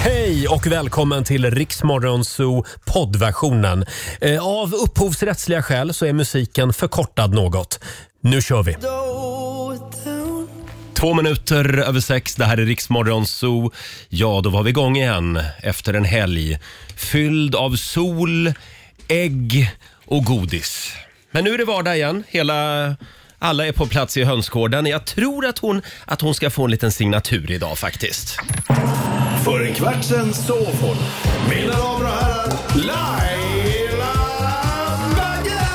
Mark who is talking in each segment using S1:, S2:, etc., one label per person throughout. S1: Hej och välkommen till Riksmorgonzoo poddversionen. Eh, Av upphovsrättsliga skäl så är musiken förkortad något. Nu kör vi! Två minuter över sex, det här är Riksmorgonzoo. Ja, då var vi igång igen efter en helg fylld av sol, ägg och godis. Men nu är det vardag igen. Hela, alla är på plats i hönsgården. Jag tror att hon, att hon ska få en liten signatur idag faktiskt.
S2: För en kvart sen sov hon. Mina damer och herrar, Laila Bagge!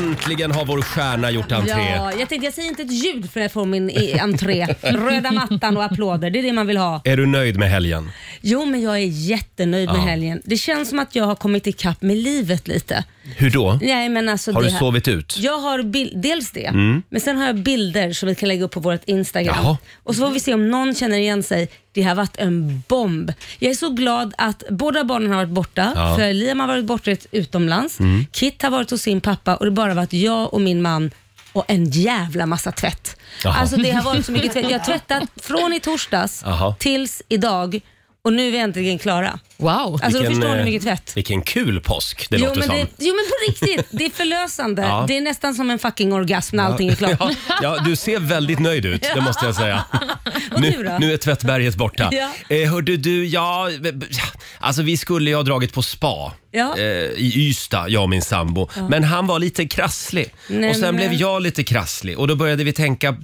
S1: Äntligen har vår stjärna gjort entré.
S3: Ja, jag tänkte jag säger inte ett ljud för jag får min i- entré. Röda mattan och applåder, det är det man vill ha.
S1: Är du nöjd med helgen?
S3: Jo, men jag är jättenöjd med
S1: Ja.
S3: helgen. Det känns som att jag har kommit ikapp med livet lite.
S1: Hur då?
S3: Nej, men alltså
S1: Har
S3: det
S1: du
S3: här-
S1: sovit ut? Mm.
S3: Jag har bil- dels det, men sen har jag bilder som vi kan lägga upp på vårt Instagram.
S1: Jaha.
S3: Och så får vi se om någon känner igen sig. Det har varit en bomb. Jag är så glad att båda barnen har varit borta.
S1: Ja. Mm.
S3: För Liam har varit borta ett- utomlands. Kit har varit hos sin pappa och det har bara varit jag och min man och en jävla massa tvätt.
S1: Jaha.
S3: Alltså det har varit så mycket tvätt. Jag har tvättat från i torsdags
S1: Jaha.
S3: tills idag och nu är vi äntligen klara.
S4: Wow.
S3: Alltså då förstår du hur
S1: eh,
S3: mycket tvätt.
S1: Vilken kul påsk det
S3: Jo
S1: låter
S3: men,
S1: som.
S3: det, jo men på riktigt, det är förlösande.
S1: Ja.
S3: Det är nästan som en fucking orgasm när allting är klart.
S1: Ja, ja, du ser väldigt nöjd ut, det måste jag säga.
S3: Och du
S1: Nu,
S3: då?
S1: nu är tvättberget borta.
S3: Ja.
S1: Eh, hörde du, ja, b- b- ja, alltså vi skulle ju ha dragit på spa
S3: Ja.
S1: eh, i Ystad, jag och min sambo. Men han var lite krasslig
S3: Nej,
S1: och sen
S3: men-
S1: blev jag lite krasslig och då började vi tänka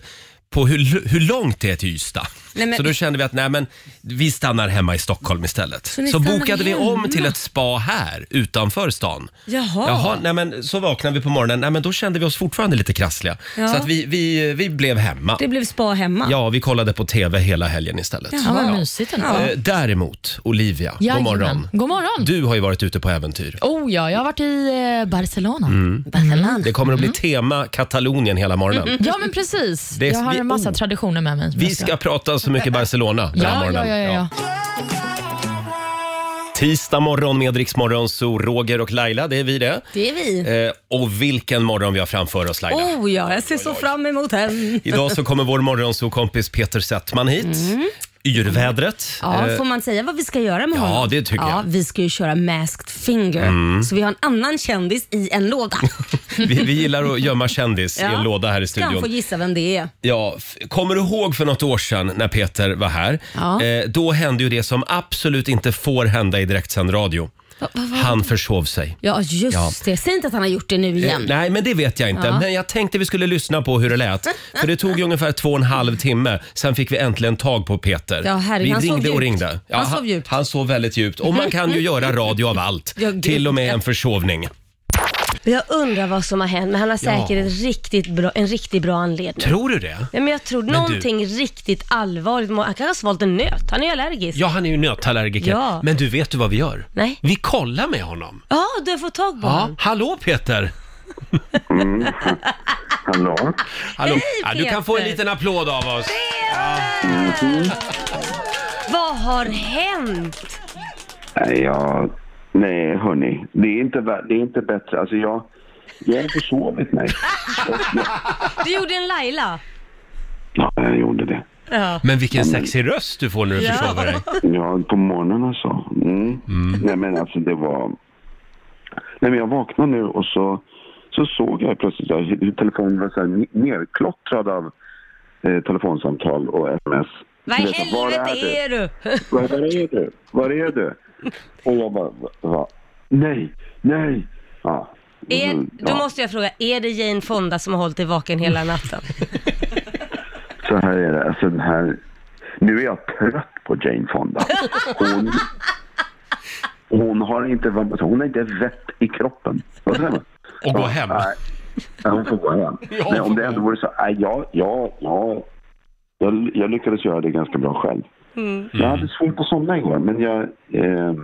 S1: på hur, l- hur långt det är till Ystad.
S3: Nej, men-
S1: Så då kände vi att nej, men vi stannar hemma i Stockholm istället. Så,
S3: ni stannar
S1: bokade vi om
S3: hemma?
S1: till ett spa här utanför stan.
S3: Jaha.
S1: Jaha, nej men så vaknade vi på morgonen, nej men då kände vi oss fortfarande lite krassliga.
S3: Ja.
S1: Så att vi, vi, vi blev hemma.
S3: Det blev spa hemma.
S1: Ja, vi kollade på TV hela helgen istället.
S4: Ja, vad mysigt ändå.
S3: Ja.
S1: Eh, Däremot, Olivia, god
S4: Jajamän.
S1: morgon.
S4: God morgon.
S1: Du har ju varit ute på äventyr.
S4: Oh ja, jag har varit i eh, Barcelona.
S3: Balan.
S1: Mm. Det kommer att
S3: Mm.
S1: bli tema Katalonien hela morgonen.
S4: Ja, men precis.
S1: Det är-
S4: jag har
S1: vi-
S4: en massa
S1: oh.
S4: traditioner med mig.
S1: Vi ska prata så mycket Barcelona den här
S4: Ja, ja,
S1: morgonen.
S4: ja, ja, ja.
S1: Tisdag morgon med Rix Morgon, så Roger och Laila, det är vi det.
S3: Det är vi.
S1: Eh, och vilken morgon vi har framför oss Laila.
S3: Oh ja, jag ser så fram emot den.
S1: Idag så kommer vår morgonsokompis Peter Settman hit. Yrvädret.
S3: Mm. Ja,
S1: Eh,
S3: får man säga vad vi ska göra med
S1: Ja,
S3: honom?
S1: det tycker
S3: ja,
S1: jag. Mm.
S3: Vi ska ju köra Masked Finger, så vi har en annan kändis i en låda.
S1: vi, vi gillar att gömma kändis i
S3: Ja.
S1: en låda här i
S3: Ska han få
S1: studion.
S3: gissa vem det är?
S1: Ja, f- kommer du ihåg för något år sedan när Peter var här?
S3: Ja.
S1: Eh, då hände ju det som absolut inte får hända i direktsänd radio. Han försov sig.
S3: Ja, just
S1: Ja.
S3: det. Säg inte att han har gjort det nu
S1: Eh,
S3: igen.
S1: Nej, men det vet jag inte.
S3: Ja.
S1: Men jag tänkte vi skulle lyssna på hur det lät. För det tog ju ungefär två och en halv timme. Sen fick vi äntligen tag på Peter.
S3: Ja, herregud,
S1: vi
S3: han sov
S1: ringde och
S3: djupt.
S1: ringde.
S3: Han sov djupt.
S1: Han sov väldigt djupt. Och man kan ju göra radio av allt.
S3: Ja, gud.
S1: Till och med en försovning.
S5: Jag undrar vad som har hänt, men han har
S1: Ja.
S5: säkert en, riktigt bra, en riktigt bra anledning.
S1: Tror du det?
S5: Ja, men jag tror någonting riktigt allvarligt. Han kanske har svalt en nöt. Han är ju allergisk.
S1: Ja, han är ju nötallergiker.
S5: Ja.
S1: Men du, vet du vad vi gör?
S5: Nej.
S1: Vi kollar med honom.
S5: Ja, du har fått tag på honom.
S1: Hallå Peter!
S6: Hallå?
S1: Hallå. Ja, du
S5: Peter.
S1: kan få en liten applåd av oss.
S5: Vad har hänt?
S6: Nej, jag... Nej, hörni. Det är inte, vä- det är inte bättre. Alltså, jag... Jag har försovit mig.
S5: Du gjorde en Laila.
S6: Ja, jag gjorde det.
S1: Men vilken sexig röst du får när du försover dig.
S6: Ja, på morgonen alltså. Mm. Nej, men alltså det var... Nej, men jag vaknade nu och så, så såg jag plötsligt att hur telefonen var så här ne- nerklottrad av eh, telefonsamtal och sms.
S5: Vad i
S6: Du vet, var
S5: helvete är du?
S6: Var, var är du? Var är du? Och jag bara, va, va? nej, nej. Ja.
S5: Är,
S6: Mm,
S5: då
S6: ja. Mm.
S5: måste jag fråga, är det Jane Fonda som har hållit dig vaken hela natten?
S6: Så här är det, alltså den här... Nu är jag trött på Jane Fonda. Hon, hon har inte varit- hon har inte vett i kroppen. Vad säger man?
S1: Och gå hem.
S6: Nej, Ja, hon får gå hem. Men om det ändå vore så, nej, jag, jag, jag, jag, jag lyckades göra det ganska bra själv.
S3: Mm.
S1: Mm.
S6: Jag hade svårt att somna igår, men jag, eh,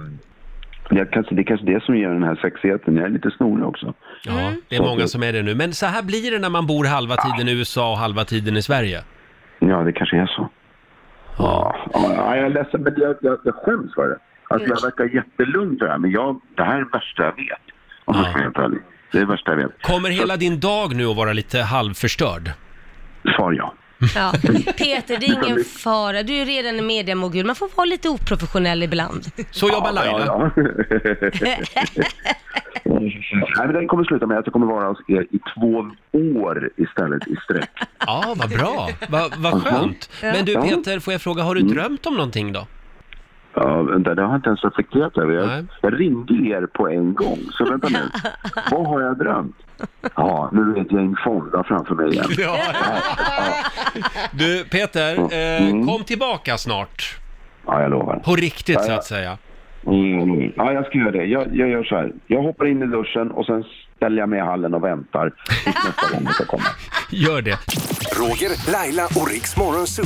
S6: jag kanske, det är kanske det som ger den här sexigheten. Jag är lite snorig också.
S1: Ja,
S6: Mm.
S1: det är många som är det nu. Men så här blir det när man bor halva tiden i USA och halva tiden i Sverige.
S6: Ja, det kanske är så. Ja, ja, jag är ledsen, men jag, jag, jag skäms för det. Alltså, jag verkar jättelugn för det här, men jag, det här är det värsta jag vet. Om jag ska vara helt ärlig. Det är det värsta jag vet.
S1: Kommer hela din dag nu att vara lite halvförstörd?
S6: Svar ja.
S5: Ja. Peter, det är ingen fara. Du är redan en mediamogul. Man får vara lite oprofessionell ibland.
S1: Så jobbar Laila.
S6: Ja, ja. Nej, men den kommer sluta med att jag kommer vara hos er i två år istället i sträck.
S1: Ja, vad bra. Vad
S6: Mhm.
S1: vad skönt. Men du Peter, får jag fråga, har du
S6: Mm.
S1: drömt om någonting då?
S6: Ja, vänta, det har jag inte ens reflekterat över.
S1: Nej.
S6: Jag, jag ringde er på en gång, så vänta nu. Vad har jag drömt? Ja, nu är ett gäng Fonda framför mig igen.
S1: Du Peter,
S6: Mm.
S1: eh, kom tillbaka snart.
S6: Ja, jag lovar.
S1: På riktigt så att säga.
S6: Mm. Ja, jag ska göra det. Jag, jag gör så här. Jag hoppar in i duschen och sen ställer jag mig i hallen och väntar tills nästa gång det ska komma.
S1: Gör det.
S2: Roger, Laila och Riks Morgonzoo.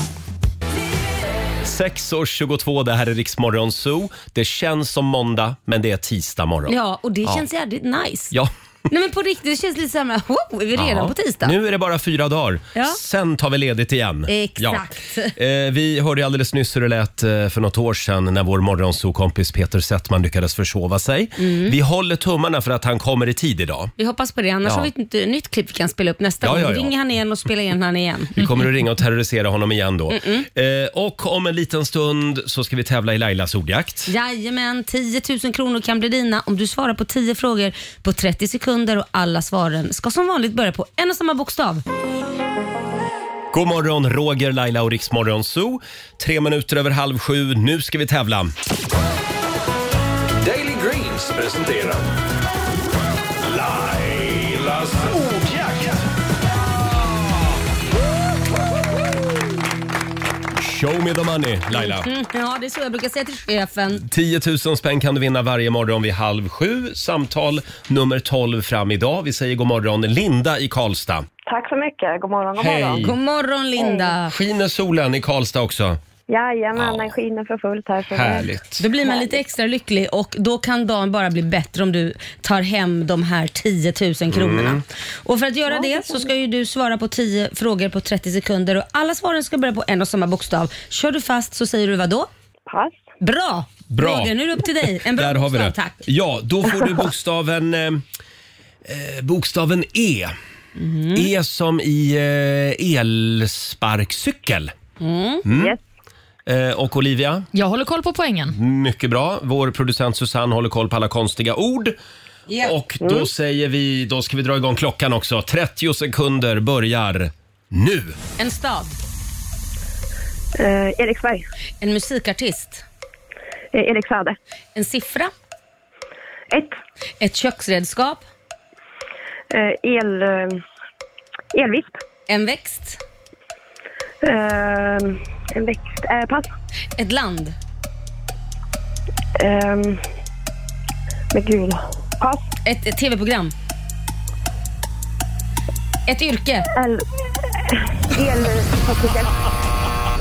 S1: 6.22, det här är Riksmorgon Zoo. Det känns som måndag, men det är tisdag morgon.
S3: Ja, och det känns jävligt nice.
S1: Ja.
S3: Nej men på riktigt, det känns lite såhär, oh, är vi redan
S1: Ja.
S3: på tisdag?
S1: Nu är det bara fyra dagar.
S3: Ja.
S1: Sen tar vi ledigt igen.
S3: Exakt.
S1: Ja. Eh, vi hörde alldeles nyss hur det lät eh, för något år sedan när vår morgonsokompis Peter Settman lyckades försova sig.
S3: Mm.
S1: Vi håller tummarna för att han kommer i tid idag.
S3: Vi hoppas på det, annars
S1: Ja.
S3: har vi ett nytt- nytt klipp vi kan spela upp nästa
S1: Ja,
S3: gång.
S1: ja, ja.
S3: Ring han igen och spela in han igen.
S1: Vi kommer att ringa och terrorisera honom igen då. Eh, och om en liten stund så ska vi tävla i Lailas ordjakt.
S3: Jajamän, 10 000 kronor kan bli dina om du svarar på 10 frågor på 30 sekunder och alla svaren ska som vanligt börja på en och samma bokstav.
S1: God morgon, Roger, Laila och Riksmorgon Zoo. Tre minuter över halv sju. Nu ska vi tävla.
S2: Daily Greens presenterar Lailas ordjakt.
S1: Show me the money, Laila.
S3: Mm, ja, det är så jag brukar säga till chefen.
S1: 10 000 spänn kan du vinna varje morgon vid halv sju. Samtal nummer 12 fram idag. Vi säger god morgon Linda i Karlstad.
S7: Tack så mycket. God morgon, god morgon.
S1: Hej!
S3: God morgon Linda.
S1: Skiner solen i Karlstad också?
S7: Jajamän,
S1: Ja.
S7: den skiner för fullt här. Så det,
S1: Härligt.
S3: Då blir man lite extra lycklig och då kan dagen bara bli bättre om du tar hem de här 10 000 kronorna.
S1: Mm.
S3: Och för att göra det så ska ju du svara på 10 frågor på 30 sekunder och alla svaren ska börja på en och samma bokstav. Kör du fast så säger du vad då?
S7: pass.
S3: Bra!
S1: Bra.
S3: Roger, nu är det upp till dig. En bra
S1: Där har vi
S3: bokstav,
S1: det.
S3: tack.
S1: Ja, då får du bokstaven, eh, eh, bokstaven E.
S3: Mhm.
S1: E som i eh, elsparkcykel.
S7: Mm.
S1: Mm.
S7: Yes.
S1: Eh, och Olivia,
S4: Jag håller koll på poängen.
S1: mycket bra. Vår producent Susanne håller koll på alla konstiga ord.
S3: Ja.
S1: Och
S7: Mm.
S1: då
S4: Mm.
S1: säger vi, då ska vi dra igång klockan också. 30 sekunder börjar nu.
S3: En stad,
S7: Eh, Eriksberg.
S3: en musikartist,
S7: Eh, Erik Saade.
S3: en siffra,
S7: Ett.
S3: ett köksredskap,
S7: Eh, el, eh, elvisp.
S3: en växt,
S7: Eh, en växt. Eh, pass.
S3: ett land,
S7: Eh, men gud. Pass.
S3: ett, ett tv-program, ett yrke,
S7: El, elpartikel.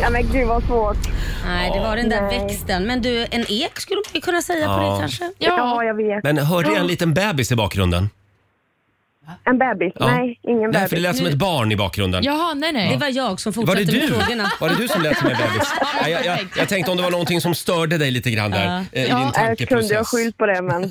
S7: Ja, men gud vad svårt.
S3: Nej, det var den där
S7: Nej.
S3: växten. Men du, en ek skulle vi kunna säga på
S1: Ja.
S3: det kanske?
S7: Ja, jag vet.
S1: Men hörde jag en liten bebis i bakgrunden?
S7: En bebis?
S1: Ja.
S7: Nej, ingen
S1: Nej, för det
S7: bebis.
S1: lät som ett barn i bakgrunden.
S4: Jaha, nej nej.
S3: Det var jag som
S1: Var det
S3: fortsatte med
S1: du?
S3: frågorna.
S1: Var det du som lät som en bebis? Nej, jag, jag, jag tänkte om det var någonting som störde dig lite grann där eh, i din
S7: Jag
S4: Ja,
S7: kunde ha
S1: tankeprocess.
S7: skylt på det, men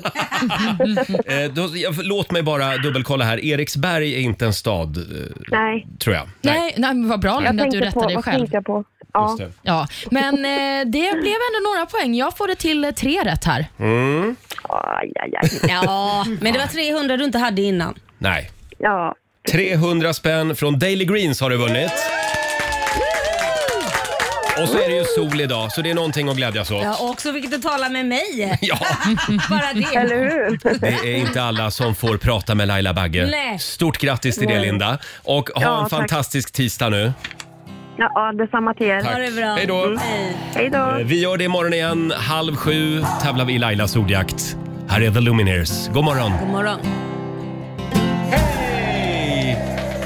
S1: Eh, då, jag, låt mig bara dubbelkolla här. Eriksberg är inte en stad, eh,
S7: nej.
S1: tror jag.
S4: Nej, nej, men vad bra
S7: Jag
S4: Linda att du
S7: tänkte på,
S4: rättade dig
S7: vad
S4: själv.
S7: tänkte jag på? Ja.
S1: Just det.
S4: Ja, men eh, det blev ändå några poäng. Jag får det till eh, tre rätt här.
S1: Mm.
S7: Aj, aj, aj.
S3: Ja, men det var 300 du inte hade innan.
S1: Nej.
S7: Ja.
S1: 300 spänn från Daily Greens har du vunnit. Och så är det ju sol idag, så det är någonting att glädjas åt.
S3: Ja, och också vilket du talar med mig.
S1: Ja.
S3: Bara det.
S7: Eller hur?
S1: Det är inte alla som får prata med Laila Bagge.
S3: Nej.
S1: Stort grattis till det Linda. Och ha
S7: Ja,
S1: en
S7: tack.
S1: fantastisk tisdag nu.
S7: Ja, ja detsamma till er.
S1: Tack.
S3: Ha det bra. Mm.
S1: Hej då.
S3: Hej.
S7: Hej då.
S1: Vi gör det imorgon igen. Halv sju tävlar vi i Lailas ordjakt. Här är The Lumineers. God morgon.
S3: God morgon.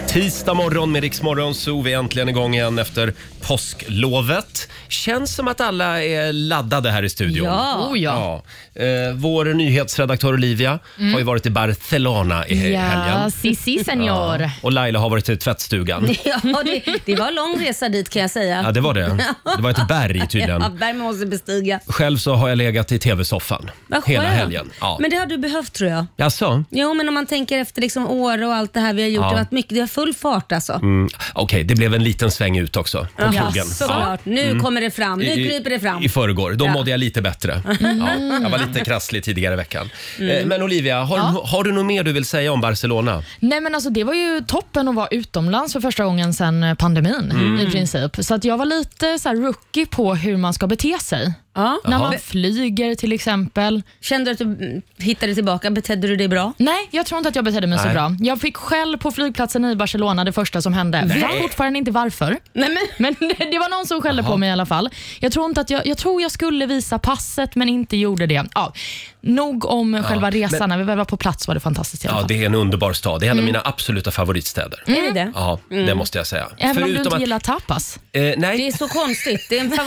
S1: Tisdag morgon med Riksmorgon så vi är äntligen igång igen efter påsklovet. Känns som att alla är laddade här i studion.
S3: Ja. Mm.
S4: Oh, ja.
S1: Ja. Eh, vår nyhetsredaktör Olivia har ju varit i Barcelona i he-
S4: Ja,
S1: helgen.
S4: si, si senor.
S1: Och Laila har varit i tvättstugan.
S3: Ja, det, det var en lång resa dit kan jag säga.
S1: Ja, det var det. Det var ett berg
S3: Ja,
S1: tydligen.
S3: värme måste bestiga.
S1: Själv så har jag legat i tv-soffan
S3: Vad
S1: hela
S3: skönt.
S1: helgen. Ja.
S3: Men det har du behövt tror jag.
S1: Jaså?
S3: Jo, men om man tänker efter liksom år och allt det här vi har gjort.
S1: Ja.
S3: Det har varit mycket, det har full fart alltså.
S1: Mm. Okej, det blev en liten sväng ut också på krogen. Mm.
S3: såklart. Nu kommer det fram. Nu
S1: I- i-
S3: kryper det fram.
S1: I förrgår. Då
S3: Ja. Mm.
S1: mådde jag lite bättre. Ja, jag var lite krasslig tidigare i veckan. Eh, Men Olivia, har,
S4: Mm. Ja.
S1: har du något mer du vill säga om Barcelona?
S4: Nej men alltså det var ju toppen att vara utomlands för första gången sedan eh, pandemin
S1: Mm.
S4: i princip. Så att jag var lite så här rookie på hur man ska bete sig.
S3: Ja.
S4: När
S1: Jaha.
S4: man flyger till exempel.
S3: Kände du att du mm, hittade tillbaka? Betedde du dig bra?
S4: Nej, jag tror inte att jag betedde mig
S1: Nej.
S4: så bra. Jag fick skäll på flygplatsen i Barcelona det första som hände. Jag vet fortfarande inte varför.
S3: Nej, men...
S4: Men det var någon som skällde på mig i alla fall. Jag tror, inte att jag, jag tror jag skulle visa passet men inte gjorde det. Ja, nog om själva resan. När vi väl var på plats var det fantastiskt i alla
S1: Ja,
S4: fall.
S1: det är en underbar stad. Det
S4: Mm.
S1: är en av mina absoluta favoritstäder.
S3: Är det det?
S1: Ja, det måste jag säga.
S4: Även om du
S1: Förutom
S4: inte
S1: att-
S4: gillar tapas.
S1: Eh, nej.
S3: Det är så konstigt. Det är en
S1: Jag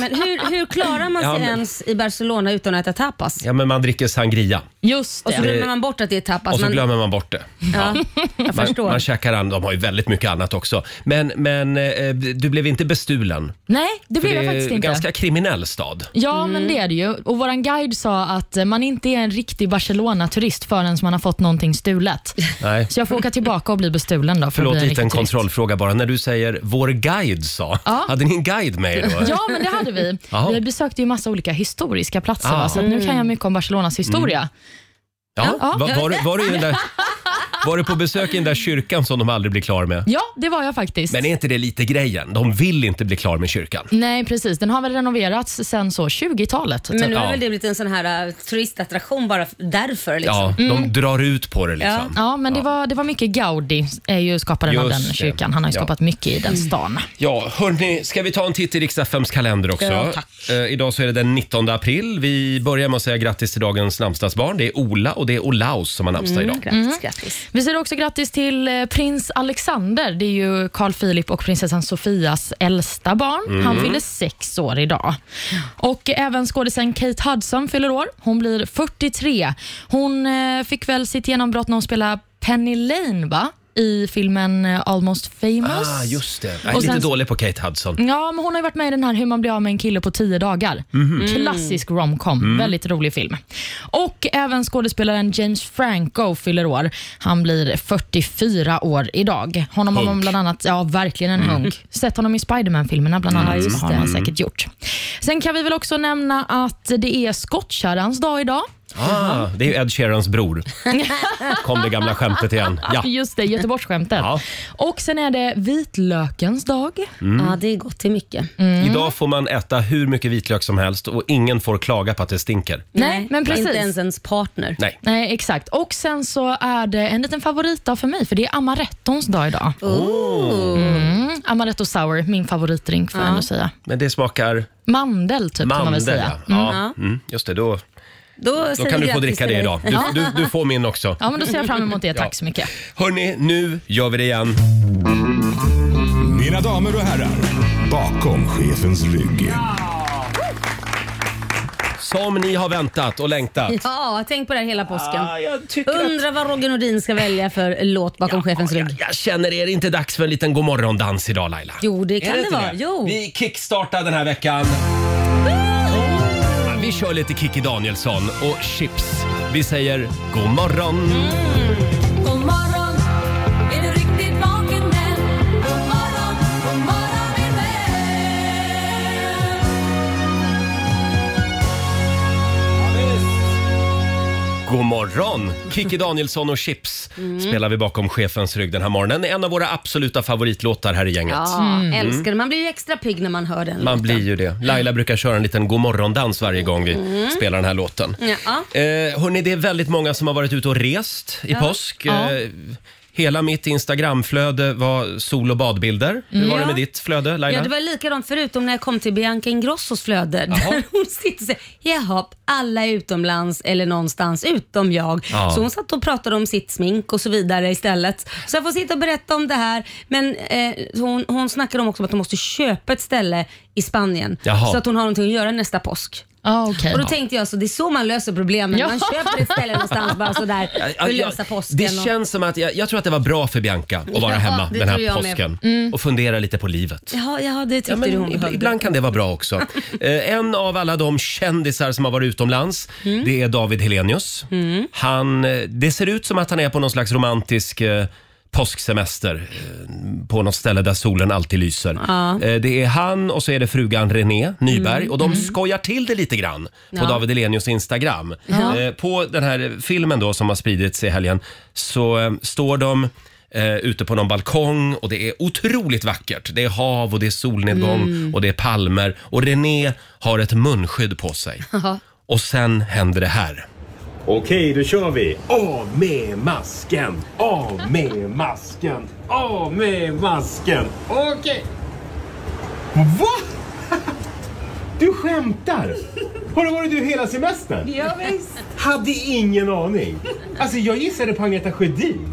S1: vet.
S3: Men hur, hur klarar man sig
S1: Ja, men-
S3: ens i Barcelona utan att äta tapas?
S1: Ja, men man dricker sangria
S4: Just
S3: Och
S4: det.
S3: så glömmer man bort att det är tapas.
S1: och så
S3: Man-
S1: glömmer man bort det.
S3: ja, jag
S1: Man,
S3: förstår.
S1: man käkar an, de har ju väldigt mycket annat också. Men, men eh, du blev inte bestulen.
S4: Nej, det
S1: För
S4: blev jag
S1: det
S4: faktiskt
S1: är en
S4: inte.
S1: ganska Mm. kriminell stad.
S4: Ja, men det är det ju. Och vår guide sa att eh, man inte är en riktig Barcelona-turist förrän man har fått någonting stulet.
S1: Nej.
S4: Så jag får åka tillbaka och bli bestulen då. För att
S1: Förlåt,
S4: bli
S1: lite en
S4: riktig turist.
S1: kontrollfråga bara. När du säger “vår guide sa”,
S4: Ja.
S1: hade ni en guide med er då?
S4: Ja, men det hade vi.
S1: Jaha.
S4: Vi besökte ju massa olika historiska platser,
S1: Ah. Mm.
S4: va? så att nu kan jag mycket om Barcelonas historia.
S1: Ja.
S4: Ja.
S1: Var, var, du- var, du i den där, var du på besök i den där kyrkan som de aldrig blir klar med?
S4: Ja, det var jag faktiskt.
S1: Men är inte det lite grejen? De vill inte bli klar med kyrkan.
S4: Nej, precis. Den har väl renoverats sen så typ. 20-talet.
S3: Men nu
S1: Ja.
S3: har väl det blivit en sån här äh, turistattraktion bara f- därför. Liksom.
S1: Ja,
S4: Mm.
S1: de drar ut på det liksom.
S4: Ja, men det, Var, det var mycket Gaudi, är ju skaparen av
S1: Just
S4: den
S1: det.
S4: kyrkan. Han har ju
S1: Ja.
S4: skapat mycket i den stan.
S1: Ja, hörni, ska vi ta en titt i riksdagsfems kalender också?
S3: Ja,
S1: Eh, idag så är det den 19 april. Vi börjar med att säga grattis till dagens namnsdagsbarn. Det är Ola och det är Olaus som har namnsdag
S4: Mm,
S1: idag.
S3: Mm. Grattis, grattis.
S4: Mhm. Vi säger också grattis till eh, prins Alexander. Det är ju Carl Philip och prinsessan Sofias äldsta barn. Han
S1: Mm.
S4: fyller sex år idag. Och även skådisen Kate Hudson fyller år. Hon blir 43. Hon eh, fick väl sitt genombrott när hon spelade Penny Lane, va? I filmen eh, Almost famous.
S1: Ah, just det. Jag är
S4: Och
S1: lite
S4: sen- Mm,
S1: dålig på Kate Hudson.
S4: Ja, men hon har ju varit med i den här Hur man blir av med en kille på tio dagar.
S1: Mhm.
S3: Mm.
S4: Klassisk romcom.
S1: Mm.
S4: Väldigt rolig film. Och även skådespelaren James Franco fyller år. Han blir 44 år idag. Honom har man
S1: Hunk. Mm.
S4: bland annat, ja verkligen en hunk. Sett honom i Spiderman-filmerna bland annat.
S3: just
S4: har
S3: det.
S4: man säkert gjort. Sen kan vi väl också nämna att det är skottkärrans dag idag.
S1: Ah, det är ju Ed Sheerans bror. Kom det gamla skämtet igen. Ja.
S4: Just det, Göteborgsskämtet.
S1: Ja.
S4: Och sen är det vitlökens dag. Mm.
S3: Ja, det är gott till mycket.
S1: Mm. Idag får man äta hur mycket vitlök som helst och ingen får klaga på att det stinker.
S4: Nej, men precis.
S3: Inte ens ens partner.
S1: Nej.
S4: Nej, exakt. Och sen så är det en liten favoritdag för mig, för det är amarettons dag idag. Mm. Amaretto sour, min favoritdrink får jag ändå säga.
S1: Men det smakar
S4: Mandel typ kan man väl
S1: mandel.
S4: säga.
S1: Ja. Ja. Mm, just det, då,
S3: Då,
S1: då
S3: säger
S1: kan du få
S3: grattis
S1: dricka
S3: till
S1: det
S3: dig.
S1: idag. Du, du, du får min också.
S4: Ja, men då ser jag fram emot det. Tack så mycket.
S1: Hörni, nu gör vi det igen.
S2: Mina damer och herrar, bakom chefens rygg.
S1: Som ni har väntat och längtat.
S3: Ja, tänk på det här hela påsken.
S1: Ah, jag tycker att-
S3: Undrar vad Roger Nordin ska välja för låt bakom chefens
S1: Ja,
S3: rygg.
S1: Jag, jag känner, är det inte dags för en liten godmorgondans idag Laila?
S3: Jo, det kan det
S1: inte
S3: vara. Jo.
S1: Vi kickstartar den här veckan. Ja, Vi kör lite Kikki Danielsson och Chips. Vi säger god morgon.
S8: God morgon, är du riktigt vaken än? God morgon, god morgon min vän.
S1: God morgon! Kikki Danielsson och Chips
S3: Mm.
S1: spelar vi bakom chefens rygg den här morgonen. En av våra absoluta favoritlåtar här i gänget. Mm.
S3: Ja,
S4: Mm.
S3: älskar det. Man blir ju extra pigg när man hör den
S1: Man
S3: låten. Mm.
S1: blir ju det. Laila brukar köra en liten godmorgondans varje gång vi spelar den här låten.
S3: Ja.
S1: Eh, hörni, det är väldigt många som har varit ute och rest i påsk.
S4: Ja.
S1: Eh, hela mitt Instagramflöde var sol och badbilder. Hur var det med ditt flöde, Laila?
S3: Ja, det var likadant förutom när jag kom till Bianca Ingrossos flöde. Där hon sitter och säger, jaha, alla är utomlands eller någonstans utom jag.
S1: Ja.
S3: Så hon satt och pratade om sitt smink och så vidare istället. Så jag får sitta och berätta om det här. Men eh, hon, hon snackar om också att hon måste köpa ett ställe i Spanien.
S1: Jaha.
S3: Så att hon har någonting att göra nästa påsk.
S4: Ja, Ah, okej.
S3: Och då tänkte jag så, det är så man löser problemen.
S4: Ja.
S3: Man köper ett ställe någonstans bara sådär för
S1: Ja,
S3: att
S1: ja,
S3: lösa påsken.
S1: det
S3: och-
S1: känns som att jag, jag tror att det var bra för Bianca att vara
S3: Ja,
S1: hemma
S3: det
S1: den
S3: tror
S1: här
S3: jag med. Mm.
S1: påsken och fundera lite på livet.
S3: Jaha, jaha, det tyckte
S1: Ja, men
S3: du hon
S1: ib-
S3: behövde.
S1: ibland kan det vara bra också. Eh, en av alla de kändisar som har varit utomlands,
S3: Mm.
S1: det är David Helenius. Han, eh, det ser ut som att han är på någon slags romantisk eh, påsksemester eh, på något ställe där solen alltid lyser. Eh, Det är han och så är det frugan René Nyberg och de skojar till det lite grann på
S3: Ja.
S1: David Hellenius Instagram. Eh, På den här filmen då som har spridits i helgen så eh, står de eh, ute på någon balkong och det är otroligt vackert. Det är hav och det är solnedgång
S3: Mm.
S1: och det är palmer och René har ett munskydd på sig. Och sen händer det här.
S2: Okej, då kör vi. Av med masken! Av med masken! Av med masken! Okej. Va? Du skämtar? Har det varit du hela semestern? Ja, visst. Hade ingen aning. Alltså, jag gissade på Agneta Sjödin.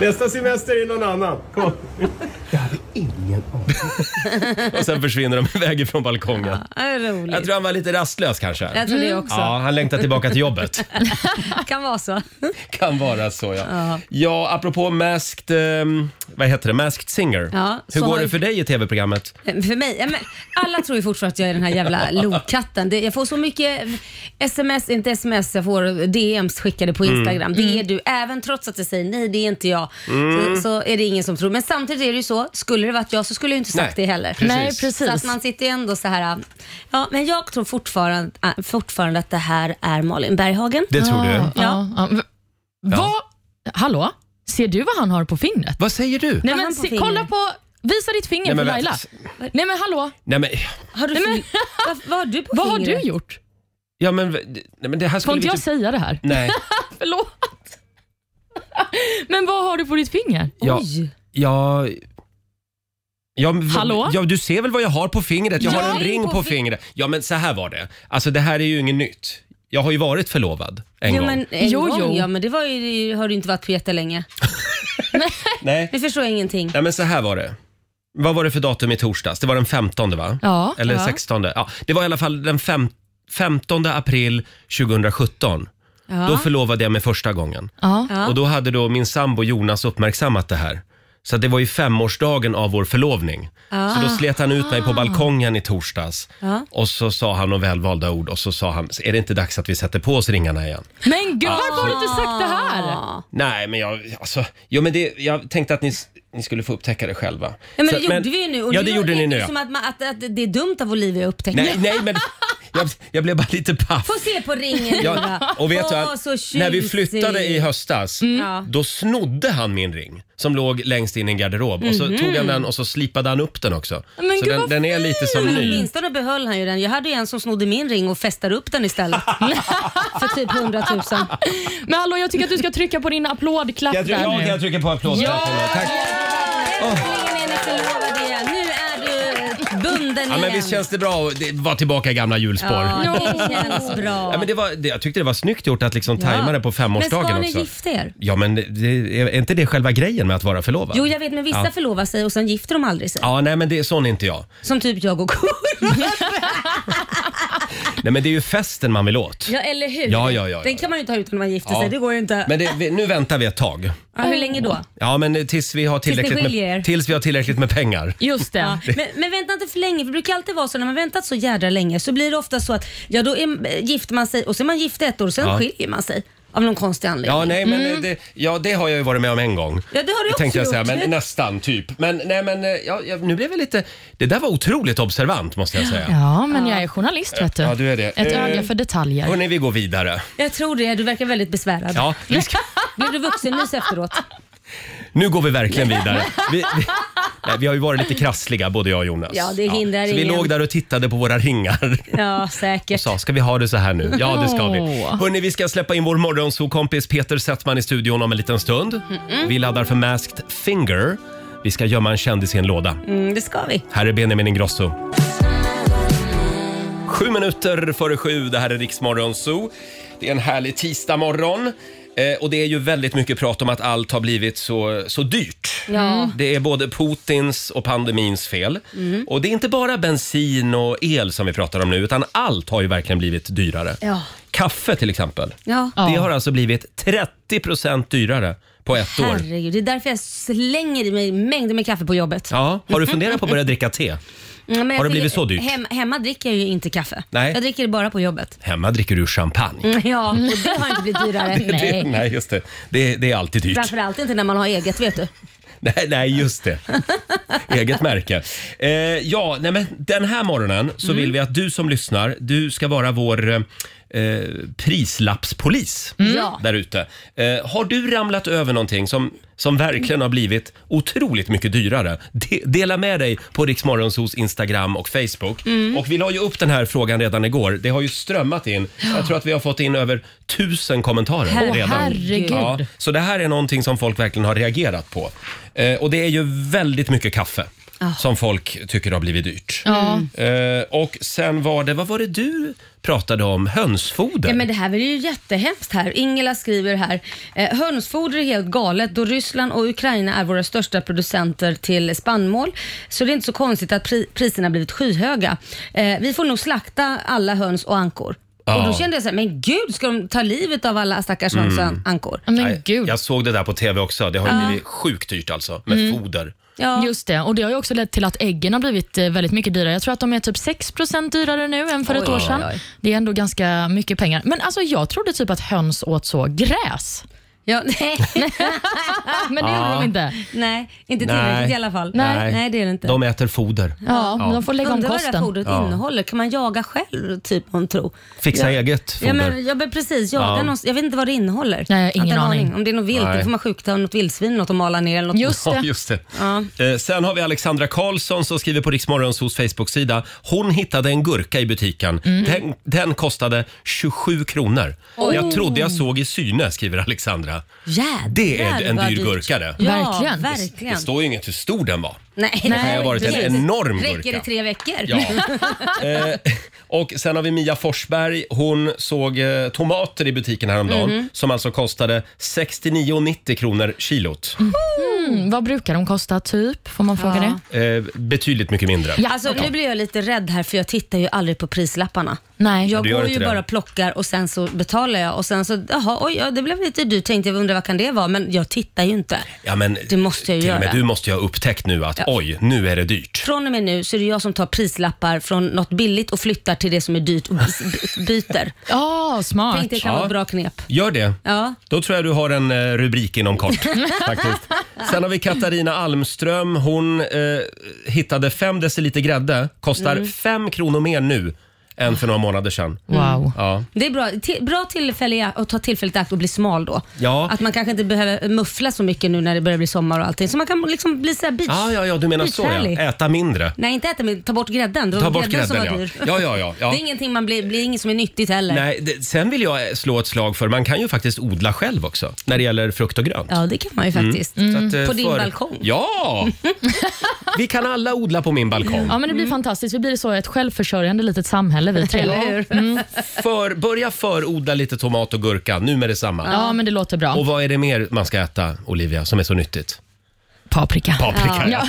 S2: Nästa semester är någon annan. Kom. Jag hade ingen aning.
S1: Och sen försvinner de iväg ifrån balkongen.
S3: Det är roligt.
S1: Jag tror han var lite rastlös kanske.
S3: Jag tror det också.
S1: Ja, han längtar tillbaka till jobbet.
S3: Kan vara så.
S1: kan vara så ja. Ja, apropå Masked, ehm, vad heter det, Masked Singer.
S3: Ja,
S1: Hur
S3: så
S1: går
S3: har-
S1: det för dig i tv-programmet?
S3: För mig, ja, men alla tror ju fortfarande att jag är den här jävla lokkatten. Det- Jag får så mycket sms, inte sms, jag får DMs skickade på
S1: Mm.
S3: Instagram. Det är du, även trots att jag säger nej, det är inte jag.
S1: Mm.
S3: Så, så är det ingen som tror. Men samtidigt är det ju så, skulle det varit jag så skulle jag inte sagt
S1: Nej,
S3: det heller.
S1: precis.
S4: Nej, precis.
S3: Så att man sitter ju ändå så här. Ja, men jag tror fortfarande, äh, fortfarande att det här är Malin Berghagen.
S1: Det tror du?
S4: Ja. ja. Ah, V- Vad? Hallå? Ser du vad han har på fingret?
S1: Vad säger du?
S4: Nej,
S3: Vad har
S4: men
S3: han på
S4: se,
S3: fingret?
S4: kolla på... Visa ditt finger
S1: Nej, men
S4: för
S1: vänta.
S4: Laila. Nej men hallå,
S1: Nej men,
S3: Har du,
S4: men-
S3: vad, vad har du på
S4: vad har
S3: fingret?
S4: du gjort?
S1: ja, men, nej, men det här
S4: Får
S1: skulle
S4: inte
S1: vi typ-
S4: jag
S1: inte...
S4: säga det här?
S1: Nej,
S4: Förlåt. Men vad har du på ditt finger?
S1: jag...
S3: Oj.
S1: jag Ja, men vad-
S4: Hallå?
S1: ja, du ser väl vad jag har på fingret? Jag har en
S3: Ring
S1: ring på,
S3: på fi-
S1: fingret. Ja, men så här var det. Alltså, det här är ju inget nytt. Jag har ju varit förlovad en
S3: Jo
S1: gång.
S3: men, en
S4: Jo,
S3: gång,
S4: jo.
S3: Ja, men det var ju, har du inte varit på jättelänge.
S1: Nej.
S3: Nu förstår jag ingenting.
S1: Nej men så här var det. Vad var det för datum i torsdags? Det var den 15 va?
S4: Ja,
S1: Eller
S4: ja.
S1: 16. Ja, det var i alla fall den fem, 15 april 2017. Då förlovade jag mig första gången.
S4: Ja.
S1: Och då hade då min sambo Jonas uppmärksammat det här. Så att det var ju femårsdagen av vår förlovning. Så då slet han ut mig
S3: Ah.
S1: på balkongen i torsdags. Och så sa han några välvalda ord och så sa han, är det inte dags att vi sätter på oss ringarna igen?
S4: Men gud, varför har du inte sagt det här?
S1: Nej, men jag, alltså, jo, men det, jag tänkte att ni, s- ni skulle få upptäcka det själva.
S3: Ja, men
S1: Så-
S3: det gjorde vi ju nu. Och
S1: ja,
S3: nu
S1: det gjorde
S3: är
S1: ni nu.
S3: ju
S1: Ja.
S3: Som att, man, att, att det är dumt av Olivia att upptäcka.
S1: Nej, nej, men jag, jag blev bara lite paff.
S3: Få se på ringen Eva.
S1: Ja, och vet du,
S3: Åh,
S1: att
S3: så
S1: när vi
S3: tjusig. Mm.
S1: flyttade i höstas, då snodde han min ring som låg längst in i en garderob och
S3: Mhm.
S1: så tog han den och så slipade han upp den också.
S4: Men
S1: så
S4: gud,
S1: den,
S4: vad
S1: den är lite som
S3: Men
S1: ny.
S3: Åtminstone behöll han ju den. Jag hade ju en som snodde min ring och fästade upp den istället. För typ 100 000.
S4: Men hallå, jag tycker att du ska trycka på din applådklapp
S1: Jag, try-
S4: där
S1: ja,
S4: nu.
S1: jag trycker på applådknappen.
S4: Ja!
S1: Tack.
S3: Äntligen är ni förlovade igen. Nu är du eh, bunden
S1: Ja, men
S3: igen.
S1: visst känns det bra att det- vara tillbaka i gamla hjulspår? Ja.
S3: Ja, det känns bra.
S1: men det var, det, jag tyckte det var snyggt gjort att liksom tajma det på femårsdagen
S3: Men ska
S1: också.
S3: ni gifta er?
S1: Ja, men det, är inte det själva grejen med att vara förlovad?
S3: Jo, jag vet, men vissa
S1: Ja.
S3: förlovar sig och sen gifter de aldrig sig.
S1: Ja, nej men det är sån är inte jag.
S3: Som typ jag och Koro.
S1: Nej men det är ju festen man vill åt.
S3: Ja, eller hur?
S1: Ja, ja, ja,
S3: Den
S1: ja.
S3: kan man ju inte ha ut när man gifter
S1: Ja.
S3: sig. Det går ju inte.
S1: Men det, vi, nu väntar vi ett tag.
S3: ja, hur länge då?
S1: Ja men eh, tills vi har
S3: ni
S1: tillräckligt,
S3: skiljer er.
S1: med, tills vi har tillräckligt med pengar.
S4: Just det.
S3: Ja, men, men vänta inte för länge, för det brukar alltid vara så när man väntat så jädra länge så blir det ofta så att ja, då är, eh, gifter man sig och så är man gift ett år och sen
S1: Ja.
S3: skiljer man sig av någon konstig anledning. Mm.
S1: Ja, nej, men eh, det, ja, det har jag ju varit med om en gång.
S3: Ja, det har du också
S1: tänkte jag
S3: gjort.
S1: säga, men nästan typ. Men, nej, men eh, ja, ja, nu blev jag lite... Det där var otroligt observant måste jag säga.
S4: Ja, men jag är journalist vet du.
S1: Ja, du är det.
S4: Ett
S1: Eh,
S4: öga för detaljer.
S1: Hörni, vi går vidare.
S3: Jag tror det, du verkar väldigt besvärad.
S1: Ja, vi ska,
S3: Blev du vuxenmys efteråt?
S1: nu går vi verkligen vidare. Vi, vi, nej, vi har ju varit lite krassliga, både jag och Jonas.
S3: Ja, det hindrar
S1: Så vi
S3: ingen.
S1: låg där och tittade på våra ringar.
S3: Ja, säkert.
S1: sa, ska vi ha det så här nu? Ja, det ska vi.
S4: Åh.
S1: Hörni, vi ska släppa in vår morgonsokompis Peter Settman i studion om en liten stund. Vi laddar för Masked Finger. Vi ska gömma en kändis i en låda.
S3: Mm, det ska vi.
S1: Här är Benjamin Ingrosso. Sju minuter före sju, det här är Riksmorgon Zoo. Det är en härlig tisdagmorgon. Eh, och det är ju väldigt mycket prat om att allt har blivit så, så dyrt. Det är både Putins och pandemins fel. Mm.
S3: Mm.
S1: Och det är inte bara bensin och el som vi pratar om nu, utan allt har ju verkligen blivit dyrare.
S3: Ja.
S1: Kaffe till exempel.
S3: Ja.
S1: Det har alltså blivit 30 dyrare på ett år.
S3: Herregud, det är därför jag slänger i mig mängder med kaffe på jobbet.
S1: Ja, har du funderat på att börja dricka te?
S3: Mm, men
S1: Har det
S3: jag
S1: blivit
S3: tycker-
S1: så dyrt?
S3: Hem, hemma dricker jag ju inte kaffe.
S1: Nej.
S3: Jag dricker det bara på jobbet.
S1: Hemma dricker du champagne.
S3: Mm, Ja, och det har inte blivit dyrare.
S1: Det,
S3: Mm. Nej.
S1: nej, just det. det. Det är alltid dyrt. Oh,
S3: Framförallt inte när man har eget vet du.
S1: Nej, nej just det. Eget märke. Eh, ja, nej, men den här morgonen så
S4: Mm.
S1: vill vi att du som lyssnar, du ska vara vår eh, eh, prislappspolis
S4: Mm.
S3: Ja.
S1: där ute. Eh, har du ramlat över någonting som, som verkligen har blivit otroligt mycket dyrare? De, dela med dig på Riksmorgonsos Instagram och Facebook.
S4: Mm.
S1: Och vi la ju upp den här frågan redan igår. Det har ju strömmat in. Jag tror att vi har fått in över tusen kommentarer
S4: Åh,
S1: redan.
S4: herregud.
S1: Ja, så det här är någonting som folk verkligen har reagerat på. Eh, och det är ju väldigt mycket kaffe
S3: Ah.
S1: som folk tycker har blivit dyrt. Eh, och sen var det, vad var det du pratade om? Hönsfoder?
S3: Ja, men det här är ju jättehemskt här. Ingela skriver här. Eh, hönsfoder är helt galet då Ryssland och Ukraina är våra största producenter till spannmål. Så det är inte så konstigt att pri- priserna blivit skyhöga. Eh, vi får nog slakta alla höns och ankor.
S1: Ja.
S3: Och då kände jag så här, men gud ska de ta livet av alla stackars höns
S1: Mm.
S3: och an- ankor?
S4: Men
S1: Nej,
S4: gud.
S1: Jag såg det där på tv också. Det har
S3: Ah.
S1: ju blivit sjukt dyrt alltså med
S3: Mm.
S1: foder.
S3: Ja.
S4: Just det, och det har ju också lett till att äggen har blivit eh, väldigt mycket dyrare. Jag tror att de är typ 6 dyrare nu än för ett
S3: Oj,
S4: år
S3: oj,
S4: sedan.
S3: oj.
S4: Det är ändå ganska mycket pengar. Men alltså jag trodde typ att höns åt så gräs.
S3: Ja, nej,
S4: Men det gjorde de inte.
S3: nej, inte
S1: Nej.
S3: tillräckligt i alla fall.
S1: Nej.
S3: nej det är det inte.
S1: De äter foder.
S4: Ja, men de får lägga om
S3: Undrar vad det här
S4: kosten.
S3: fodret innehåller. Kan man jaga själv, typ, hon tror?
S1: Fixa
S3: ja.
S1: eget foder.
S3: Ja men, ja, men precis. Jaga
S1: Ja.
S3: någonstans. Jag vet inte vad det innehåller.
S4: Nej, jag har ingen
S3: Inte en
S4: aning.
S3: Om det är något vilt,
S1: Nej.
S3: då får man sjukta något vildsvin något och mala ner eller något.
S4: Just
S1: Ja,
S4: det.
S1: just det. Eh, sen har vi Alexandra Karlsson som skriver på Riksmorgonsos Facebook-sida. Hon hittade en gurka i butiken.
S3: Mm.
S1: Den, den kostade 27 kronor. Jag trodde jag såg i syne, skriver Alexandra.
S3: Jädrar,
S1: Det är en
S3: vad
S1: dyr
S3: dyrt.
S1: gurka det.
S3: Ja,
S4: Verkligen.
S3: verkligen.
S1: Det står ju inget hur stor den var.
S3: Nej,
S1: Det kan ju ha varit en
S3: precis.
S1: enorm
S3: Räcker
S1: gurka.
S3: det tre veckor?
S1: Ja. Eh, och sen har vi Mia Forsberg. Hon såg eh, tomater i butiken häromdagen
S3: Mhm.
S1: som alltså kostade 69,90 kronor kilot.
S4: Mm, vad brukar de kosta typ? Får man fråga det?
S1: Eh, betydligt mycket mindre.
S4: Ja,
S3: Alltså, nu blir jag lite rädd här för jag tittar ju aldrig på prislapparna.
S4: Nej.
S3: Jag
S1: du gör
S3: går
S1: inte
S3: ju
S1: det.
S3: bara och plockar och sen så betalar jag och sen så, jaha, oj, ja, det blev lite dyrt tänkte jag, undrar vad kan det vara? Men jag tittar ju inte.
S1: Ja, men,
S3: Det måste jag ju
S1: till och med
S3: göra.
S1: Du måste ju ha upptäckt nu att
S3: Ja.
S1: oj, nu är det dyrt.
S3: Från och med nu så är det jag som tar prislappar från något billigt och flyttar till det som är dyrt och by- byter.
S4: Ja, smart.
S3: Tänk det kan vara ett bra knep.
S1: Gör det.
S3: Ja.
S1: Då tror jag du har en eh, rubrik inom kort. faktiskt. Sen har vi Katarina Almström. Hon eh, hittade 5 deciliter grädde.
S3: Mm.
S1: Kostar 5 kronor mer nu än för några månader sedan. Mm.
S4: Wow.
S1: Ja.
S3: Det är bra, Ti- bra tillfälle i ak- att ta tillfället i akt och bli smal då.
S1: Ja.
S3: Att man kanske inte behöver muffla så mycket nu när det börjar bli sommar och allting. Så man kan liksom bli så här beach.
S1: Ja, ja, ja, du menar så
S3: beachhärlig.
S1: ja. Äta mindre.
S3: Nej, inte äta men ta bort grädden. Det var
S1: Ta bort
S3: som
S1: grädden
S3: var
S1: ja.
S3: dyr.
S1: Ja, ja, ja. ja.
S3: Det är ingenting man blir, blir inget som är nyttigt heller.
S1: Nej, det, sen vill jag eh, slå ett slag för, man kan ju faktiskt odla själv också när det gäller frukt och grönt.
S3: Ja, det kan man ju faktiskt. Mm.
S1: Så
S4: Mm.
S1: att, eh,
S3: På din
S1: för-
S3: balkong.
S1: Ja! Vi kan alla odla på min balkong.
S4: Ja, men det blir fantastiskt. Vi blir så ett självförsörjande litet samhälle vi tre. Mm.
S3: Eller hur?
S1: För, börja förodla lite tomat och gurka nu med detsamma.
S4: Ja, men det låter
S1: Och
S4: bra.
S1: vad är det mer man ska äta, Olivia, som är så nyttigt?
S4: Paprika.
S1: Paprika. Ja.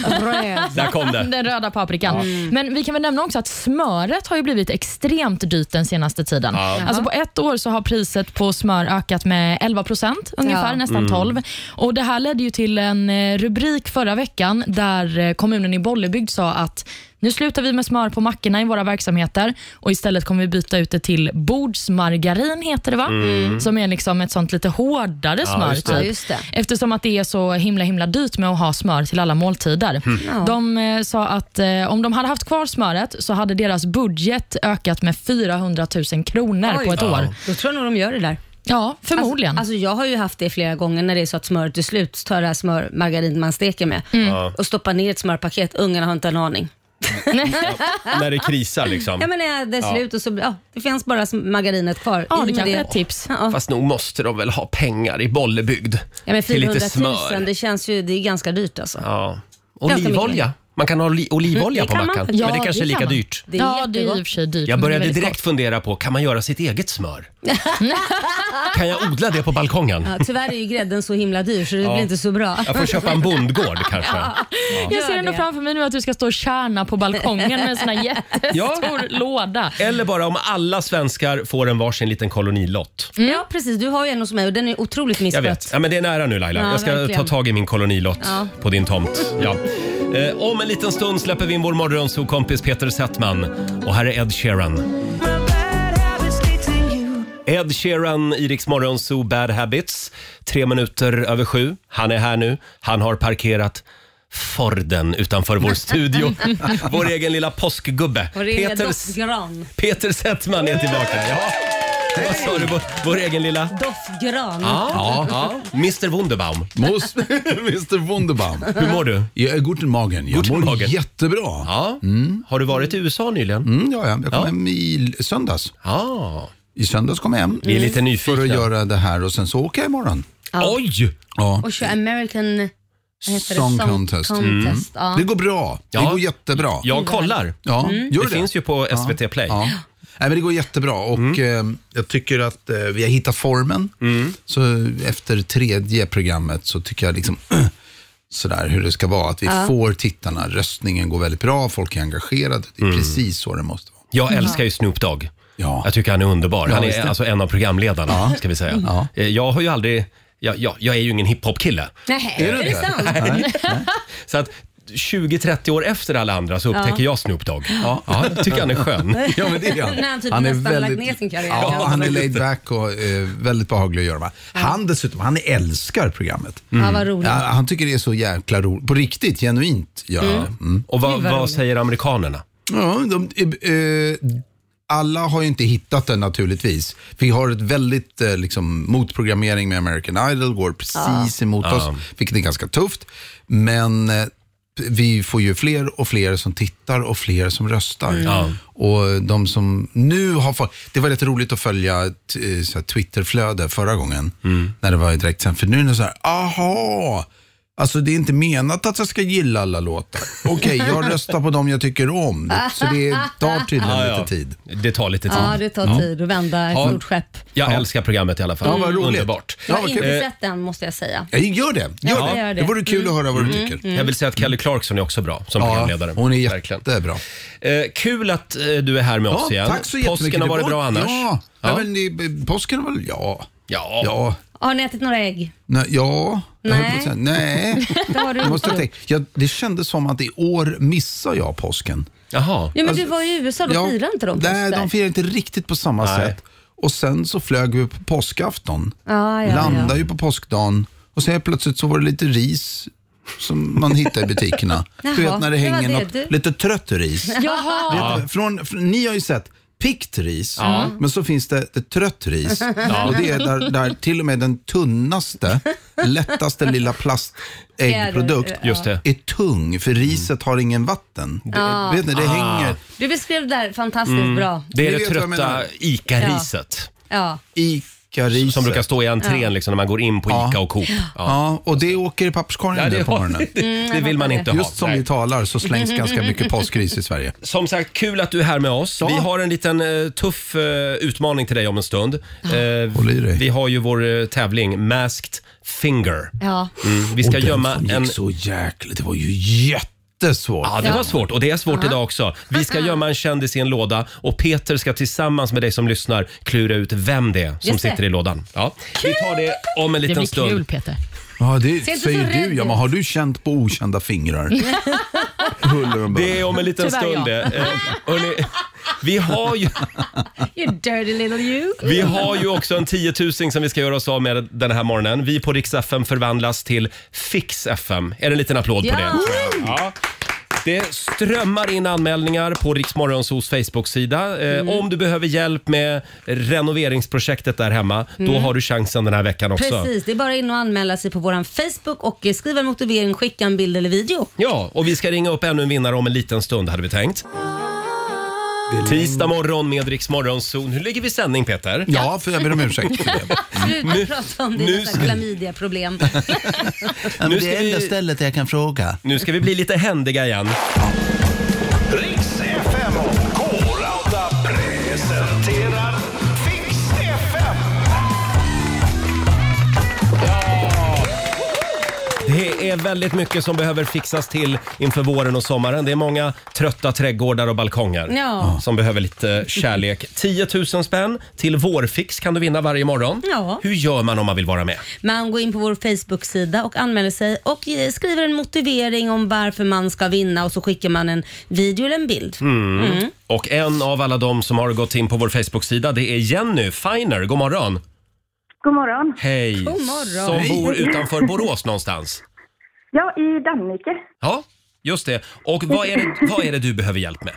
S1: Där kom det.
S4: Den röda paprikan. Men vi kan väl nämna också att smöret har ju blivit extremt dyrt den senaste tiden. Alltså på ett år så har priset på smör ökat med 11 procent ungefär,
S3: Ja.
S1: Mm.
S4: nästan 12. Och Det här ledde ju till en eh, rubrik förra veckan där eh, kommunen i Bollebygd sa att nu slutar vi med smör på mackorna i våra verksamheter och istället kommer vi byta ut det till bordsmargarin, heter det va? Som är liksom ett sånt lite hårdare smör.
S1: Mm. just det.
S4: typ.
S3: Ja, just det.
S4: Eftersom att det är så himla himla dyrt med att ha smör till alla måltider.
S1: Mm.
S4: De eh, sa att eh, om de hade haft kvar smöret så hade deras budget ökat med 400 000 kronor
S3: Oj.
S4: på ett år.
S3: Då tror jag nog de gör det där.
S4: Ja, förmodligen.
S3: Alltså, alltså jag har ju haft det flera gånger när det är så att smöret är slut, så tar jag det här smör, margarin man steker med
S4: Mm.
S3: och stoppar ner ett smörpaket. Ungarna har inte en aning.
S1: När det krisar liksom.
S3: Ja men när det är slut och så, ja, det finns bara sm- margarinet kvar.
S4: ja,
S3: I
S4: det
S3: med
S4: kanske är ett tips.
S3: Ja,
S1: Fast nog måste de väl ha pengar i Bollebygd
S3: ja, men
S1: till
S3: 400
S1: lite
S3: 000,
S1: smör.
S3: det känns ju, det är ganska dyrt alltså.
S1: Ja.
S3: mycket
S1: Olivolja. Man kan ha oli- olivolja
S3: Mm,
S1: på
S3: det kan man.
S1: mackan.
S4: Ja,
S1: men det kanske är
S4: det
S1: lika
S4: kan man.
S1: dyrt.
S3: Det är
S4: ja, det är i
S3: jättegott.
S4: och för sig dyrt.
S1: Jag
S4: men det är
S1: började
S4: väldigt
S1: direkt fundera på, kan man göra sitt eget smör? kan jag odla det på balkongen?
S3: Ja, tyvärr är ju grädden så himla dyr så det blir inte så bra.
S1: Jag får köpa en bondgård kanske.
S4: gott. Jag ser ändå framför mig nu att du ska stå och kärna på balkongen med en sån här jättestor låda.
S1: Eller bara om alla svenskar får en varsin liten kolonilott.
S3: Mm. Ja precis, du har ju en hos mig och den är otroligt
S1: Jag
S3: misskött.
S1: vet. Ja, men det är nära nu Laila.
S3: Ja,
S1: jag ska
S3: verkligen.
S1: ta tag i min kolonilott på din tomt. Ja. Eh, om en liten stund släpper vi in vår morgonsokompis Peter Settman. Och här är Ed Sheeran. Ed Sheeran, Iriks morgonso Bad Habits. Tre minuter över sju. Han är här nu. Han har parkerat Forden utanför vår studio. vår egen lilla påskgubbe.
S3: Vår egen
S1: Peter-
S3: doftgran.
S1: Peter Settman är tillbaka. Ja. Vad sa du? Vår, vår egen lilla...
S3: Doftgran.
S1: Ja, ja. Mr Wunderbaum.
S9: Muss, Mr Wunderbaum.
S1: Hur mår du?
S9: Jag är guten Magen. Jag
S1: Guten
S9: mår
S1: Morgen.
S9: jättebra.
S1: Ja. Har du varit i USA nyligen?
S9: Mm, ja, ja. Jag kom hem i l- söndags.
S1: Ja.
S9: I söndags kom jag hem. Mm.
S1: Vi är lite nyfikna.
S9: För att göra det här och sen så åker jag imorgon.
S1: Oj!
S9: Ja.
S3: Och kör American vad heter det?
S9: Song contest. Mm.
S3: contest.
S9: Det
S3: Ja.
S9: går bra.
S1: Ja.
S9: Det går jättebra.
S1: Jag kollar. Mm.
S9: Ja, gör
S1: Det finns ju på SVT Play.
S9: Ja. Nej, men det går jättebra och
S1: Mm.
S9: eh, jag tycker att eh, vi har hittat formen. Så efter tredje programmet så tycker jag liksom sådär hur det ska vara. Att vi får tittarna, röstningen går väldigt bra, folk är engagerade. Det är precis så det måste vara.
S1: Mm. Jag älskar ju Snoop Dogg.
S9: Ja.
S1: Jag tycker han är underbar. Han
S9: visst
S1: är
S9: det.
S1: alltså en av programledarna, ska vi säga.
S9: Ja.
S1: Eh, Jag har ju aldrig... Jag, jag, jag är ju ingen hiphop-kille.
S3: Nej, är det sant?
S1: Så att 20-30 år efter alla andra så upptäcker jag Snoop Dogg. Ja. jag tycker han är skön.
S9: Ja, men det är
S3: När han typ nästan lagt ner sin karriär.
S9: Ja, han är laid back och eh, väldigt behaglig att göra med. Han dessutom, han älskar programmet.
S3: Ja,
S1: Mm.
S3: vad roligt.
S9: Ja, han tycker det är så jäkla roligt. På riktigt, genuint. Ja. Mm.
S1: Och vad,
S3: vad
S1: vad
S3: roligt.
S1: säger amerikanerna?
S9: Ja, de, eh, alla har ju inte hittat den naturligtvis. Vi har ett väldigt eh, liksom, motprogrammering med American Idol, går precis emot oss, vilket är ganska tufft. Men eh, vi får ju fler och fler som tittar och fler som röstar. Och de som nu har fått, det var lite roligt att följa t- eh, så här Twitterflöde förra gången, när det var i direkt sen. För nu är det så här, aha! Alltså det är inte menat att jag ska gilla alla låtar. Okej, jag röstar på dem jag tycker om. Så det tar tydligen
S1: Ja, ja.
S9: lite tid.
S1: Det tar lite tid. Mm.
S3: Ja, det tar tid att vända ett stort skepp.
S1: Jag älskar programmet i alla fall.
S9: Ja, vad roligt.
S1: Underbart. Eh,
S9: Ja,
S3: Jag har
S9: vad
S3: inte
S9: kul.
S3: sett den måste jag säga.
S9: Ja, gör det. Gör
S3: Ja,
S9: det.
S3: gör det. Mm.
S9: det. vore kul att höra vad du tycker.
S1: Jag vill säga att Kelly Clarkson är också bra som
S9: Ja,
S1: programledare.
S9: hon är
S1: Verkligen.
S9: jättebra.
S1: Eh, kul att eh, du är här med oss igen.
S9: Ja, tack så jättemycket.
S1: Påsken har
S9: Det
S1: varit
S9: var-
S1: bra annars.
S9: Ja,
S1: Ja.
S9: ja. men det, påsken var väl, ja.
S1: Ja.
S9: Ja.
S3: Har ni ätit några ägg?
S9: Nej, ja. Jag höll på
S3: Nej.
S9: att säga, Nej.
S3: Det har du
S9: Jag måste
S3: inte
S9: tänka. Jag, det kändes som att i år missar jag påsken.
S1: Jaha.
S3: Ja, men du
S9: Alltså,
S3: var i USA, då firade inte de
S9: Nej,
S3: påsk där.
S9: de firar inte riktigt på samma
S1: Nej.
S9: sätt. Och sen så flög vi på påskafton.
S3: Ah, Ja, ja,
S9: landade ju på påskdagen och sen helt plötsligt så var det lite ris som man hittar i butikerna. du
S3: Jaha,
S9: vet när det
S3: det var
S9: hänger
S3: det,
S9: något,
S3: du.
S9: lite trött ris.
S4: Jaha!
S9: Vet du, Från, från, ni har ju sett pikt ris, men så finns det, det trött ris. Och det är där, där till och med den tunnaste, lättaste lilla plastäggprodukt
S1: Just det.
S9: är tung, för riset har ingen vatten. Vet ni,
S1: Ah.
S9: det hänger
S3: Ah. Du beskrev det där fantastiskt bra.
S1: Mm. Det är
S9: Ni
S1: det
S9: vet vad jag
S1: trötta
S9: menar.
S1: ICA-riset
S3: Ja.
S9: i kariset.
S1: som brukar stå i entrén liksom, när man går in på ICA och Coop. Ja.
S9: Ja, och det åker i papperskorgen
S1: Ja,
S9: nu
S1: det,
S9: på morgonen.
S1: det, det vill man inte ha.
S9: Just som
S1: Nej.
S9: vi talar så slängs ganska mycket påskris i Sverige.
S1: Som sagt, kul att du är här med oss. Vi har en liten eh, tuff eh, utmaning till dig om en stund. Eh,
S9: Håll i dig.
S1: vi har ju vår eh, tävling Masked Finger.
S3: Ja.
S1: Mm, vi ska gömma en...
S9: så jäkla... Det var ju jättesvårt.
S1: Ja, det var svårt och det är svårt idag också. Vi ska gömma en kändis i en låda och Peter ska tillsammans med dig som lyssnar klura ut vem det är som
S3: Just det.
S1: sitter i lådan. Ja. Vi tar det om en
S4: Det
S1: liten
S4: blir kul
S1: stund.
S4: Peter.
S9: Ja, det
S3: inte
S9: säger
S3: så
S9: du.
S3: rädd
S9: Ja,
S3: ut.
S9: men har du känt på okända fingrar? Huller om
S1: Det är om en liten
S4: Tyvärr,
S1: stund
S4: ja.
S1: det. Eh, hörni, vi, har ju,
S3: You dirty little you.
S1: vi har ju också en tiotusing som vi ska göra oss av med den här morgonen. Vi på Rix FM förvandlas till Fix FM. Är det en liten applåd på
S3: Ja.
S1: det? tror jag? Ja. Det strömmar in anmälningar på Riksmorgonsos Facebook-sida. Eh,
S3: Mm.
S1: Om du behöver hjälp med renoveringsprojektet där hemma, då har du chansen den här veckan också.
S3: Mm. Precis, det är bara in och anmäla sig på vår Facebook och eh, skriva en motivering, skicka en bild eller video.
S1: Ja, och vi ska ringa upp ännu en vinnare om en liten stund hade vi tänkt. Tisdag morgon med Rix Morgonzoo. Nu ligger vi i sändning Peter.
S9: Ja, för jag ber om ursäkt för det.
S3: Sluta prata om
S1: nu
S3: dina
S1: ska-
S3: klamydiaproblem.
S9: Men
S1: Nu ska vi-
S9: stället jag kan fråga.
S1: Nu ska vi bli lite händiga igen.
S10: Riks FM och K-Rauta presenterar Fix FM.
S1: Det är är väldigt mycket som behöver fixas till inför våren och sommaren. Det är många trötta trädgårdar och balkonger
S3: Ja.
S1: som behöver lite eh, kärlek. 10 000 spänn till vårfix kan du vinna varje morgon.
S3: Ja.
S1: Hur gör man om man vill vara med?
S3: Man går in på vår Facebook-sida och anmäler sig och eh, skriver en motivering om varför man ska vinna och så skickar man en video eller en bild.
S1: Mm.
S3: Mm.
S1: Och en av alla de som har gått in på vår Facebook-sida det är Jenny Feiner. God morgon!
S11: God morgon.
S1: Hej!
S11: God morgon.
S1: Som
S11: Hej.
S1: bor utanför Borås någonstans.
S11: Ja, i Danvike.
S1: Ja, just det. Och vad är det, vad är det du behöver hjälp med?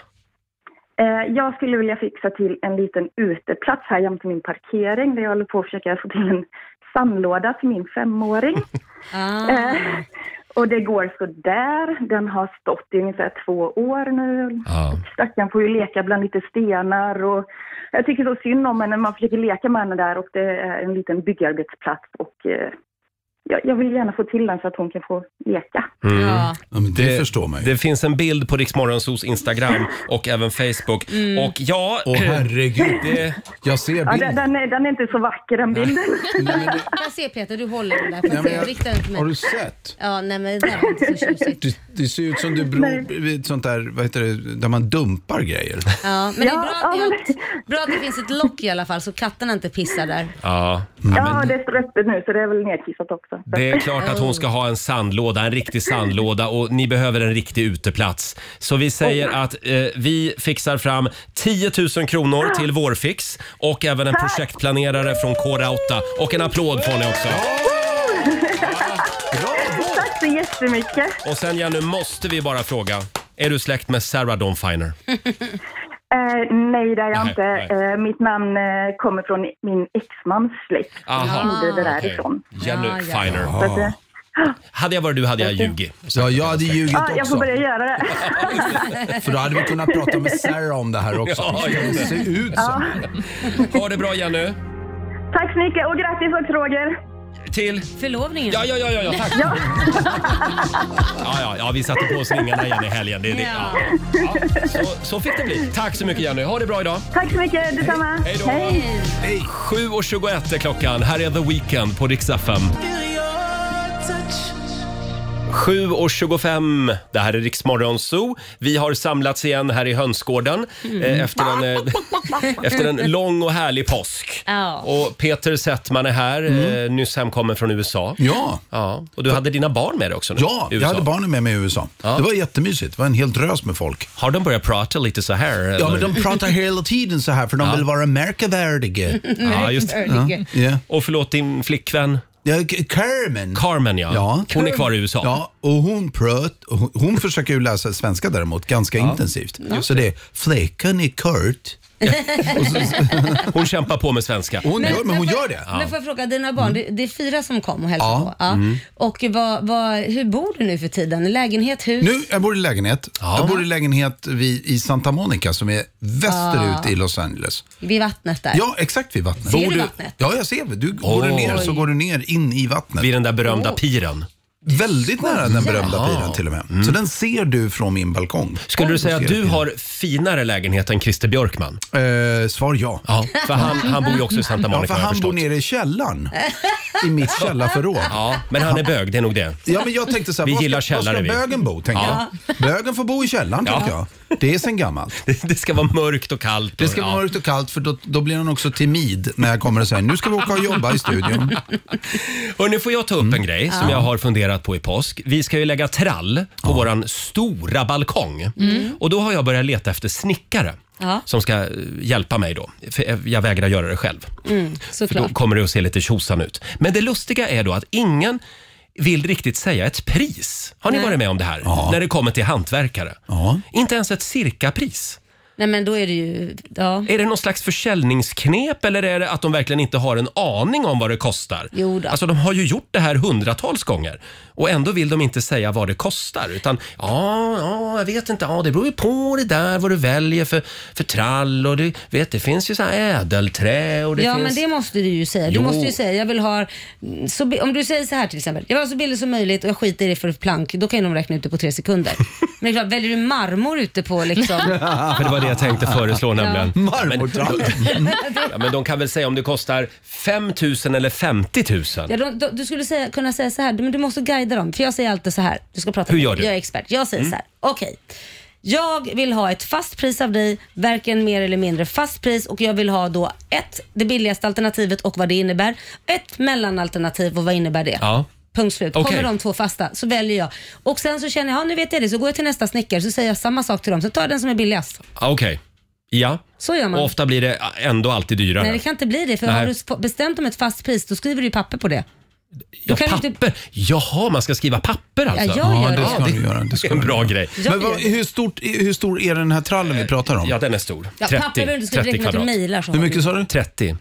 S11: Eh, jag skulle vilja fixa till en liten uteplats här jämte min parkering där jag håller på att försöka få till en sandlåda till min femåring.
S8: Ah.
S11: Eh, och det går så där. Den har stått i ungefär två år nu. Stackaren får ju leka bland lite stenar och jag tycker så synd om henne. Man försöker leka med henne där och det är en liten byggarbetsplats och eh, jag, jag vill gärna få till den så att hon kan få leka.
S1: Ja.
S9: det, förstår man
S1: ju. Mm. Det finns en bild på Riksmorgonsos Instagram och även Facebook.
S11: Mm.
S1: Och ja... eh,
S9: Åh, herregud.
S1: Det...
S9: Jag ser
S11: Ja, den, den, är, den är inte så vacker den bilden.
S3: Jag ser Peter, du håller den där. Får
S9: Nej,
S3: jag
S9: men
S3: se,
S9: jag-
S3: Rikta den till mig.
S9: har du sett?
S3: Ja, nej men det där var inte så tjusigt.
S9: Det, det ser ut som du bor vid ett sånt där, vad heter det, där man dumpar grejer.
S3: Ja, men det är bra att, ni har, bra att det finns ett lock i alla fall så katterna inte pissar där.
S1: Ja.
S9: Mm.
S11: Ja, det står öppet nu så det är väl nedkissat också.
S1: Det är klart att hon ska ha en sandlåda, en riktig sandlåda och ni behöver en riktig uteplats. Så vi säger att eh, vi fixar fram 10 000 kronor till Vårfix och även en projektplanerare från K8 och en applåd får ni också.
S11: Tack så jättemycket.
S1: Och sen Jenny, måste vi bara fråga, är du släkt med Sarah Dawn Finer?
S11: Eh, nej, det är jag
S1: Nej,
S11: inte. Eh, mitt namn eh, kommer från min exmans släkt.
S1: Aha.
S11: Jag gjorde det
S1: Okej.
S11: därifrån.
S1: Jenny Feiner.
S11: Så att, eh,
S1: Hade jag varit du hade jag ljugit.
S9: Ja, jag hade ljugit
S11: ja, jag får
S9: också.
S11: börja göra det.
S9: För då hade vi kunnat prata med Sarah om det här också.
S1: Ja, just det.
S9: ser ut
S11: Ja.
S9: som.
S1: Ha det bra Jenny.
S11: Tack så mycket och grattis också Roger.
S1: Till?
S3: Förlovningen.
S1: Ja, ja, ja, ja, ja tack.
S11: Ja.
S1: Ja, ja, ja, vi satte på oss ringarna igen i helgen. Det, är det. Ja. Ja, så, så fick det bli. Tack så mycket Jenny. Ha det bra idag.
S11: Tack så mycket, detsamma.
S1: Hej då. 7.21 är klockan. Här är The Weeknd på Rix FM. 7.25, det här är Rix Morgon Zoo. Vi har samlats igen här i hönsgården eh, efter, en, eh, efter en lång och härlig påsk.
S3: Ja.
S1: Och Peter Settman är här, eh, nyss hemkommen från USA.
S9: Ja.
S1: ja. Och du hade dina barn med dig också nu?
S9: Ja,
S1: i
S9: jag
S1: USA.
S9: hade barnen med mig i USA. Det var jättemysigt. Det var en helt drös med folk.
S1: Har de börjat prata lite så här?
S9: Ja,
S1: eller?
S9: men de pratar hela tiden så här för de vill vara märkvärdiga.
S1: Ja, just det.
S9: Ja. Ja.
S1: Och förlåt din flickvän?
S9: Ja, K- Carmen.
S1: Carmen, ja. Hon är kvar i USA.
S9: Ja, och hon, pröt, hon, hon försöker ju läsa svenska däremot ganska intensivt. Så det är flickan i Kurt.
S1: Hon kämpar på med svenska.
S9: Hon gör, men hon
S3: får-
S9: gör det. Mm.
S3: Men får jag fråga, dina barn, det, det är fyra som kom och hälsade
S9: Ja.
S3: på. Ja.
S9: Mm.
S3: Och vad, vad, hur bor du nu för tiden? Lägenhet, hus?
S9: Nu, jag bor i lägenhet. Jag bor i lägenhet vid, i Santa Monica som är västerut
S3: Ah.
S9: i Los Angeles.
S3: Vid vattnet där?
S9: Ja, exakt vid vattnet.
S3: Ser Bor du du- vattnet?
S9: Ja, jag ser det. Du, Går du
S1: Åh.
S9: ner så går du ner in i vattnet.
S1: Vid den där berömda piren.
S9: Väldigt nära den berömda
S1: Ja.
S9: piren till och med.
S3: Mm.
S9: Så den ser du från min balkong.
S1: Skulle du säga att
S9: ser
S1: du har finare lägenhet än Christer Björkman?
S9: Eh, svar ja.
S1: Ja, för han, han bor ju också i Santa Monica
S9: Ja,
S1: har
S9: för
S1: jag
S9: han
S1: förstått.
S9: bor nere i källaren. I mitt källarförråd.
S1: Ja, men han är bög, det är nog det.
S9: Ja, men jag tänkte så här,
S1: Vi
S9: var
S1: gillar
S9: ska, var ska
S1: källare, vi.
S9: bögen bo? Tänker
S1: Ja.
S9: jag. Bögen får bo i källaren,
S1: Ja.
S9: tänker jag. Det är sen gammalt.
S1: Det, det ska vara mörkt och kallt. Och,
S9: Det ska vara mörkt och kallt för då, då blir han också timid när jag kommer och säger nu ska vi åka och jobba i studion. Mm.
S1: Och nu får jag ta upp en grej som
S9: Ja.
S1: jag har funderat på i påsk. Vi ska ju lägga trall på våran stora balkong. Och då har jag börjat leta efter snickare
S3: Ja.
S1: som ska eh, hjälpa mig då. För jag- jag vägrar göra det själv.
S3: Mm,
S1: För då
S3: såklart.
S1: kommer det att se lite tjosan ut. Men det lustiga är då att ingen vill riktigt säga ett pris. Har ni
S3: Nej.
S1: varit med om det här? När det kommer till hantverkare. Inte ens ett cirkapris.
S3: Nej men då är det ju, ja.
S1: Är det någon slags försäljningsknep eller är det att de verkligen inte har en aning om vad det kostar?
S3: Jo då.
S1: Alltså de har ju gjort det här hundratals gånger och ändå vill de inte säga vad det kostar utan ja, ja, jag vet inte, ja det beror ju på det där vad du väljer för, för trall och det, vet, det finns ju så här ädelträ och det
S3: ja
S1: finns...
S3: men det måste du ju säga. Du
S1: Jo.
S3: måste ju säga, jag vill ha, mm, så, bi- om du säger så här till exempel, jag vill ha så billigt som möjligt och jag skiter i det för plank, då kan ju de räkna ut det på tre sekunder. Men klart, väljer du marmor ute på liksom?
S1: För det var det jag tänkte föreslå nämligen.
S3: Ja.
S1: Men, ja, men de kan väl säga om det kostar 5 000 eller 50 000.
S3: Ja, de, de, du skulle säga, kunna säga så här, men du måste guida dem. För jag säger alltid så här. Du ska prata
S1: Hur
S3: med
S1: gör
S3: mig.
S1: du?
S3: Jag är expert. Jag säger
S1: Mm.
S3: så här, okej. Jag vill ha ett fast pris av dig, varken mer eller mindre fast pris och jag vill ha då ett, det billigaste alternativet och vad det innebär. Ett mellanalternativ och vad innebär det?
S1: Ja.
S3: Punkt slut.
S1: Okej.
S3: Kommer de två fasta så väljer jag. Och sen så känner jag, ja nu vet jag det, så går jag till nästa snickare så säger jag samma sak till dem. Så tar jag den som är billigast.
S1: Okej. Ja.
S3: Så gör man.
S1: Och ofta blir det ändå alltid dyrare.
S3: Nej det kan inte bli det för
S1: Nej.
S3: har du sp- bestämt om ett fast pris då skriver du ju papper på det.
S1: ja,
S3: kan
S1: papper.
S3: inte-
S1: Jaha, man ska skriva papper
S3: Ja,
S1: alltså?
S3: jag gör det. Ja, det
S1: du göra. Det är en bra grej.
S3: Jag Men vad- gör det.
S1: hur, stort, hur stor är den här trallen vi pratar om? Ja, den är stor.
S3: Ja,
S1: 30,
S3: papper behöver du skriva
S1: 30
S3: direkt med att du
S1: kvadrat.
S3: mejlar så Hur har mycket du-
S1: sa du? 30.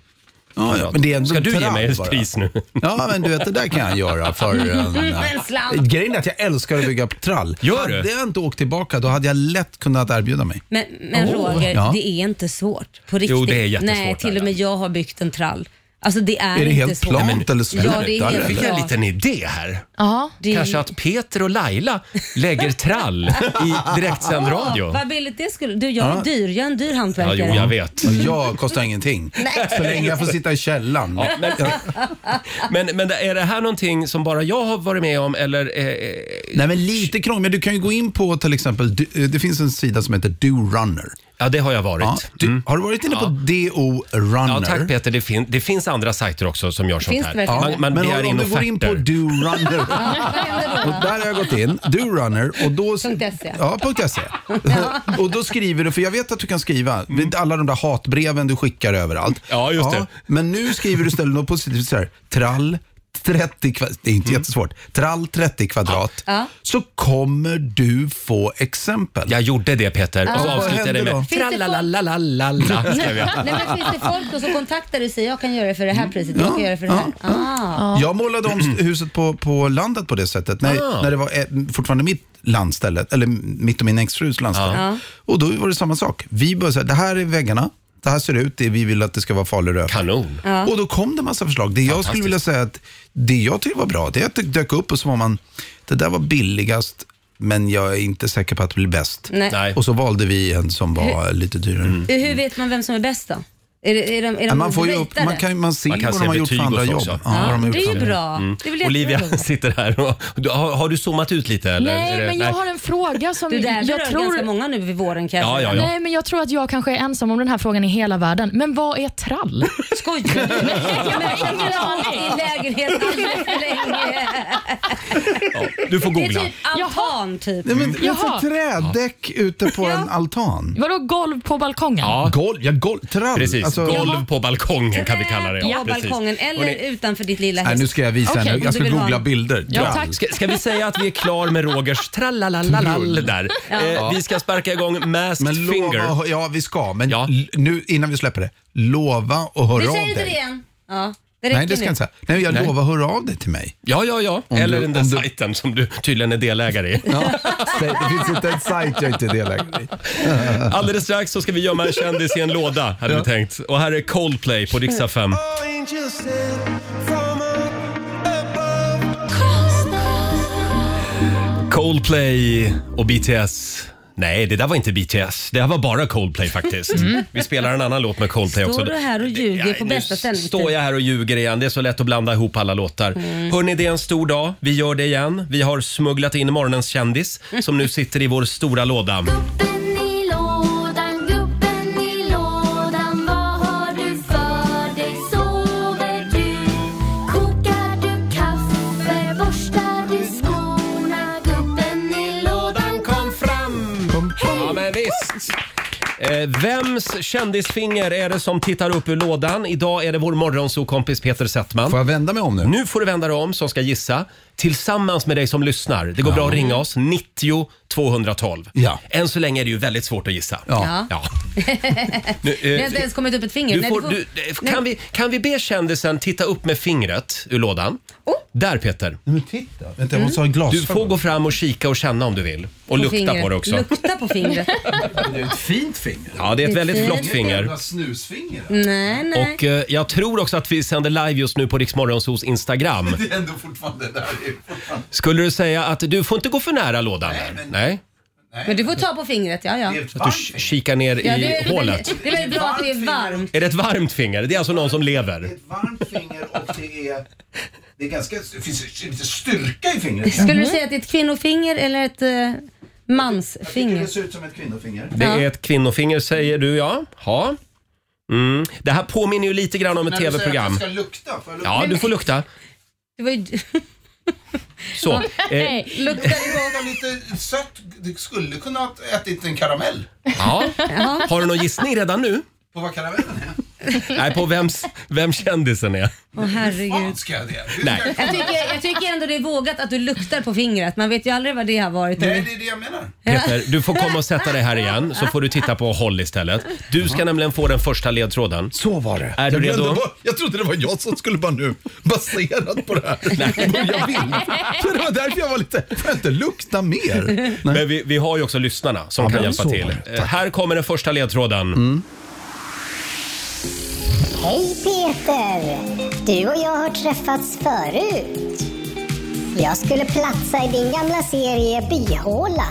S9: Ja, ja, men det är ändå
S1: Ska du ge
S9: trall
S1: mig ett
S9: bara.
S1: pris nu?
S9: Ja, men du vet, det där kan jag göra för en...
S3: Mm, En
S1: Mm,
S3: slant.
S9: Grejen är att jag älskar att bygga trall.
S1: Gör du?
S9: Hade jag inte åkt tillbaka, då hade jag lätt kunnat erbjuda mig.
S3: Men, men
S9: Åh.
S3: Roger,
S9: Ja.
S3: det är inte svårt. På riktigt.
S9: Jo, det är jättesvårt,
S3: Nej, till och med jag har byggt en trall. Alltså det är,
S9: Är det
S3: inte
S9: helt
S3: svårt.
S9: plant eller slutar
S3: Ja, det är
S1: Nu
S3: helt
S1: fick jag en
S3: plant.
S1: liten idé här.
S3: Ja, det är-
S1: Kanske att Peter och Laila lägger trall i direktsänd radio.
S3: Åh, vad billigt det skulle... Du, jag är
S9: Ja.
S3: dyr. Jag är en dyr hantverkare.
S1: vet.
S9: Jag kostar ingenting. Så länge jag får sitta i källaren.
S1: Ja, men, men, men är det här någonting som bara jag har varit med om eller? Eh,
S9: Nej, men lite krångel. Men Du kan ju gå in på till exempel, du- eh, det finns en sida som heter Do Runner.
S1: Ja, det har jag varit. Mm.
S9: du, Har du varit inne på DO Runner?
S1: ja tack Peter, det, fin- det finns andra sajter också som gör sånt
S9: Finns det
S1: här.
S9: verkligen?
S1: Man, man
S9: Men
S1: begär
S9: om-
S1: in
S9: om du går in på
S1: offerter.
S9: Do Runner. Och
S3: Ja.
S9: där har jag gått in, Do Runner. Och då,
S3: .se.
S9: Ja, .se. och då skriver du, för jag vet att du kan skriva, vid alla de där hatbreven du skickar överallt. Ja,
S1: Mm. just det.
S9: Men nu skriver du istället något positivt så här, trall 30 kvadrat, det är
S1: Mm.
S9: inte jättesvårt, trall 30 kvadrat,
S3: Ja.
S9: så kommer du få exempel.
S1: Jag gjorde det Peter, och så
S9: Ja.
S1: avslutade det
S9: Vad
S1: med
S9: hände
S3: Finns det folk-
S1: trallalalalala. skrev jag.
S3: Nej, men finns det folk då som kontaktar dig och säger jag kan göra det för det här priset, jag kan göra det för det här. Ah.
S9: Jag målade om st- huset på, på landet på det sättet. När,
S3: Ah.
S9: när det var eh, fortfarande mitt landställe, eller mitt och min exfrus landställe.
S3: Ja.
S9: Och då var det samma sak. Vi började säga, det här är väggarna. Det här ser det ut, det vi vill att det ska vara faluröv.
S1: Kanon.
S3: Ja.
S9: Och då kom det massa förslag. Det jag skulle
S1: Fantastiskt.
S9: vilja säga att det jag tyckte var bra, det är att det dök upp och så var man, det där var billigast, men jag är inte säker på att det blir bäst.
S3: Nej. Nej.
S9: Och så valde vi en som var
S3: Hur- Mm.
S9: lite dyrare.
S3: Hur vet man vem som är bäst då? Är, det, är de, är
S9: Ja,
S3: de
S9: Man, får ju upp,
S3: ratade?
S9: man, kan, man ser
S1: Man kan
S9: vad
S1: se
S9: de har gjort för
S1: betyg
S9: andra
S1: och så
S9: jobb.
S1: också. Mm.
S9: Ja, vad de har
S3: det
S9: gjort
S3: är
S9: för
S3: ju
S9: andra.
S3: bra. Det är väl
S1: Olivia
S3: jättebra.
S1: sitter här och du, har, har du zoomat ut lite eller?
S4: Nej,
S1: Är det-
S4: men jag har en fråga som
S3: Du, det här
S4: jag
S3: berör
S4: tror...
S3: ganska många nu vid våren kanske.
S1: Ja, ja, ja.
S4: Nej, men jag tror att jag kanske är ensam om den här frågan i hela världen. Men vad är trall?
S3: Skojar du? Jag har ingen aning. I lägenheten alldeles för länge.
S1: Du får
S3: Det är
S1: googla.
S3: typ altan typ.
S9: Nej, men
S4: Jaha.
S9: alltså, trädäck ute på en altan.
S4: Vadå golv på balkongen?
S1: Ja.
S9: Golv, ja, golv, trall.
S1: Precis,
S9: Alltså-
S1: golv på balkongen kan vi kalla det.
S3: På
S1: precis.
S3: balkongen eller
S1: Hörrni,
S3: utanför ditt lilla
S9: Nej,
S3: hus.
S9: nu ska jag visa
S3: Okej,
S9: henne.
S3: om
S9: Jag
S3: du
S9: ska
S3: vill ha
S9: googla
S3: en-
S9: bilder.
S1: Ja,
S9: Trall.
S1: tack. Ska, ska vi säga att vi är klar med Rogers trallalalalal där?
S3: Ja.
S1: Eh, vi ska sparka igång Masked
S9: Men
S1: Finger.
S9: lova, ja vi ska, men l- nu innan vi släpper det, lova och
S3: Du
S9: hör
S3: säger
S9: av
S3: inte det
S9: dig.
S3: igen. Ja, det räcker
S9: Nej, det ska jag
S3: nu.
S9: inte säga. Nej, jag
S1: Nej.
S9: lovar, hör av dig till mig.
S1: Ja, ja, ja.
S9: Om
S1: Eller
S9: du-
S1: den där sajten som du tydligen är delägare i.
S9: Nej, det finns inte en sajt jag inte är delägare i.
S1: Alldeles strax så ska vi gömma en kändis i en låda, hade vi tänkt. Och här är Coldplay på riksdag 5. Coldplay och BTS. Nej, det där var inte BTS. Det här var bara Coldplay faktiskt.
S3: Mm.
S1: Vi spelar en annan låt med Coldplay också.
S3: Står du här och ljuger på bästa sändningstid?
S1: står jag eh, här och ljuger igen. Det är så lätt att blanda ihop alla låtar. Hörni, det är en stor dag. Vi gör det igen. Vi har smugglat in morgonens kändis som nu sitter i vår stora låda.
S8: i lådan, gubben i lådan, vad har du för dig? Sover du? Kokar du kaffe? Borstar du skorna? Gubben i lådan kom fram!
S1: Ja, men visst. Eh, vems kändisfinger är det som tittar upp ur lådan? Idag är det vår morgonsokompis Peter Settman. Får
S9: jag vända mig om nu?
S1: Nu får du vända dig om som ska gissa. Tillsammans med dig som lyssnar. Det går
S9: Ja.
S1: bra att ringa oss. 90 212.
S9: Ja.
S1: Än så länge är det ju väldigt svårt att gissa.
S3: Ja.
S1: Nu, eh,
S3: Det har inte ens kommit upp ett finger.
S1: du
S3: Nej,
S1: får, du, eh, kan, vi, kan vi be kändisen titta upp med fingret ur lådan?
S3: Oh.
S1: Där Peter. Mm.
S9: Men titta, vänta jag måste ha
S1: Du
S9: glasögon.
S1: får gå fram och kika och känna om du vill. eh, Och lukta
S3: fingret.
S1: på det också.
S3: Lukta på fingret.
S9: Det är ett fint finger.
S1: Ja, det är ett
S3: Det är
S1: väldigt
S3: fint.
S1: flott finger.
S9: snusfinger.
S3: nej, nej.
S1: Och eh, jag tror också att vi sänder live just nu på Riksmorgonsos Instagram.
S9: Det är ändå fortfarande där.
S1: Skulle du säga att du får inte gå för nära lådan? Nej. Nej.
S3: Men du får ta på fingret, ja ja.
S1: Att du k- kikar ner
S3: ja det,
S1: i
S3: är
S1: hålet.
S3: väldigt- det är väldigt bra att det är varmt.
S1: Är det ett varmt finger? Det är alltså någon som lever.
S9: Och det är, det är ganska, det finns lite styrka i fingret.
S3: Skulle
S1: Mm.
S3: du säga att det är ett kvinnofinger eller ett eh, mansfinger?
S9: Det ser ut som ett kvinnofinger.
S1: Det
S3: Ja.
S1: är ett kvinnofinger säger du ja. Ja. Mm. Det här påminner ju lite grann om ett tv-program.
S9: lukta, får jag
S1: Ja, du får lukta.
S3: Det var ju...
S1: Så. Eh,
S3: Nej, luktar det gott?
S9: lite sött. Du skulle kunna ha ätit en karamell.
S1: ja. Har du någon gissning redan nu?
S9: På vad karamellen är?
S1: Nej, på vems, vem kändisen är.
S3: Åh herregud.
S9: Ska jag det?
S1: Nej.
S3: Jag tycker, jag tycker ändå det är vågat att du luktar på fingret. Man vet ju aldrig vad det har varit.
S9: Nej, det är det jag menar.
S1: Peter, du får komma och sätta dig här igen så får du titta på håll istället. Du ska nämligen få den första ledtråden.
S9: Så var det.
S1: Är du
S9: jag glömde
S1: redo?
S9: bara- jag trodde det var jag som skulle bara nu baserat på det här. Jag vill. Så det var därför jag var lite, får jag inte lukta mer?
S1: Men vi, vi har ju också lyssnarna som
S9: Ja,
S1: kan
S9: men
S1: hjälpa
S9: så
S1: till.
S9: var Mm.
S1: Eh, Här kommer den första ledtråden.
S12: Hej Peter! Du och jag har träffats förut. Jag skulle platsa i din gamla serie Bihåla,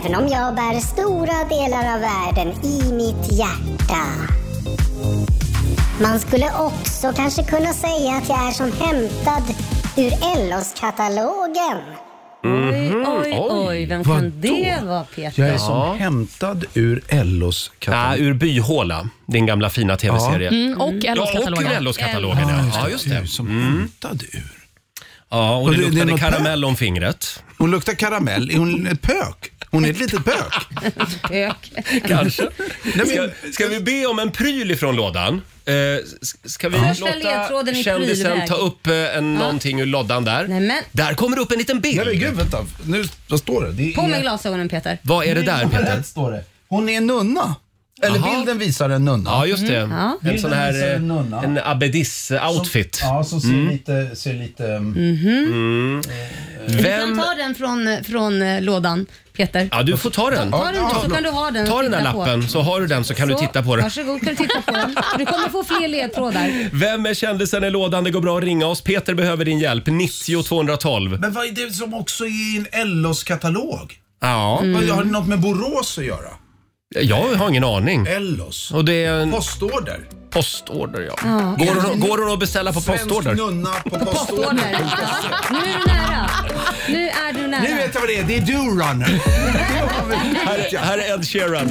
S12: även om jag bär stora delar av världen i mitt hjärta. Man skulle också kanske kunna säga att jag är som hämtad ur Ellos-katalogen.
S3: Oj, oj, vem kan det vara Peter?
S9: Jag är som hämtad ur Ellos katalog.
S1: Nej, ur Byhåla, din gamla fina tv-serie.
S9: Ja.
S4: Mm, och
S1: Ja,
S4: LO-katalogen.
S1: och ur LO-katalogen. Ja, ja, just det.
S9: Som hämtad ur.
S1: Ja, och
S9: Och
S1: det
S9: det- det är
S1: luktade
S9: något
S1: karamell om fingret.
S9: Hon luktar karamell. Är hon ett pök? Hon är ett litet pök.
S3: Ök.
S1: Kanske.
S9: men-
S1: Ska, ska vi be om en pryl ifrån lådan? Eh, s- ska vi
S3: Första
S1: låta
S3: ledtråden i
S1: kändisen
S3: prylväg.
S1: ta upp eh, en, någonting ur lådan där?
S3: Nej, men-
S1: Där kommer upp en liten bild.
S9: Nej men gud, vänta. Nu, vad står det? det är
S3: På med
S9: inga-
S3: glasögonen Peter. Mm.
S1: Vad är det där Peter?
S9: Rätt står det. Hon är en nunna. Eller
S1: Jaha.
S9: bilden visar en nunna.
S1: Ja, just det.
S3: Mm, ja.
S1: En sån här
S9: Bilden visar
S1: eh,
S9: en nunna.
S1: en Mm. abbedis-outfit.
S9: Som, ja, som ser lite... Ser lite um,
S3: Mhm. Du kan
S1: Mm. Vem...
S3: ta den från, från eh, lådan Peter.
S1: Ja, du får ta den.
S3: Ta den
S9: ja,
S3: då, så kan du ha den och
S1: Ta den där
S3: titta på.
S1: lappen så har du den så kan du
S3: Så,
S1: titta på den.
S3: Varsågod kan du titta på den. Du kommer få fler ledtrådar.
S1: Vem är kändisen i lådan? Det går bra att ringa oss. Peter behöver din hjälp. 90 212.
S9: Men vad är det som också är i en Ellos katalog?
S1: Ja, Mm.
S9: Vad- Har det något med Borås att göra?
S1: jag har ingen aning.
S9: Ellos?
S1: Och det är en
S9: Postorder?
S1: postorder ja. Går hon, går hon att beställa på postorder?
S9: Svensk nunna på
S3: Står
S9: postorder.
S3: där. Ja. Nu är du nära. Nu är du nära.
S9: Nu vet jag vad det är. Det är Do-runner.
S1: Här, här är Ed Sheeran.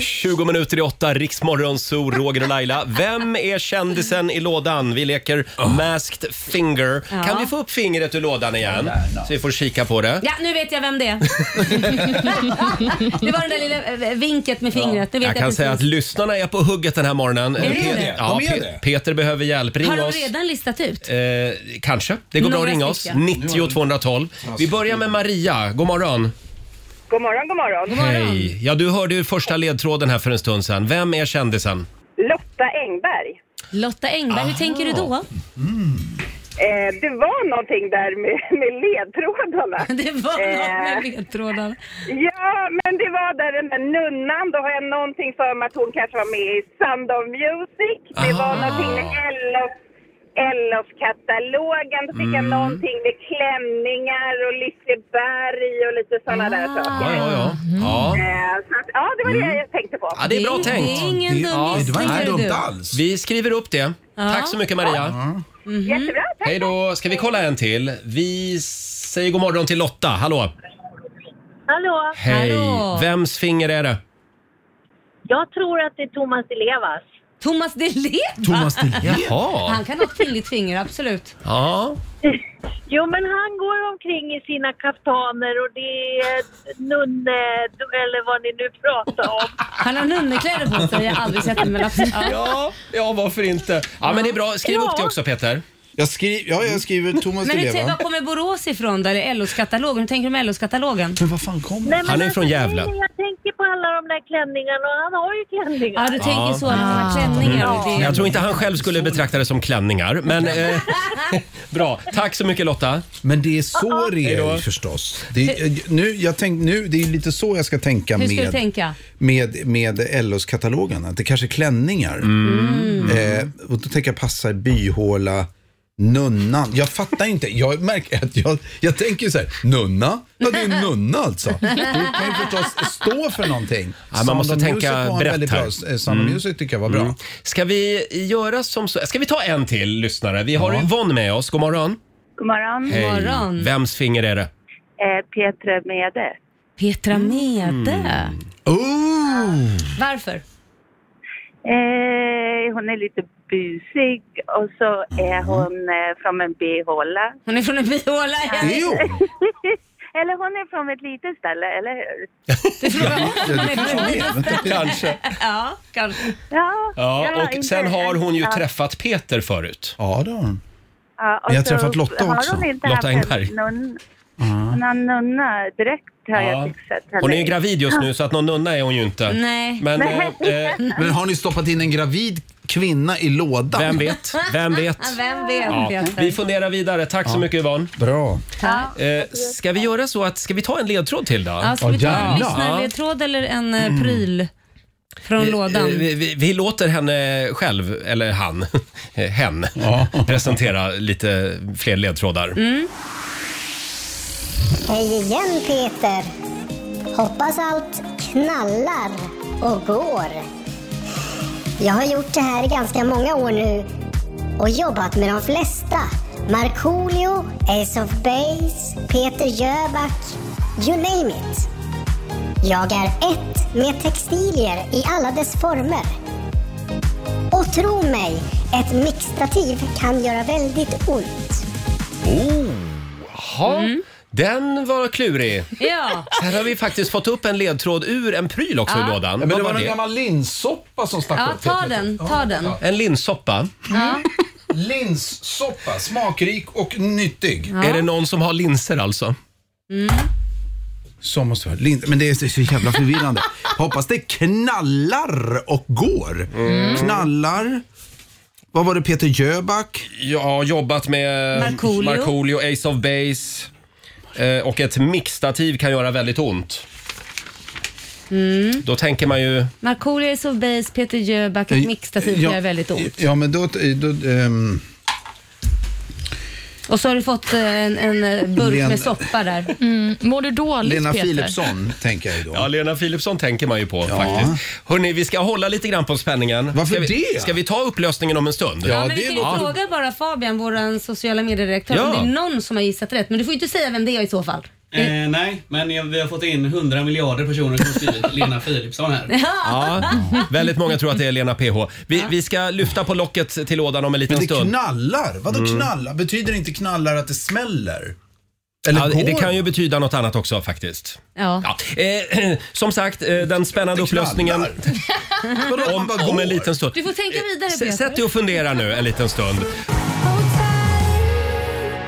S1: 20 minuter i åtta, Riksmorgon, Zoo, Roger och Laila. Vem är kändisen i lådan? Vi leker
S9: Ah.
S1: Masked Finger. Kan vi få upp fingret ur lådan igen? Så vi får kika på det.
S3: Ja, nu vet jag vem det är. det var den där lilla eh, vinket med fingret. Nu
S1: Jag
S3: vet jag
S1: kan
S3: precis.
S1: säga att lyssnarna är på hugget den här morgonen.
S9: är
S1: Pe-
S9: det.
S1: Ja,
S9: De är
S1: Pe-
S9: det.
S1: Peter behöver hjälp. Ring
S3: Har de
S1: oss.
S3: redan listat ut?
S1: Eh, kanske. Det går bra att
S3: Några
S1: ringa oss.
S3: stycken.
S1: 90 212. Vi börjar med Maria. God morgon.
S7: God morgon, god morgon.
S1: Hej. Ja, du hörde ju första ledtråden här för en stund sedan. Vem är kändisen?
S7: Lotta Engberg.
S3: Lotta Engberg, hur tänker du då?
S7: Eh, det var någonting där med, med ledtrådarna.
S3: Det var något med
S7: Eh.
S3: ledtrådarna.
S7: Ja, men det var där den där nunnan. Då har jag någonting för mig att hon kanske var med i Sound of Music. Det var
S1: Ah.
S7: någonting med Ellos, Ellos-katalogen. Då fick
S1: Mm.
S7: jag någonting med klänningar och Liseberg och lite sådana där
S3: Ah.
S7: saker.
S1: Ja, ja, ja.
S3: Mm.
S1: ja. Mm.
S7: Eh, Så att, ja, det var det jag tänkte på.
S1: ja det är bra
S3: det,
S1: tänkt.
S3: Det är ingen
S9: Det-
S3: dum
S9: Det var
S3: gissning,
S9: inte
S3: hör du.
S9: dumt alls.
S1: Vi skriver upp det. Tack så mycket Maria.
S3: Mhm.
S7: Jättebra, tack.
S1: Hej då. Ska vi kolla en till? Vi säger god morgon till Lotta. Hallå.
S13: Hallå!
S1: Hej.
S3: Hallå.
S1: Vems finger är det?
S13: Jag tror att det är Thomas Di Levas.
S3: Thomas Di Leva.
S9: Thomas Di Leva.
S1: Jaha.
S3: Han kan ha ett kvinnligt finger, absolut.
S1: Ja.
S13: Jo, men han går omkring i sina kaftaner och det är nunne... eller vad ni nu pratar om.
S3: Han har nunnekläder på sig, Alltså, jag har aldrig sett det men absolut. Ja.
S1: Ja, ja, varför inte? Ja, men det är bra. Skriv upp det också Peter.
S9: Jag, skri- ja, jag skriver Thomas
S3: Men typ-
S9: Di
S3: hur tänk-
S9: Leva.
S3: var kommer Borås ifrån då? Eller LOs katalogen? Hur tänker du med LOs katalogen?
S9: Men vad fan kom
S13: Nej, men
S1: Han är från Gävle.
S3: Mm.
S13: nej, nej, Jag tänker på alla de där klänningarna och han har ju klänningar.
S3: Ja, du tänker så. Han har klänningar och det.
S1: Mm. Jag tror inte han själv skulle betrakta det som klänningar, men eh, bra. Tack så mycket Lotta.
S9: Men det är så det
S1: Hej
S9: är
S1: då.
S9: ju förstås. Det är, eh, nu, jag tänk, nu, det är lite så jag ska tänka
S3: Hur ska du
S9: med,
S3: tänka?
S9: med, med
S3: Mm.
S9: LOs-katalogen. Att det kanske är klänningar. Eh, och då tänker jag passa i byhåla, Nunnan, jag fattar inte. Jag märker att jag, jag tänker så här, nunna? Ja, det är en nunna alltså. Då kan ju förstås stå för någonting.
S1: Ja, man måste
S9: Sound of
S1: tänka
S9: Music var en
S1: brett
S9: väldigt
S1: här.
S9: Bra, eh, Sound of
S1: Mm.
S9: Music tycker jag var bra.
S1: Mm. Ska vi göra som så? Ska vi ta en till lyssnare? Vi har Yvonne med oss. God morgon.
S14: God morgon.
S1: Hej. Vems finger är det?
S14: Eh, Petra Mede.
S3: Petra Mede?
S1: Oh!
S3: Varför?
S14: Eh, hon är lite busig och så är
S3: Mm.
S14: hon eh, från en bihåla.
S3: Hon är från en bihåla, ja.
S14: Jo. eller hon är från ett litet ställe, eller hur?
S1: Kanske.
S3: Ja, kanske.
S14: Ja,
S1: Ja, och
S14: inte-
S1: sen har hon ju
S14: ja.
S1: träffat Peter förut.
S9: Ja, det har hon.
S14: Ja, och
S1: Vi har
S14: så
S1: träffat Lotta
S14: har
S1: också.
S14: Hon inte
S1: Lotta
S14: haft
S1: Engberg.
S14: en Nun, hon har en nunna direkt har
S1: Ja.
S14: jag fixat henne
S1: Hon är ju
S14: i.
S1: gravid just nu så att någon nunna är hon ju inte.
S14: Nej.
S1: Men,
S14: Nej.
S1: eh, eh,
S9: Men har ni stoppat in en gravid kvinna i lådan?
S1: Vem vet? Vem vet?
S3: Vem vet?
S1: Ja. Vi funderar vidare. Tack så mycket Yvonne.
S9: Bra.
S3: Ja.
S1: Eh, ska vi göra så att, ska vi ta en ledtråd till då?
S3: Ja, ska vi ta en lyssnarledtråd eller en eh, pryl från
S1: Eh, eh,
S3: lådan?
S1: Vi, vi, vi låter henne själv, eller han, eh, hen, presentera lite fler ledtrådar.
S3: Mm.
S12: Hej igen Peter. Hoppas allt knallar och går. Jag har gjort det här i ganska många år nu och jobbat med de flesta. Markoolio, Ace of Base, Peter Jöback, you name it. Jag är ett med textilier i alla dess former. Och tro mig, ett mixtativ kan göra väldigt ont.
S1: Oh, jaha. Den var klurig.
S3: Mm. Ja.
S1: Här har vi faktiskt fått upp en ledtråd ur en pryl också i
S3: Ja.
S1: lådan.
S9: Ja, men
S1: Vad
S9: det var en gammal linssoppa som stack
S3: Ja,
S9: upp.
S3: ta
S9: helt
S3: den,
S9: enkelt.
S3: ta
S9: Ja.
S3: den.
S9: Ja.
S1: En linssoppa.
S3: Ja.
S9: Linssoppa, smakrik och nyttig.
S1: Är det någon som har linser alltså?
S3: Mm.
S9: Som måste vara lin- Men det är så- så jävla förvirrande. Hoppas det knallar och går.
S3: Mm.
S9: Knallar. Vad var det Peter Jöback?
S1: Ja, jobbat med
S9: Markoolio.
S1: Markoolio, Ace of Base. Eh, och ett mixtativ kan göra väldigt ont.
S3: Mm.
S1: Då tänker man ju...
S3: Markoolio, Ace of Base, Peter Jöback, ett mixtativ gör väldigt ont.
S9: Ja, men då... då ehm,
S3: Och så har du fått eh, en, en eh, burk
S9: Lena-
S3: med soppa där.
S4: Mm. Mår du dåligt
S9: Lena Philipsson tänker jag ju då.
S1: Ja, Lena Philipsson tänker man ju på faktiskt. Hörni, vi ska hålla lite grann på spänningen. Varför ska vi,
S9: det?
S1: Ska vi ta upplösningen om en stund?
S3: Ja, men vi kan ju fråga bara Fabian, vår sociala mediedirektör,
S15: Ja.
S3: om det är någon som har gissat rätt. Men du får ju inte säga vem det är i så fall.
S15: Eh, nej, men jag- vi har fått in 100 miljarder personer som har skrivit Lena Philipsson här.
S1: Ja, väldigt många tror att det är Lena PH. Vi, vi ska lyfta på locket till lådan om en liten
S9: Men det
S1: stund.
S9: knallar. Vadå
S1: Mm.
S9: knallar? Betyder inte knallar att det smäller? Eller
S1: ja,
S9: går
S1: det kan ju betyda något annat också faktiskt.
S3: Ja.
S1: Eh, som sagt, eh, den spännande upplösningen om, om en liten stund.
S3: Du får tänka vidare
S1: S-
S3: Peter.
S1: Sätt dig och fundera nu en liten stund.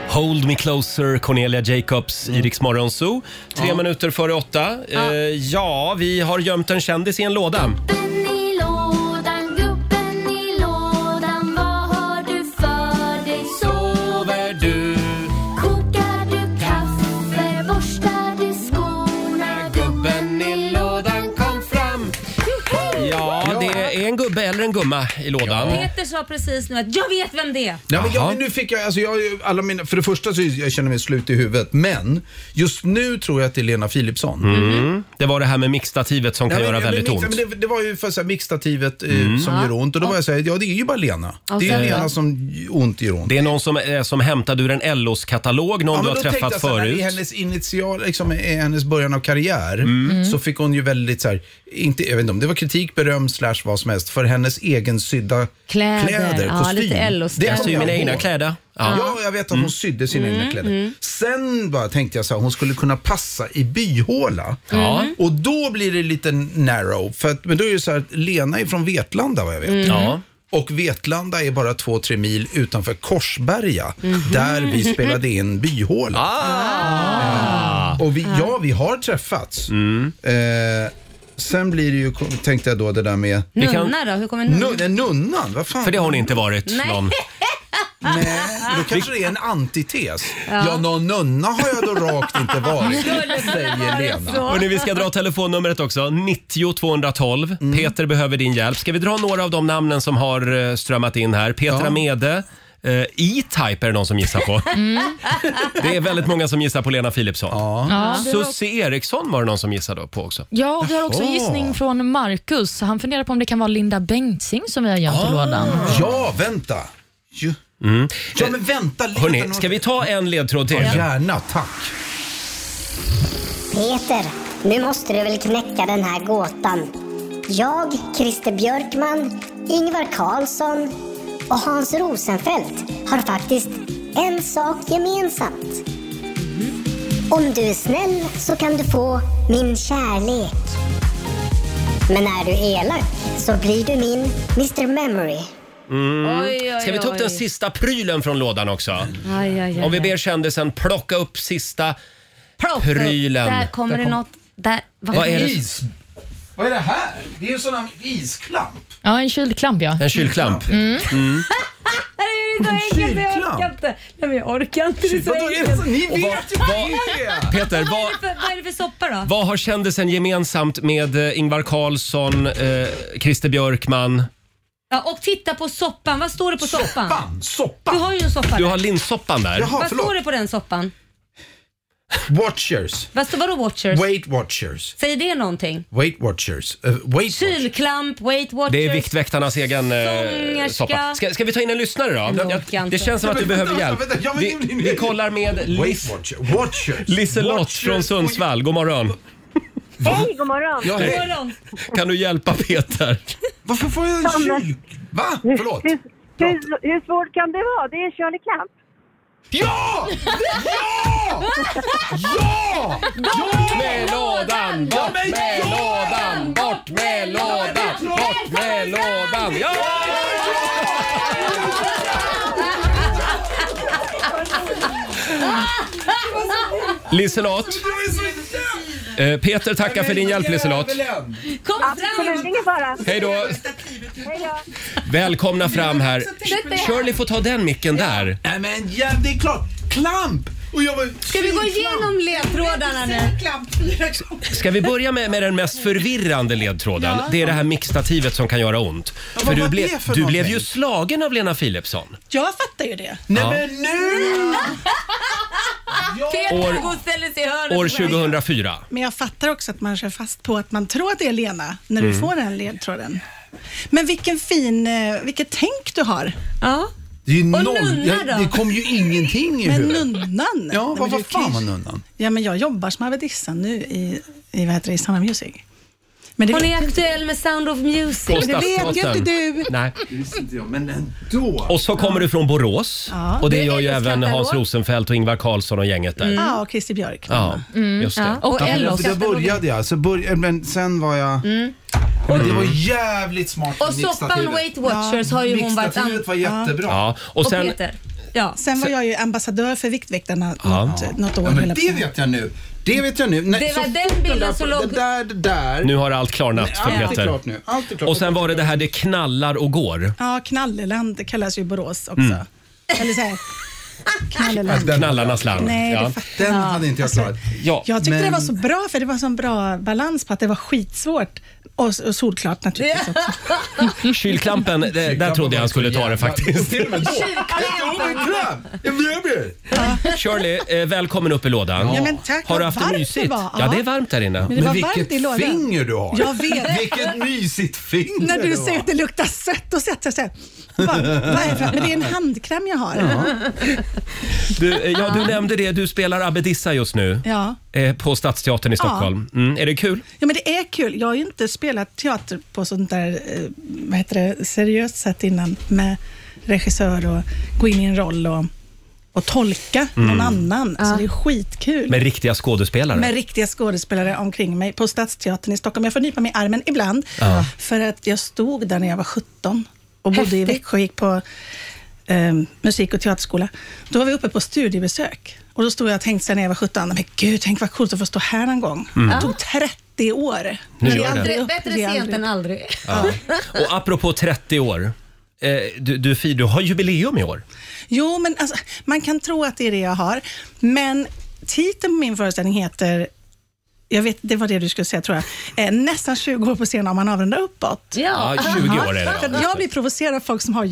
S1: Hold me closer, Cornelia Jacobs
S9: Mm.
S1: i Rix Morgon Zoo. Tre minuter före åtta. Ja. ja, vi har gömt en kändis i en låda.
S8: Gubben i lådan, gubben i lådan, vad har du för dig? Sover
S1: du?
S8: Kokar du kaffe? Borstar du skorna? Gubben i lådan kom fram.
S1: Ja, det är en gubbe eller en gumma i lådan.
S3: Peter sa precis nu att jag vet vem det är.
S9: Nej, men jag, men nu fick jag, alltså jag, har ju alla mina, för det första så är- jag känner mig slut i huvudet, men just nu tror jag att det är Lena Philipsson.
S1: Mm. Det var det här med mixtativet som kan
S9: Nej,
S1: göra
S9: men- liksom men
S1: väldigt
S9: mix-
S1: ont.
S9: Men det, det var ju för så här mixtativet eh,
S1: Mm.
S9: som
S1: Ja.
S9: gör ont och då var jag såhär, ja det är ju bara Lena.
S1: Ja,
S9: det är
S1: sen
S9: ju Lena
S1: då?
S9: som ont gör ont.
S1: Det är någon som, eh, som hämtade ur en LOs katalog, någon
S9: Ja,
S1: du
S9: men
S1: har
S9: då tänkte
S1: träffat
S9: jag så här,
S1: förut.
S9: I hennes initial, liksom, i hennes början av karriär
S1: Mm.
S9: så fick hon ju väldigt så här, inte, jag vet inte om det var kritik, beröm, slash vad som helst för hennes egen sydda
S3: Kläder.
S9: kläder,
S3: Ja,
S9: kostym.
S3: lite LO-stil.
S9: kommer
S3: Jag syr
S9: jag
S3: mina
S9: ihåg.
S1: egna kläder. Ja. Mm.
S9: Ja. jag vet att hon sydde sina
S3: Mm.
S9: egna kläder. Sen bara tänkte jag så här, hon skulle kunna passa i byhåla.
S1: Ja.
S9: Och då blir det lite narrow. För att, men då är det så här, Lena är från Vetlanda vad jag vet.
S1: Mm. Ja.
S9: Och Vetlanda är bara två, tre mil utanför Korsberga,
S1: Mm.
S9: där vi spelade in byhåla.
S1: Ah.
S9: Eh, Och vi,
S3: Ah.
S9: ja, vi har träffats.
S1: Mm.
S9: Eh, sen blir det ju, tänkte jag då det där med...
S3: Nunna då? Hur kommer nunna?
S9: Nun- nunnan, vad fan?
S1: För det har hon inte varit
S3: Nej. någon.
S9: Nej, då kanske det är en antites.
S1: Ja.
S9: Ja, någon nunna har jag då rakt inte varit, säger Lena.
S1: Hörrni, vi ska dra telefonnumret också. 90 212.
S4: Mm.
S1: Peter behöver din hjälp. Ska vi dra några av de namnen som har eh, strömmat in här? Petra
S9: Ja.
S1: Mede, Eh, E-Type är det någon som gissar på.
S8: Mm.
S1: Det är väldigt många som gissar på Lena Philipsson.
S4: Ja, det var-
S1: Susie Eriksson var det någon som gissade på också.
S4: Ja, och vi har också en
S1: Jaha.
S4: gissning från Marcus. Han funderar på om det kan vara Linda Bengtzing som vi har gömt i lådan.
S1: Ah.
S9: Ja, vänta.
S1: Mm.
S9: Ja, men vänta lite.
S1: Hörrni, ska vi ta en ledtråd till?
S9: Ja, gärna, tack.
S3: Äh,
S12: Peter, nu måste du väl knäcka den här gåtan. Jag, Christer Björkman, Ingvar Carlsson och Hans Rosenfeldt har faktiskt en sak gemensamt. Om du är snäll så kan du få min kärlek. Men är du elak så blir du min Mr Memory.
S1: Mm.
S12: Oj, oj,
S1: Ska vi ta upp
S12: oj.
S1: den sista prylen från lådan också?
S3: Aj, aj, aj,
S1: Om vi
S3: aj.
S1: ber kändisen plocka upp sista
S3: Plocka upp.
S1: prylen.
S3: Där kommer det något. Där,
S1: Vad är det?
S9: Is. Vad är det här? Det är ju sådana isklamp.
S4: Ja, en kylklamp ja.
S1: En kylklamp. Mm.
S3: Det är så enkelt, jag orkar inte. Nej, men jag orkar inte. Det är så
S8: Vadå, det är
S3: enkelt.
S8: så- ni
S1: vet vad- ju vad vad- det Peter,
S3: vad, är
S1: vad-
S3: det för, vad är det för soppa då?
S1: Vad har kändisen gemensamt med eh, Ingvar Carlsson, eh, Christer Björkman?
S3: Ja, och titta på soppan. Vad står det på soppan? Soppan? soppan. Du har ju en soppa
S1: Du
S3: där.
S1: har linssoppan där.
S3: Vad står det på den soppan?
S9: Watchers.
S3: Vad, står- vadå watchers?
S9: Weight watchers.
S3: Säger det någonting?
S9: Weight watchers. Eh, weight
S3: Kylklamp, Weight Watchers.
S1: Det är Viktväktarnas egen eh,
S3: Sångerska.
S1: soppa. Ska, ska vi ta in en lyssnare då?
S3: Jag orkar
S1: Jag,
S3: inte.
S1: det känns som att du
S9: Men vänta,
S1: behöver hjälp.
S9: vänta, jag
S1: Vi,
S9: vill-
S1: vi kollar med Liz,
S9: Watchers.
S1: Liselott från Sundsvall. God morgon.
S13: Hej, god morgon.
S1: Ja, hej. God
S13: morgon.
S1: Kan du hjälpa Peter?
S9: Varför får jag
S13: en kyl?
S9: Va? Förlåt.
S13: Hur, hur, hur svårt kan det vara? Det är Shirley Clamp.
S9: Ja! Ja! Ja!
S8: Ja!
S1: Med lådan, bort med lådan, bort med lådan, bort med lådan. Ja! Liselott, eh, Peter tackar för din hjälp Liselott.
S3: Kom
S13: Absolut, ingen fara.
S1: Hej då.
S13: Hej då.
S1: Välkomna fram här. Shirley får ta den micken där.
S9: Nej men ja, det är klart. Klamp! Och jag var
S3: Ska vi gå igenom ledtrådarna nu?
S9: liksom-
S1: Ska vi börja med, med den mest förvirrande ledtråden?
S16: Ja.
S1: Det är det här mixtativet som kan göra ont.
S16: Ja,
S1: För
S16: vad
S1: du,
S16: var
S1: ble,
S16: det för
S1: du
S16: någonting?
S1: blev ju slagen av Lena Philipsson.
S16: Jag fattar ju det.
S1: Nej, Ja. men
S16: nu!
S1: År-
S16: går och ställer sig i hörnet
S1: År
S16: och börjar-
S1: 2004.
S16: Men jag fattar också att man kör fast på att man tror att det är Lena när du
S1: Mm.
S16: får den ledtråden. Men vilken fin, eh, vilket tänk du har.
S3: Ja.
S9: Det är ju
S16: Och
S9: noll.
S16: nunna
S9: Jag,
S16: då?
S9: det kom ju ingenting i
S16: Men
S9: huvudet.
S16: nunnan?
S9: Ja,
S16: Nej,
S9: vad
S16: men
S9: var
S16: du
S9: fan
S16: kryss-
S9: var nunnan?
S16: Ja, men jag jobbar som avedissa nu i, i, vad heter det, i Sound of Music. Men det
S3: Hon
S16: vet
S3: är
S16: inte-
S3: aktuell med Sound of Music.
S16: Det vet ju inte du.
S1: Nej.
S9: Det visste inte jag, men ändå.
S1: Och så kommer du från Borås.
S16: Ja.
S1: Och det
S16: Det är
S1: gör ju
S16: LOs
S1: även Hans
S16: katalog.
S1: Rosenfeldt och Ingvar Karlsson och gänget där.
S16: Mm. Ja, och Christer Björk.
S1: Ja,
S16: Mm.
S1: just det.
S16: Ja, och
S9: Ja, men
S16: LO.
S9: Där började jag, så började, men sen var jag... Det var jävligt smart
S3: Mm. Och
S9: med
S3: soppan
S9: mixtativet.
S3: Weight Watchers har ju hon varit... an-
S9: Mixtativet var jättebra.
S1: Ja, och sen-
S3: Ja.
S16: Sen var jag ju ambassadör för Viktväktarna något, något år.
S9: Ja, men
S16: höll jag
S9: det
S16: på.
S9: vet jag nu. Det vet jag nu. Nej,
S16: Det
S9: så
S16: var
S3: den
S9: fort
S3: bilden
S9: där-
S3: som låg-
S9: Det där, det där.
S1: Nu har allt klarnat för
S16: Nej, allt är
S1: Peter.
S16: klart
S9: nu. Allt är klart.
S1: Och sen var det det här det knallar och går.
S16: Ja, Knalleland det kallas ju i Borås också.
S1: Mm.
S16: Eller så här, Knalleland.
S1: Knallarnas land.
S16: Mm. Nej, det
S1: Ja.
S16: fattar Den jag. hade
S9: inte jag klarat.
S1: Ja.
S16: Jag tyckte det var så bra för det var sån bra balans på att det var skitsvårt och, och solklart naturligtvis också.
S1: Kylklampen, det- där trodde jag han skulle ta det faktiskt. Shirley, eh, välkommen upp i lådan.
S16: Ja, men tack.
S1: har
S16: Vad
S1: du haft
S16: varmt
S1: det
S16: det
S1: mysigt?
S16: var.
S1: Ja, det är
S16: Ja.
S1: varmt här inne.
S16: Men det Men var vilket varmt i lådan. finger
S9: du har.
S16: Jag vet.
S9: Vilket mysigt finger
S16: När
S9: det
S16: du
S9: var.
S16: säger att det luktar sött, då sätter jag så här. Bara, vad är det för- Men det är en handkräm jag har. Ja.
S1: Du, eh, ja, du nämnde det, du spelar Abedissa just nu
S16: Ja.
S1: eh, på Stadsteatern i
S16: Ja.
S1: Stockholm. Mm, är det kul?
S16: men det är kul. Jag har ju inte spelat teater på sånt där, eh, vad heter det, seriöst sätt innan med regissör och gå in i en roll och, och tolka någon
S1: Mm.
S16: annan. Så det är skitkul.
S1: Med riktiga skådespelare?
S16: Med riktiga skådespelare omkring mig på Stadsteatern i Stockholm. Jag får nypa mig i armen ibland
S1: Ja.
S16: för att jag stod där när jag var 17 och bodde i Växjö och gick på eh, musik och teaterskola. Då var vi uppe på studiebesök och då stod jag och tänkte så här när jag var 17, men gud, tänk vad coolt att få stå här någon gång.
S1: Mm.
S16: Det tog 30 år.
S1: Nu
S16: är
S1: gör det.
S16: aldrig upp,
S3: Bättre
S16: är aldrig
S3: sent än aldrig.
S1: Ja. Och apropå 30 år. eh, Du, du, Fi, du har jubileum i år.
S16: Jo, men alltså, man kan tro att det är det jag har. Men titeln på min föreställning heter jag vet, det var det du skulle säga tror jag. Eh, nästan 20 år på scenen om man avrundar uppåt.
S1: Ja, 20 år är det, ja.
S16: För att jag blir provocerad av folk som har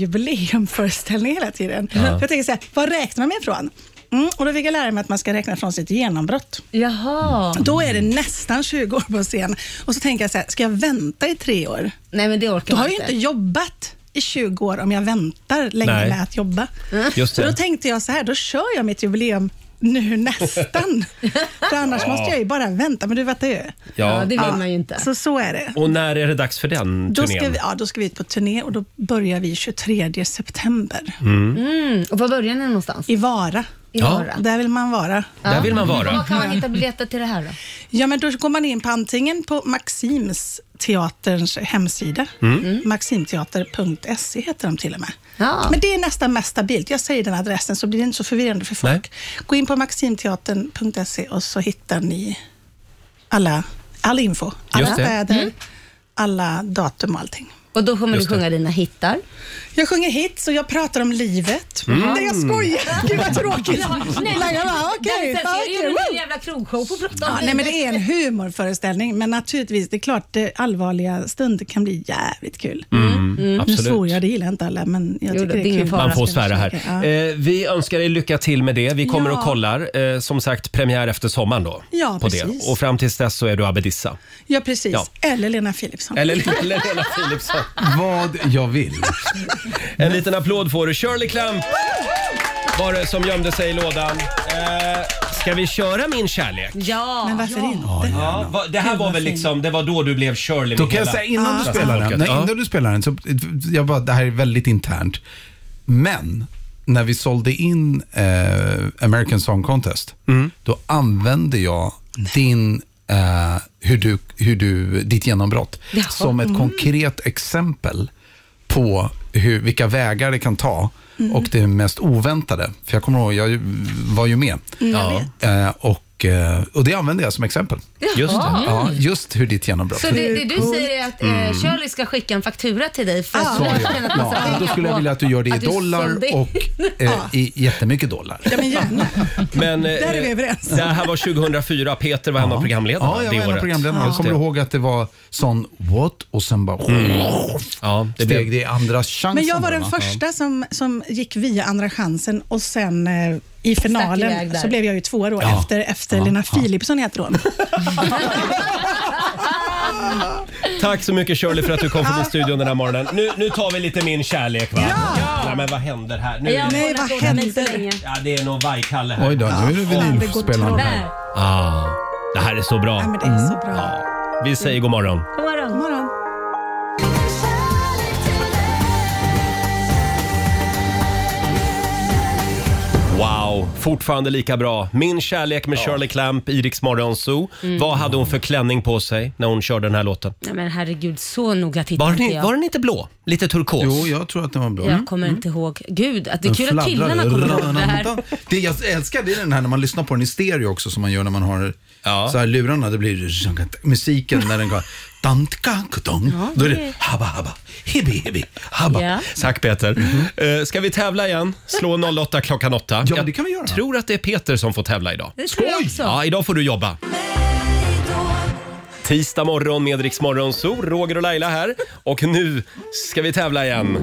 S16: jubileumföreställningar hela tiden.
S1: Ja.
S16: För Jag tänker så här, var räknar man ifrån? Mm, och då fick jag lära mig att man ska räkna från sitt genombrott.
S3: Jaha.
S16: Då är det nästan 20 år på scen. Och så tänker jag så här, ska jag vänta i tre år?
S3: Nej, men det orkar
S16: Då
S3: man
S16: har jag ju
S3: inte.
S16: inte jobbat i 20 år om jag väntar länge
S1: Nej.
S16: med att jobba.
S1: Just det.
S16: Så då tänkte jag så här, då kör jag mitt jubileum nu nästan. För annars
S1: Ja.
S16: måste jag ju bara vänta, men du vet ju.
S1: Ja. Ja, det vill man
S16: ju inte. Så så är det.
S1: Och när är det dags för den
S16: Då
S1: turnén?
S16: ska, vi, ja, då ska vi ut på turné och då börjar vi 23 september.
S1: Mm.
S16: Och var börjar ni någonstans? I Vara.
S1: I Ja. Vara.
S16: Där vill man vara.
S1: Där vill man vara. Var kan man
S16: hitta biljetter till det här då? Ja, men då går man in på antingen på Maxims teaterns hemsida.
S1: Mm.
S16: Maximteater.se E heter de till och med. Men det är nästan mest stabilt. Jag säger den adressen så blir det inte så förvirrande för folk. Gå in på maximteatern.se och så hittar ni alla, all info. Alla
S3: Just det.
S16: städer,
S3: Mm.
S16: alla datum och allting.
S3: Och då kommer
S16: Just
S3: du
S16: det.
S3: sjunga dina hittar.
S16: Jag sjunger hits och jag pratar om livet.
S3: Mm.
S16: Nej, jag skojar. Gud vad tråkigt.
S3: Ja, nej.
S16: Laila bara, okej.
S3: Den- sen ser
S16: okej,
S3: du en
S16: woo.
S3: jävla krogshow på Brottan.
S16: Ja, nej, men det är en humorföreställning, men naturligtvis, det är klart, det allvarliga stunder kan bli jävligt kul.
S1: Mm, Mm.
S16: Nu
S1: absolut.
S16: svor jag, det gillar inte alla, men jag
S3: Jo,
S16: tycker
S3: det
S16: det,
S3: är
S16: är
S3: ingen
S16: kul.
S1: Man får svära här.
S16: Ja.
S1: Eh, vi önskar er lycka till med det. Vi kommer
S16: Ja.
S1: och kollar. Eh, som sagt, premiär efter sommaren då.
S16: Ja,
S1: på
S16: precis.
S1: det. Och fram tills dess så är du Abedissa.
S16: ja, precis.
S1: Ja.
S16: Eller Lena Philipsson.
S1: Eller, eller Lena Philipsson.
S9: Vad jag vill.
S1: En liten applåd får du. Shirley Clamp var det som gömde sig i lådan. Eh, ska vi köra Min kärlek?
S3: Ja.
S16: Men varför inte?
S1: Ja, va- det här var väl liksom, det var då du blev Shirley med
S9: Då kan jag
S1: hela
S9: säga innan du
S10: Ah.
S1: svenska
S9: spelar den,
S1: folket.
S9: nej,
S1: Ja.
S9: innan du spelar den, så, jag bara, det här är väldigt internt. Men när vi sålde in eh, American Song Contest,
S10: Mm.
S9: då använde jag din, eh, hur du, hur du, ditt genombrott
S10: Jaha.
S9: som ett
S10: Mm.
S9: konkret exempel på hur, vilka vägar det kan ta
S10: Mm.
S9: och det mest oväntade. För jag kommer ihåg, jag var ju med.
S10: Mm, jag Ja.
S9: Eh, och, eh, och det använde jag som exempel.
S3: Just det.
S9: Ja, just hur ditt genombrott.
S3: Så det, det du säger är att eh,
S9: Mm.
S3: Shirley ska skicka en faktura till dig för att
S9: Så, ja.
S3: tjäna en massa
S9: Ja, då
S3: pengar
S9: skulle jag
S3: på
S9: vilja att du gör det i
S3: att du
S9: dollar
S3: sålde in.
S9: och eh,
S3: Ja.
S9: i jättemycket dollar.
S16: Ja, men gärna.
S1: Men, eh,
S16: Där är vi överens.
S1: Det här var 2004. Peter var en av programledarna
S9: Ja, jag
S1: det
S9: var en av
S1: året.
S9: programledarna. Jag
S1: Just
S9: kommer
S1: det.
S9: ihåg att det var sån what och sen bara
S1: Ja, det
S9: steg
S1: blev-
S9: det i andra chansen.
S16: Men jag var
S9: då,
S16: den
S9: va?
S16: första som, som gick via Andra chansen och sen eh, i
S3: iväg
S16: finalen
S3: där.
S16: så blev jag ju två år
S9: Ja.
S16: efter, efter
S9: Ja,
S16: Lena Philipsson heter hon.
S1: Tack så mycket Shirley för att du kom förbi studion den här morgonen. Nu, nu tar vi lite min kärlek va? Ja! Nej, men vad händer här? Nu är det,
S16: Nej, vad hände?
S1: ja, det är någon vajkalle här.
S9: Oj då, nu är det vinylspelaren här.
S1: Ah, det här är så bra.
S16: Ja, men det
S1: Mm.
S16: är så bra.
S1: Vi säger god morgon.
S3: God morgon. God
S16: morgon.
S1: Wow, fortfarande lika bra. Min kärlek med Shirley Clamp i Rix Morgon Zoo.
S3: Mm.
S1: Vad hade hon för klänning på sig när hon körde den här låten?
S3: Nej men herregud, så noga tittar
S1: Var
S3: inte
S1: den,
S3: jag.
S1: var den inte blå? Lite turkos?
S9: Jo, jag tror att den var Mm. blå.
S1: Mm.
S3: Jag kommer inte ihåg. Gud, att det är kul att killarna kommer ihåg det här.
S9: Det jag älskar det är den här när man lyssnar på den i stereo också som man gör när man har så här lurarna. Det blir musiken när den går. Dantka, kudong.
S1: Ja,
S9: Då är
S1: det-
S9: det habba habba, hibi hibi, habba.
S1: Ja. Tack Peter.
S9: Mm-hmm.
S1: Eh, ska vi tävla igen? Slå 08 klockan 8. Ja, det
S9: kan vi göra. Jag
S1: tror att det är Peter som får tävla idag.
S3: Det tror jag också.
S1: Ja, idag får du jobba. Tisdag morgon med Rix Morgon Zoo, Roger och Laila här. Och nu ska vi tävla igen.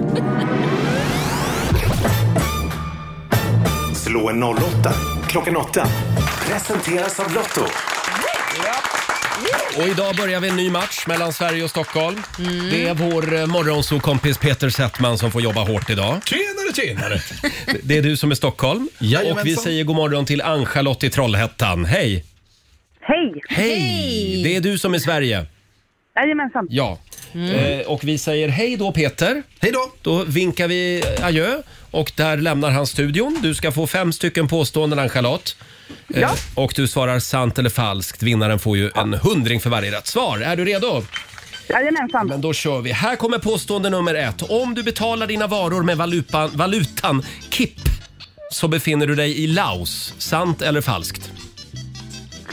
S10: Slå en 08 klockan 8. Presenteras av Lotto.
S1: Och idag börjar vi en ny match mellan Sverige och Stockholm.
S4: Mm.
S1: Det är vår eh, morgonzoo-kompis Peter Settman som får jobba hårt idag.
S9: Tjenare, tjenare!
S1: Det är du som är Stockholm.
S9: Jajamensan.
S1: Och vi säger god morgon till Ann-Charlotte i Trollhättan. Hej!
S14: Hej!
S1: Hej! Det är du som är Sverige.
S14: Jajamensan.
S1: Ja.
S4: Mm.
S11: Mm.
S1: Eh, och vi säger hej då Peter.
S9: Hej då!
S1: Då vinkar vi adjö och där lämnar han studion. Du ska få fem stycken påståenden Ann-Charlotte. Eh,
S10: Ja.
S1: Och du svarar sant eller falskt. Vinnaren får ju en hundring för varje rätt svar. Är du redo?
S14: Jajamensan.
S1: Men då kör vi. Här kommer påstående nummer ett. Om du betalar dina varor med valutan, valutan KIP så befinner du dig i Laos. Sant eller falskt?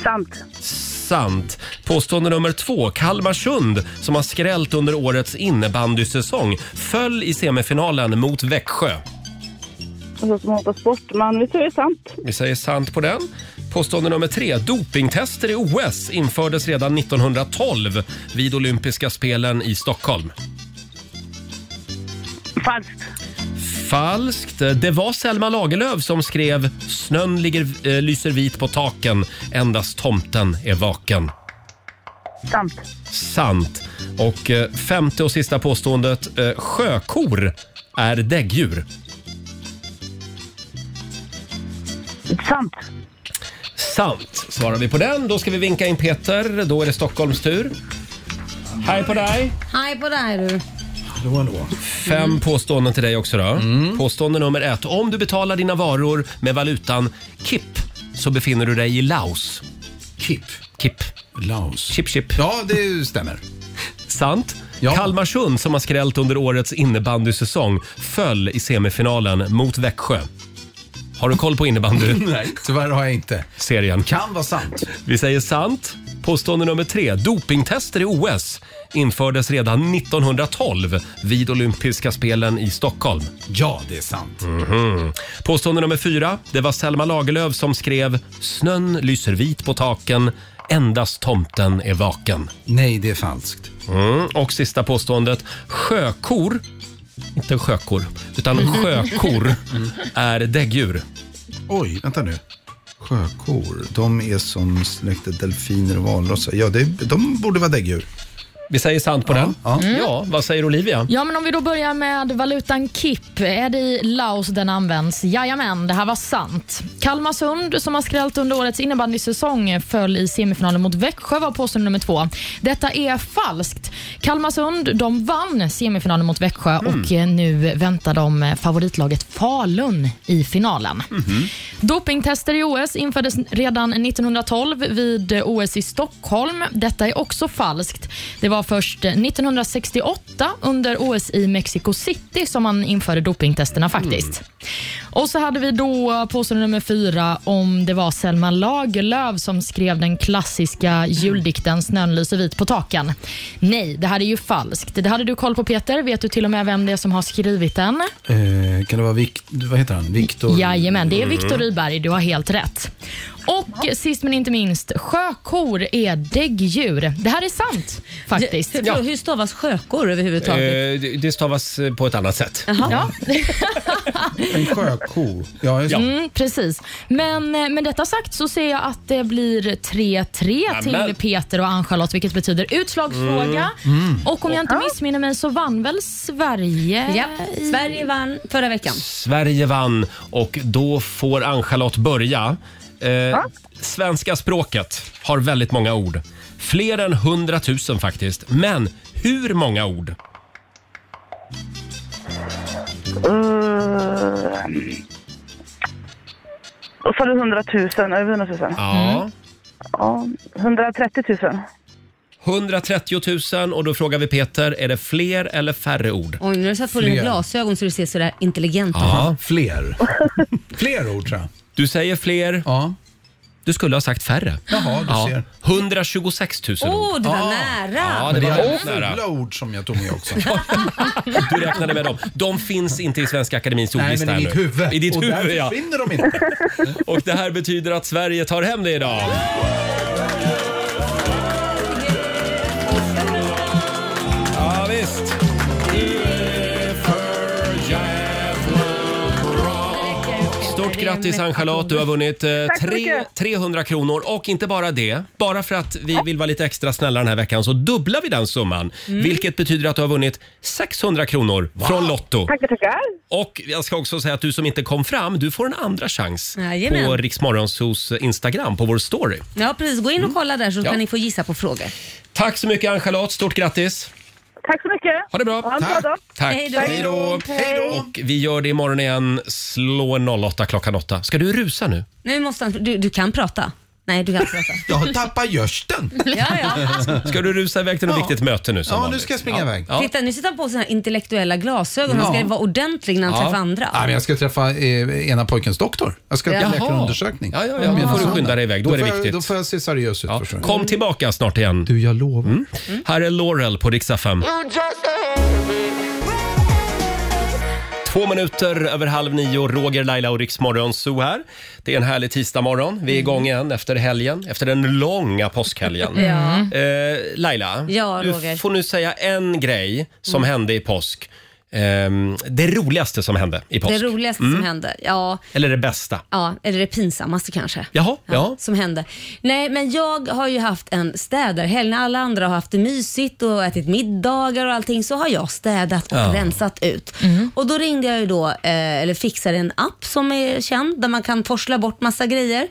S14: Sant.
S1: Sant. Påstående nummer två. Kalmarsund, som har skrällt under årets innebandysäsong, föll i semifinalen mot Växjö.
S14: Och så som hoppas bort, men vi tror det är sant.
S1: Vi säger sant på den. Påstående nummer tre. Dopingtester i OS infördes redan 1912 vid olympiska spelen i Stockholm.
S13: Falskt.
S1: Falskt. Det var Selma Lagerlöf som skrev “Snön ligger, eh, lyser vit på taken, endast tomten är vaken”.
S13: Sant.
S1: Sant. Och eh, femte och sista påståendet. eh, Sjökor är däggdjur.
S13: Sant.
S1: Sant svarar vi på den. Då ska vi vinka in Peter. Då är det Stockholms tur. Hej på dig!
S3: Hej på dig du.
S1: Hallå, hallå. Fem påståenden till dig också då. Påstående nummer ett. Om du betalar dina varor med valutan KIP så befinner du dig i Laos. KIP? KIP. Laos. Chip chip. Ja, det stämmer. Sant. Kalmarsund som har skrällt under årets innebandysäsong föll i semifinalen mot Växjö. Har du koll på innebandy?
S9: Nej,
S1: tyvärr har jag inte. Serien. Kan vara sant. Vi säger sant. Påstående nummer tre. Dopingtester i OS infördes redan 1912 vid olympiska spelen i Stockholm. Ja, det är sant. Påstående nummer fyra. Det var Selma Lagerlöf som skrev “Snön lyser vit på taken, endast tomten är vaken”. Nej, det är falskt. Mm. Och sista påståendet. Sjökor, inte sjökor, utan sjökor är däggdjur.
S9: Oj, vänta nu. Sjökor, de är som släktet delfiner och valrossar. Ja, det, de borde vara däggdjur.
S1: Vi säger sant på den. Ja.
S4: Mm.
S1: ja, vad säger Olivia?
S4: Ja, men om vi då börjar med valutan KIP. Är det i Laos den används? Jajamän, det här var sant. Kalmarsund, som har skrällt under årets innebandysäsong, föll i semifinalen mot Växjö var påstående nummer två. Detta är falskt. Kalmarsund de vann semifinalen mot Växjö
S1: Mm.
S4: och eh, nu väntar de eh, favoritlaget Falun i finalen.
S9: Mhm.
S4: Dopingtester i OS infördes redan 1912 vid OS i Stockholm. Detta är också falskt. Det var först 1968 under OS i Mexico City som man införde dopingtesterna faktiskt. Och så hade vi då påstående nummer fyra om det var Selma Lagerlöf som skrev den klassiska juldikten Snön lyser vit på taken. Nej, det här är ju falskt. Det hade du koll på Peter. Vet du till och med vem det är som har skrivit den?
S9: Eh, kan det vara Vic, vad heter han? Viktor?
S4: Jajamän, det är Viktor
S9: Mm.
S4: Rydberg. Du har helt rätt. Och sist men inte minst, sjökor är däggdjur. Det här är sant faktiskt.
S3: Ja. Hur stavas sjökor överhuvudtaget?
S1: Eh, det- det stavas eh, på ett annat sätt.
S4: Ja.
S9: En sjöko. Ja, just det.
S4: Mm, precis. Men eh, med detta sagt så ser jag att det blir 3-3
S1: Nämen.
S4: till Peter och Ann-Charlotte, vilket betyder utslagsfråga.
S1: Mm. Mm.
S4: Och om jag inte missminner mig så vann väl Sverige?
S3: Ja, Sverige vann förra veckan.
S1: Sverige vann och då får Ann-Charlotte börja. Eh, svenska språket har väldigt många ord. Fler än 100 000 faktiskt. Men hur många ord?
S13: Eh, Och så är det 100 000, över 100 000.
S1: Ja.
S13: Mm. ja 130 000.
S1: 130 000 och då frågar vi Peter, är det fler eller färre ord?
S3: Oj, nu har du satt på dina
S1: Fler.
S3: glasögon så du ser sådär intelligent ut.
S1: Ja, fler. fler ord tror jag. Du säger fler. Ja. Du skulle ha sagt färre.
S9: Jaha, du
S1: Ja.
S9: ser.
S1: 126 000 ord.
S3: Åh, du var nära.
S1: Ja, det
S9: Men
S1: var
S9: det
S1: väldigt
S9: var
S1: nära.
S9: fula ord som jag tog med också.
S1: Du räknade med dem. De finns inte i Svenska Akademins
S9: Nej, men
S1: ordlista
S9: i
S1: här
S9: mitt
S1: nu.
S9: huvud.
S1: I ditt
S9: Och där
S1: huvud, ja.
S9: försvinner de inte.
S1: Och det här betyder att Sverige tar hem det idag. Ja, visst. Stort grattis Ann-Charlotte, du har vunnit eh,
S8: Tack så
S1: tre,
S8: mycket.
S1: 300 kronor och inte bara det. Bara för att vi vill vara lite extra snälla den här veckan så dubblar vi den summan.
S8: Mm.
S1: Vilket betyder att du har vunnit 600 kronor från Lotto.
S13: Tackar, tackar.
S1: Och jag ska också säga att du som inte kom fram, du får en andra chans
S3: Jajamän.
S1: på Riksmorgonsos Instagram, på vår story.
S3: Ja, precis. Gå in och kolla där så
S1: Mm. Ja.
S3: kan ni få gissa på frågor.
S1: Tack så mycket Ann-Charlotte, stort grattis!
S13: Tack så mycket.
S1: Ha det bra.
S13: Ha en bra dag.
S1: Tack. Och vi gör det imorgon igen. Slå 08 klockan 8. Ska du rusa nu?
S3: Nu måste han, du, du kan prata. Nej, du kan inte prata.
S1: Jag tappar görsten.
S3: Ja, ja.
S1: Ska du rusa iväg till något
S3: Ja.
S1: viktigt möte nu? som
S9: Ja, nu
S1: vanligt?
S9: ska jag springa
S1: ja.
S9: iväg.
S1: Ja.
S3: Titta, nu sitter han på sina intellektuella glasögon. Han ska
S9: Ja.
S3: vara ordentlig när han träffar andra.
S9: Nej, men jag ska träffa eh, ena pojkens doktor. Jag ska
S3: Jaha.
S9: till läkarundersökning.
S1: Ja, ja, ja. Men
S9: Mm.
S1: får du skynda dig iväg. Då är det
S9: får jag-
S1: viktigt.
S9: Då får jag se seriös ut. Mm. förstår du.
S1: Kom tillbaka snart igen. Du, jag lovar. Mm. Här är Laurel på Riksaffären. Två minuter över halv nio, Roger, Laila och Riksmorgon Zoo här. Det är en härlig tisdagmorgon.
S3: Mm.
S1: Vi är igång igen efter helgen, efter den långa påskhelgen.
S3: Ja.
S1: Eh, Laila,
S3: Mm. Ja,
S1: du
S3: Roger.
S1: får nu säga en grej som
S3: Mm.
S1: hände i påsk. Ehm, det roligaste som hände i påsk.
S3: Det roligaste
S1: Mm.
S3: som hände. Ja,
S1: Eller det bästa.
S3: ja, eller det pinsammaste kanske.
S1: Jaha, ja.
S3: som hände. Nej, men jag har ju haft en städarhelg. När alla andra har haft det mysigt och ätit middagar och allting så har jag städat och
S5: Ja.
S3: rensat ut.
S1: Mm.
S3: Och då ringde jag ju då, eh, eller fixade en app som är känd där man kan forsla bort massa grejer.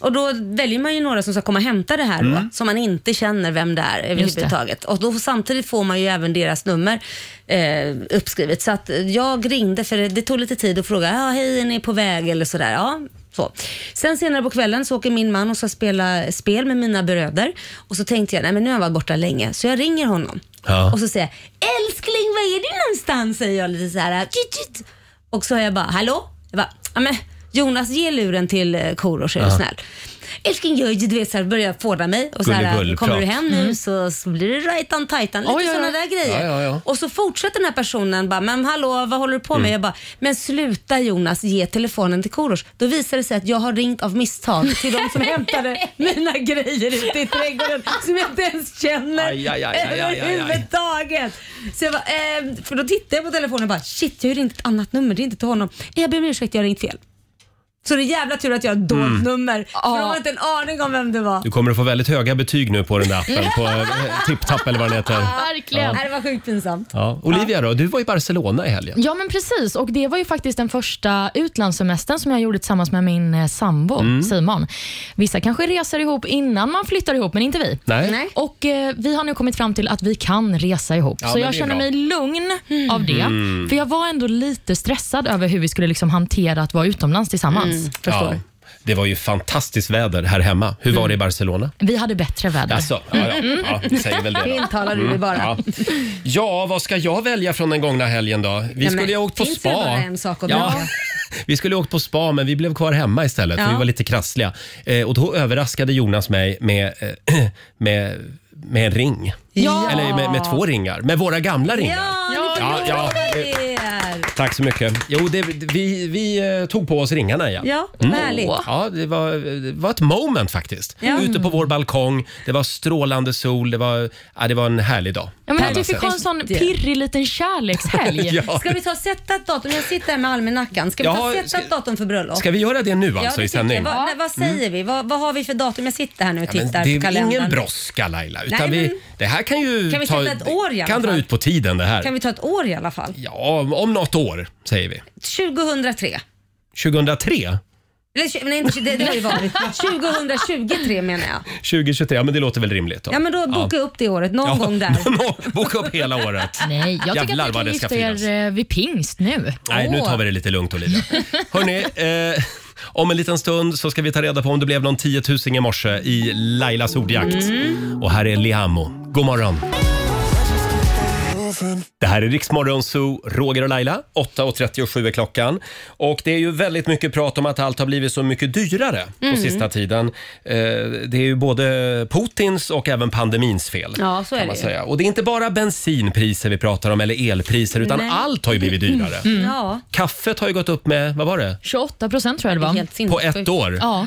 S3: Och då väljer man ju några som ska komma och hämta det här då,
S5: Mm.
S3: som man inte känner vem det är
S5: Just det.
S3: överhuvudtaget. Och då, samtidigt får man ju även deras nummer eh, uppskrivet. Så att jag ringde, för det, det tog lite tid att fråga, ja, hej, är ni på väg eller sådär? Ja, så. Sen senare på kvällen så åker min man och ska spela spel med mina bröder. Och så tänkte jag, nej men nu har jag varit borta länge, så jag ringer honom.
S5: Ja.
S8: Mm.
S3: Och så säger jag, älskling var är du någonstans? Säger jag lite så här. "Tjut, tjut." Och så har jag bara, hallå? Jag bara, "Ja, men Jonas ge luren till eh, Korosh är du
S5: Ja.
S3: snäll. Älskling gör ju, du vet så här, börjar fåna mig och så här,
S5: Gullegull,
S3: kommer du
S5: prat.
S3: hem nu
S5: Mm.
S3: så, så blir det rajtan tajtan, lite
S5: Oj, oj, oj.
S3: sådana där grejer.
S5: Ja, ja, ja.
S3: Och så fortsätter den här personen bara, men hallå vad håller du på med?
S5: Mm.
S3: Jag bara, men sluta Jonas, ge telefonen till Korosh. Då visar det sig att jag har ringt av misstag till de som hämtade mina grejer ute i trädgården som jag inte ens känner
S5: Aj, aj, aj, aj, aj, aj.
S3: överhuvudtaget. Så jag bara, ehm, för då tittade jag på telefonen och bara, shit jag har ringt ett annat nummer, det är inte till honom. Jag ber om ursäkt, jag har ringt fel. Så det är jävla tur att jag har ett dolt
S1: Mm.
S3: nummer, för de har inte en aning om vem det var.
S1: Du kommer att få väldigt höga betyg nu på den där appen, på eh, TipTap eller vad den heter.
S3: Verkligen. Det var sjukt pinsamt.
S1: Ja. Olivia då, du var i Barcelona i helgen.
S4: Ja, men precis. Och Det var ju faktiskt den första utlandssemestern som jag gjorde tillsammans med min eh, sambo
S1: Mm.
S4: Simon. Vissa kanske reser ihop innan man flyttar ihop, men inte vi.
S1: Nej. Nej.
S4: Och eh, Vi har nu kommit fram till att vi kan resa ihop,
S5: Ja,
S4: så
S5: men
S4: jag
S5: det är
S4: känner
S5: bra.
S4: mig lugn av det.
S1: Mm.
S4: För Jag var ändå lite stressad över hur vi skulle liksom hantera att vara utomlands tillsammans.
S1: Mm,
S4: Förstår.
S1: Ja. Det var ju fantastiskt väder här hemma. Hur var det i
S3: Mm.
S1: Barcelona?
S4: Vi hade bättre väder.
S1: Alltså, ja, ja, ja, säger väl det. då. Mm.
S3: Tilltalar du dig bara.
S1: Ja. ja, vad ska jag välja från den gångna helgen då? Vi
S3: Nej,
S1: skulle
S3: men
S1: ju ha åkt på
S3: finns
S1: spa.
S3: det bara en sak att
S1: ja.
S3: välja?
S1: Vi skulle ha åkt på spa, men vi blev kvar hemma istället
S3: Ja.
S1: för vi var lite krassliga. Eh, och då överraskade Jonas mig med, eh, med, med en ring.
S3: Ja.
S1: Eller med, med två ringar. Med våra gamla ringar.
S3: Ja,
S1: Ja,
S3: ja,
S1: ja. Eh, Tack så mycket. Jo, det, vi, vi eh, tog på oss ringarna igen. Mm.
S3: Ja, härligt. Mm.
S1: Ja, det var, det var ett moment faktiskt.
S4: Ja.
S1: Ute på vår balkong, det var strålande sol, det var, ja, det var en härlig dag.
S4: Ja,
S1: på
S4: men
S1: alla
S4: du fick
S1: sätt.
S4: ha en sån pirrig liten kärlekshelg.
S1: Ja.
S3: Ska vi ta och sätta ett datum? Jag sitter här med almanackan. Ska vi ta
S1: Ja,
S3: och sätta ett datum för bröllop?
S1: Ska vi göra det nu
S3: ja,
S1: alltså
S3: det
S1: i
S3: tycker
S1: sändning?
S3: jag. Vad, nej, vad
S1: Mm.
S3: säger vi? Vad, vad har vi för datum? Jag sitter här nu och
S1: Ja,
S3: tittar
S1: men det
S3: på
S1: är
S3: kalendern.
S1: ingen brådska Laila, utan
S3: Nej,
S1: vi,
S3: men-
S1: det här kan ju
S3: Kan vi
S1: ta,
S3: sätta ett år i alla
S1: kan dra
S3: fall?
S1: ut på tiden det här.
S3: Kan vi ta ett år i alla fall?
S1: Ja, om, om något år säger vi.
S3: 2003.
S1: 2003?
S3: Eller, tju- nej, inte, det, det har ju varit. 2023 menar jag.
S1: 2023, ja men det låter väl rimligt då.
S3: Ja, men då boka upp det året någon
S1: Ja.
S3: gång där.
S1: Boka upp hela året.
S4: Nej, jag tycker
S1: Jävlar
S4: att ni
S1: vad
S4: kan
S1: det ska
S4: gifta er eh, vid pingst nu.
S1: Nej, nu
S4: Åh.
S1: tar vi det lite lugnt Olivia. Hörrni, eh, om en liten stund så ska vi ta reda på om det blev någon tiotusing i morse i Lailas ordjakt.
S3: Mm.
S1: Och här är Liamo. God morgon! Det här är Riksmorgon Zoo, Roger och Laila. 8.37 är klockan. Och det är ju väldigt mycket prat om att allt har blivit så mycket dyrare
S3: Mm.
S1: på sista tiden. Eh, det är ju både Putins och även pandemins fel.
S3: Ja, så är
S1: kan man
S3: det ju.
S1: säga. Och det är inte bara bensinpriser vi pratar om eller elpriser utan
S4: Nej.
S1: allt har ju blivit dyrare.
S4: Mm.
S3: Ja.
S1: Kaffet har ju gått upp med, vad var det?
S4: 28 procent tror jag det var.
S1: På ett år?
S4: Ja.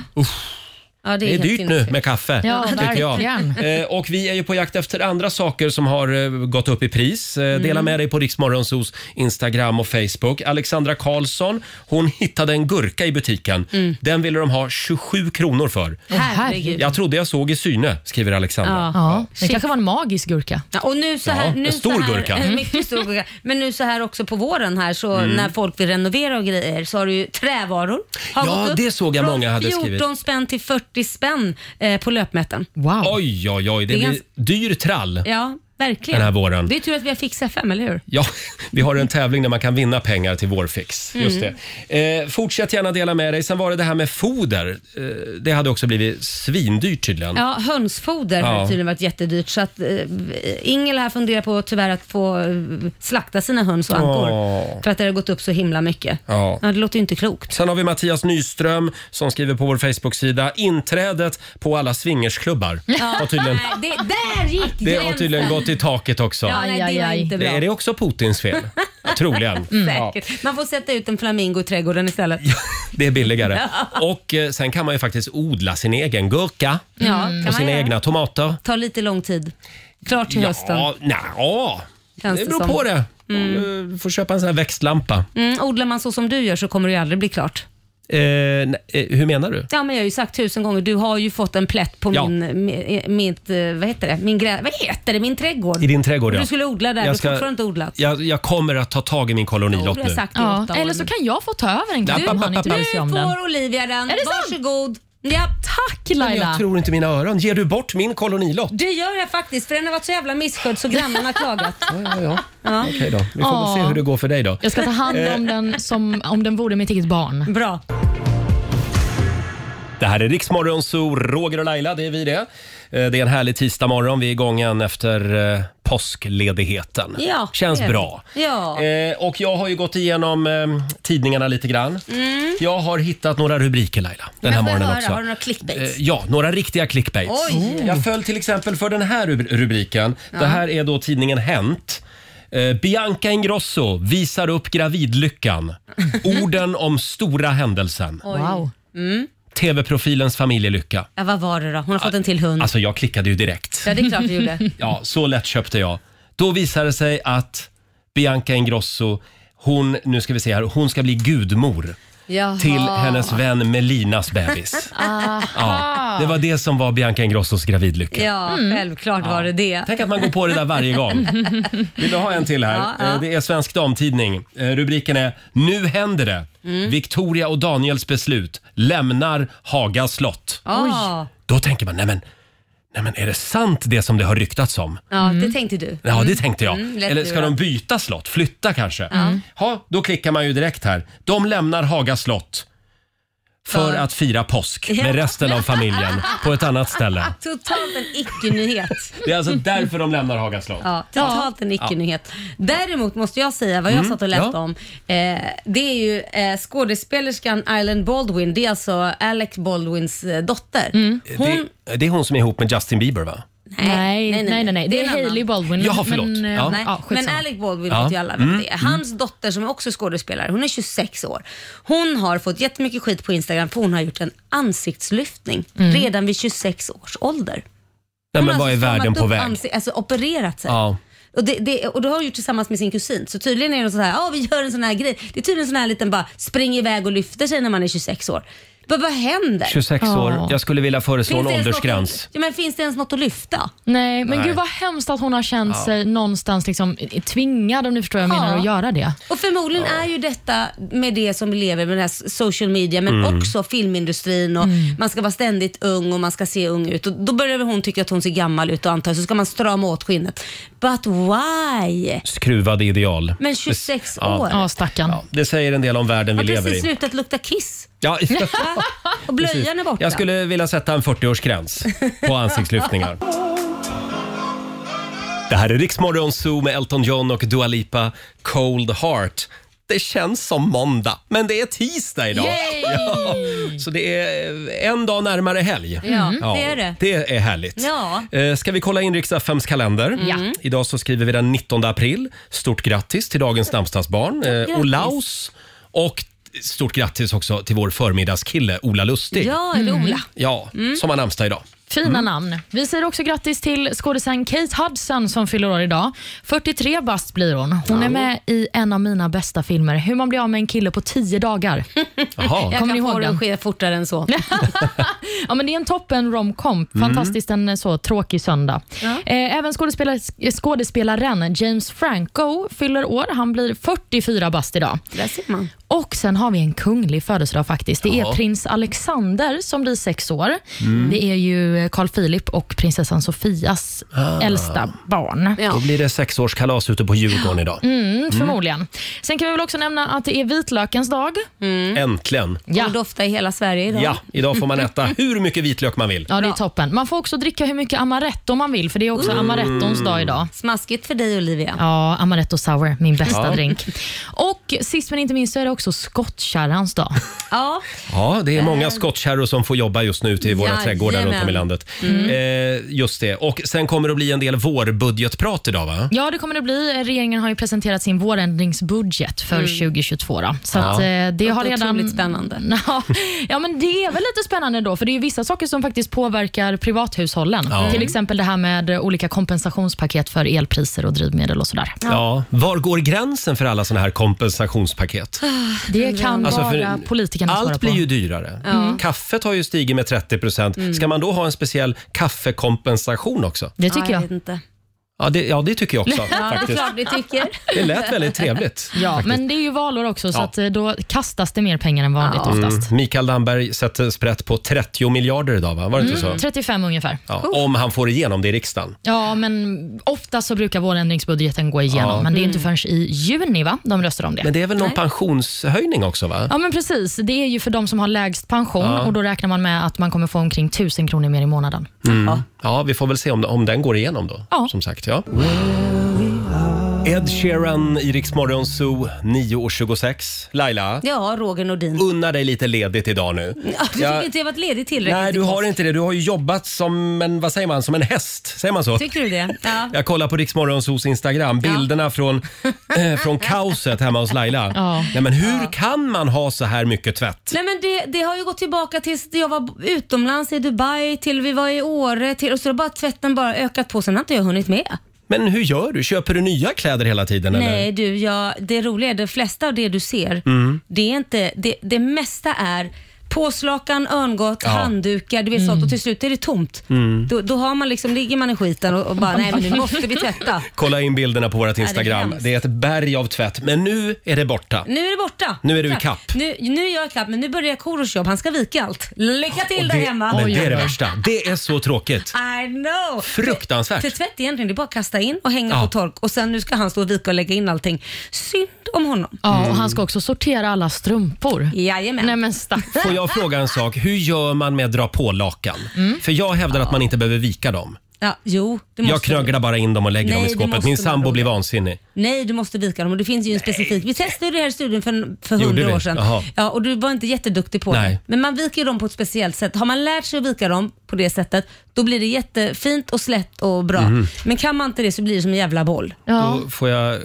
S3: Ja,
S1: Det är, dyrt nu med kaffe,
S4: Ja,
S1: tycker jag.
S4: verkligen.
S1: Eh, och vi är ju på jakt efter andra saker som har eh, gått upp i pris. Eh, Dela
S4: Mm.
S1: med dig på Riksmorgonsos Instagram och Facebook. Alexandra Karlsson, hon hittade en gurka i butiken. Den ville de ha 27 kronor för.
S3: Mm. Herregud.
S1: Jag trodde jag såg i syne, skriver Alexandra.
S3: Ja.
S4: Ja, det
S3: Shit.
S4: kanske var en magisk gurka.
S3: Ja, och nu så
S1: Ja,
S3: här,
S1: en
S3: nu
S1: stor
S3: så här,
S1: gurka.
S3: En mycket stor gurka. Men nu så här också på våren här så
S1: Mm.
S3: när folk vill renovera och grejer så har du ju trävaror. Har
S1: Ja,
S3: gått upp
S1: det såg jag
S3: från
S1: många hade skrivit.
S3: 14 spänn till 40 spänn eh, på löpmäten.
S4: Wow.
S1: Oj, oj, oj. Det,
S3: Det är
S1: blir
S3: ganska-
S1: dyr trall.
S3: Ja, verkligen.
S1: Den här våren.
S3: Det är tur att vi har Fix FM, eller hur?
S1: Ja, vi har en tävling där man kan vinna pengar till Vårfix.
S3: Mm.
S1: Just det. Eh, fortsätt gärna dela med dig. Sen var det det här med foder. Eh, det hade också blivit svindyrt tydligen.
S3: Ja, hönsfoder
S1: Ja.
S3: har tydligen varit jättedyrt så att eh, Ingel här funderar på tyvärr att få eh, slakta sina höns och ankor
S1: Åh.
S3: för att det har gått upp så himla mycket.
S1: Ja.
S3: Ja, det låter ju inte klokt.
S1: Sen har vi Mattias Nyström som skriver på vår Facebook-sida inträdet på alla swingersklubbar. Har tydligen,
S3: Nej, det, där gick
S1: det har tydligen
S3: gränsen.
S1: gått i taket också.
S3: Ja, nej, det var inte bra.
S1: Är det också Putins fel? Troligen. Ja.
S3: Mm. Säkert. Man får sätta ut en flamingo i trädgården istället.
S1: Det är billigare. Och eh, sen kan man ju faktiskt odla sin egen gurka
S3: Ja, Mm. kan man
S1: Mm. och sina
S3: göra.
S1: egna tomater.
S3: Tar lite lång tid. Klart till hösten.
S1: Ja, nja, ja. Det
S3: Känns det
S1: beror
S3: som.
S1: på det.
S3: Mm.
S1: Du får köpa en sån här växtlampa.
S3: Mm, odlar man så som du gör så kommer det ju aldrig bli klart.
S1: Eh, nej, eh, hur menar du?
S3: Ja, men jag har ju sagt tusen gånger, du har ju fått en plätt på
S1: Ja.
S3: min, mi- mitt, eh, vad heter det, min grä, vad heter det, min trädgård.
S1: I din trädgård, ja.
S3: Du skulle odla där,
S1: Jag
S3: du
S1: ska-
S3: har fortfarande inte odlat.
S1: Jag, jag kommer att ta tag i min kolonilott
S3: Du har
S1: nu.
S3: sagt det i
S4: Ja,
S3: åtta år
S4: eller så
S3: nu.
S4: kan jag få ta över en
S1: App,
S4: grej om
S1: app,
S4: han inte
S1: app,
S4: bryr sig om
S3: Du
S4: den.
S3: får Olivia den.
S4: Är det sant?
S3: Varsågod. Ja.
S4: Tack
S1: Men
S4: Laila!
S1: jag tror inte mina öron. Ger du bort min kolonilott?
S3: Det gör jag faktiskt, för den har varit så jävla misskött så grannarna har klagat.
S1: Ja, ja.
S3: Ja.
S1: Okej då. Vi får
S4: Ja.
S1: väl se hur det går för dig då.
S4: Jag ska ta hand
S1: Eh,
S4: om den som om den vore mitt eget barn.
S3: Bra.
S1: Eh, Det här är Riksmorgon Zoo, Roger och Laila, det är vi det. Eh, Det är en härlig tisdagmorgon. vi är igång igen efter eh, påskledigheten.
S3: Ja,
S1: Känns
S3: det är
S1: bra.
S3: det. Ja.
S1: Eh, Och jag har ju gått igenom eh, tidningarna lite grann.
S3: Mm.
S1: Jag har hittat några rubriker Laila, den här
S3: Men får jag
S1: morgonen
S3: höra,
S1: också.
S3: Har du några clickbaits?
S1: Eh, Ja, några riktiga clickbaits. Mm.
S3: Oj.
S1: Jag föll till exempel för den här rub- rubriken. Det här är då tidningen Hänt. Eh, Bianca Ingrosso visar upp gravidlyckan. Orden om stora händelsen.
S3: Oj. Mm.
S1: TV-profilens familjelycka.
S3: Ja, vad var det då? Hon har fått en till hund.
S1: Alltså jag klickade ju direkt.
S3: Ja, det är klart du gjorde.
S1: Ja, så lätt köpte jag. Då visade det sig att Bianca Ingrosso, hon, nu ska vi se här, hon ska bli gudmor
S3: Jaha.
S1: till hennes vän Melinas bebis.
S3: Aha.
S1: Ja, det var det som var Bianca Ingrossos gravidlycka.
S3: Ja, självklart var det det.
S1: Tänk att man går på det där varje gång. Vill du ha en till här?
S3: Ja, ja.
S1: Eh, Det är Svensk Damtidning. Eh, Rubriken är “Nu händer det!
S3: Mm.
S1: Victoria och Daniels beslut lämnar Haga slott”.
S3: Ah.
S1: Då tänker man, nej men, nej men är det sant det som det har ryktats om?
S3: Ja, det tänkte du.
S1: Mm. Ja, det tänkte jag.
S3: Mm, lätt
S1: Eller ska
S3: lurat.
S1: de byta slott? Flytta kanske?
S3: Mm.
S1: Ha, då klickar man ju direkt här. De lämnar Haga slott för
S3: För-
S1: att fira påsk
S3: Ja.
S1: med resten av familjen på ett annat ställe.
S3: Ah, Totalt en icke-nyhet.
S1: Det är alltså därför de lämnar Haga slott.
S3: Ja, totalt en icke-nyhet. Däremot måste jag säga vad jag
S1: Mm,
S3: satt och läste
S1: ja.
S3: om. Eh, det är ju eh, skådespelerskan Island Baldwin, det är alltså Alec Baldwins eh, dotter. Hon,
S1: Det, det är hon som är ihop med Justin Bieber va?
S4: Nej, nej, nej, nej, Det är
S3: en annan.
S4: Hailey Baldwin.
S1: Jaha, förlåt.
S4: Men, eh,
S1: Ja.
S3: Nej,
S4: ja, skitsamma.
S3: men Alec Baldwin
S1: Ja.
S3: vet ju alla vem
S1: Mm,
S3: det är. Hans dotter som är också skådespelare, hon är 26 år. Hon har fått jättemycket skit på Instagram för hon har gjort en ansiktslyftning redan vid 26 års ålder.
S1: Nej
S3: Hon
S1: Mm. men
S3: har
S1: vad är
S3: alltså
S1: världen
S3: stramat
S1: på
S3: upp
S1: väg?
S3: ansi- Alltså opererat sig.
S1: Ja.
S3: Och det, det, och det har hon gjort tillsammans med sin kusin. Så tydligen är det så här, ja vi gör en sån här grej. Det är tydligen en sån här liten bara spring iväg och lyfter sig när man är 26 år. Men vad händer?
S1: 26 år. Jag skulle vilja föreslå en
S3: Finns det ens
S1: åldersgräns.
S3: något- Ja, men finns det ens något att lyfta?
S4: Nej, Eh, men
S1: Nej.
S4: gud vad hemskt att hon har känt
S1: Ja.
S4: sig någonstans liksom i- tvingad, om ni förstår vad jag
S3: Ja.
S4: menar, att göra det.
S3: Och förmodligen är ju detta med det som vi lever med, den här social media, men
S4: Mm.
S3: också filmindustrin och man ska vara ständigt ung och man ska se ung ut. Och då börjar väl hon tycka att hon ser gammal ut och antar så ska man strama åt skinnet. But why?
S1: Skruvade ideal.
S3: Men 26
S1: Ja.
S3: år.
S1: Ja,
S4: stackarn.
S1: Det säger en del om världen vi
S3: Har
S1: lever
S3: precis
S1: i.
S3: slutat lukta kiss.
S1: Ja,
S3: Och blöjan är borta.
S1: Jag skulle vilja sätta en 40-årsgräns på ansiktslyftningar. Det här är Riksmorgon Zoo med Elton John och Dua Lipa, Cold Heart. Det känns som måndag, men det är tisdag idag.
S8: Yay!
S1: Ja, så det är en dag närmare helg.
S8: Ja, Mm. det är det.
S1: Det är härligt.
S8: Ja.
S1: Eh, Ska vi kolla in riksdagsfems kalender?
S4: Mm.
S8: Ja.
S1: Idag så skriver vi den 19 april. Stort grattis till dagens namnsdagsbarn, eh,
S8: Grattis.
S1: Olaus. Och stort grattis också till vår förmiddagskille Ola Lustig.
S4: Ja, eller Ola. Mm.
S1: Ja,
S4: Mm.
S1: som har namnsdag idag.
S4: Fina
S1: Mm.
S4: namn. Vi säger också grattis till skådisen Kate Hudson som fyller år idag. 43 bast blir hon. Hon är med i en av mina bästa filmer, Hur man blir av med en kille på 10 dagar.
S1: Jaha.
S3: Jag
S4: Kommer ni
S3: kan få
S4: ihåg
S3: det att
S4: den?
S3: ske fortare än så.
S4: Ja, men det är en toppen romcom.
S1: Mm.
S4: Fantastiskt en så tråkig söndag. Eh, även skådespelare, skådespelaren James Franco fyller år. Han blir 44 bast idag.
S3: Där ser man.
S4: Och sen har vi en kunglig födelsedag faktiskt. Det
S3: Ja.
S4: är prins Alexander som blir sex år.
S1: Mm.
S4: Det är ju Carl Philip och prinsessan Sofias
S1: Ah.
S4: äldsta barn.
S1: Då blir det sexårskalas ute på Djurgården idag.
S4: Mm, förmodligen. Sen kan vi väl också nämna att det är vitlökens dag.
S1: Äntligen!
S4: Ja.
S3: Mm. Och doftar i hela Sverige idag.
S1: Ja, idag får man äta hur mycket vitlök man vill.
S4: Ja, det är toppen. Man får också dricka hur mycket amaretto man vill, för det är också
S1: Mm.
S4: amarettons dag idag.
S3: Smaskigt för dig Olivia.
S4: Ja, amaretto sour, min bästa
S1: Ja.
S4: drink. Och sist men inte minst så är det också skottkärrans dag.
S3: Ja.
S1: Ja, det är många skottkärror som får jobba just nu ute i våra trädgårdar runt om i
S3: Jajamän.
S1: landet.
S4: Mm.
S1: Eh, just det. Och sen kommer det att bli en del vårbudgetprat idag va?
S4: Ja, det kommer det bli. Regeringen har ju presenterat sin vårändringsbudget för
S1: Mm.
S4: 2022. Då. Så
S1: Ja.
S4: att, eh, det har
S3: Låter
S4: redan...
S3: otroligt spännande.
S4: Ja, ja, men det är väl lite spännande då, för det är ju vissa saker som faktiskt påverkar privathushållen.
S1: Ja.
S4: Till exempel det här med eh, olika kompensationspaket för elpriser och drivmedel och sådär.
S3: Ah,
S1: Ja. Var går gränsen för alla såna här kompensationspaket?
S4: Det kan
S1: Alltså, för
S4: bara politikerna svara
S1: Allt
S4: på.
S1: blir ju dyrare.
S4: Ja.
S1: Kaffet har ju stigit med 30
S4: Mm.
S1: Ska man då ha en speciell kaffekompensation också?
S4: Det tycker jag.
S3: inte.
S1: Ja, det, ja, det tycker jag också
S4: Ja,
S1: faktiskt.
S3: det tycker.
S1: Det lät väldigt trevligt.
S4: Ja,
S1: faktiskt.
S4: men det är ju valår också, så
S1: Ja.
S4: att eh, då kastas det mer pengar än vanligt oftast.
S1: Mm. Mikael Damberg sätter sprätt på 30 miljarder idag, va? Var det inte
S4: Mm,
S1: så?
S4: 35 ungefär.
S1: Ja, om han får igenom det i riksdagen.
S4: Ja, men ofta så brukar vårändringsbudgeten gå igenom,
S1: Ja. Mm.
S4: men det är inte förrän i juni va? de röstar om det.
S1: Men det är väl någon
S4: Nej.
S1: pensionshöjning också? va?
S4: Ja, men precis. Det är ju för de som har lägst pension
S1: Ja.
S4: och då räknar man med att man kommer få omkring 1000 kronor mer i månaden.
S1: Mm. Ja, vi får väl se om, om den går igenom då.
S4: Ja.
S1: Som sagt, ja. Ed Sheeran i Rix Morgon Zoo, 9.26. Laila,
S3: Ja, Roger Nordin.
S1: unna dig lite ledigt idag nu.
S3: Ja, du tycker inte jag varit ledig tillräckligt?
S1: Nej, du har inte det. Du har ju jobbat som en, vad säger man, som en häst. Säger man så?
S3: Tycker du det? Ja.
S1: Jag kollar på Rix Morgonzoos Instagram, bilderna från, eh, från kaoset hemma hos Laila.
S3: Ja.
S1: Nej, men hur kan man ha så här mycket tvätt?
S3: Nej men det, det har ju gått tillbaka tills jag var utomlands i Dubai, till vi var i Åre, till, och så har bara tvätten bara ökat på. Sen har inte jag hunnit med.
S1: Men hur gör du? Köper du nya kläder hela tiden?
S3: Nej du, jag, det roliga är de flesta av det du ser, Eller? Mm. det är inte, det, det mesta är påslakan, örngott,
S1: Ja.
S3: handdukar, du vet sånt och till slut är det tomt.
S1: Mm.
S3: Då, då har man liksom, ligger man i skiten och, och bara, nej men nu måste vi tvätta.
S1: Kolla in bilderna på vårt
S3: det är
S1: Instagram.
S3: hemskt.
S1: Det är ett berg av tvätt, men nu är det borta.
S3: Nu är det borta.
S1: Nu är du i
S3: Tack.
S1: kapp.
S3: Nu, nu är jag i kapp, men nu börjar Korosh jobb. Han ska vika allt. Lycka till där
S1: det,
S3: hemma.
S1: Men det är det värsta. Det är så tråkigt.
S3: I know.
S1: Fruktansvärt.
S3: För tvätt egentligen, det är bara att kasta in och hänga
S1: Ja.
S3: på tork och sen nu ska han stå och vika och lägga in allting. Synd om honom.
S1: Mm.
S4: Ja, och han ska också sortera alla strumpor.
S3: Jajamän.
S4: Nej men stackars.
S1: Får jag fråga en sak? Hur gör man med att dra på lakan?
S3: Mm.
S1: För jag hävdar att man inte behöver vika dem.
S3: Ja, jo, det måste
S1: Jag knöglar bara in dem och lägger
S3: Nej,
S1: dem i
S3: det
S1: skåpet.
S3: måste
S1: Min
S3: man
S1: sambo
S3: då.
S1: blir vansinnig.
S3: Nej, du måste vika dem och det finns ju en specifik. Vi testade det här i studion för, för
S1: Gjorde
S3: hundra
S1: vi?
S3: år sedan.
S1: Jaha.
S3: Ja, och du var inte jätteduktig på
S1: Nej.
S3: det. Men man viker ju dem på ett speciellt sätt. Har man lärt sig att vika dem på det sättet, då blir det jättefint och slätt och bra.
S1: Mhm.
S3: Men kan man inte det så blir det som en jävla boll. Ja,
S1: Då får jag eh,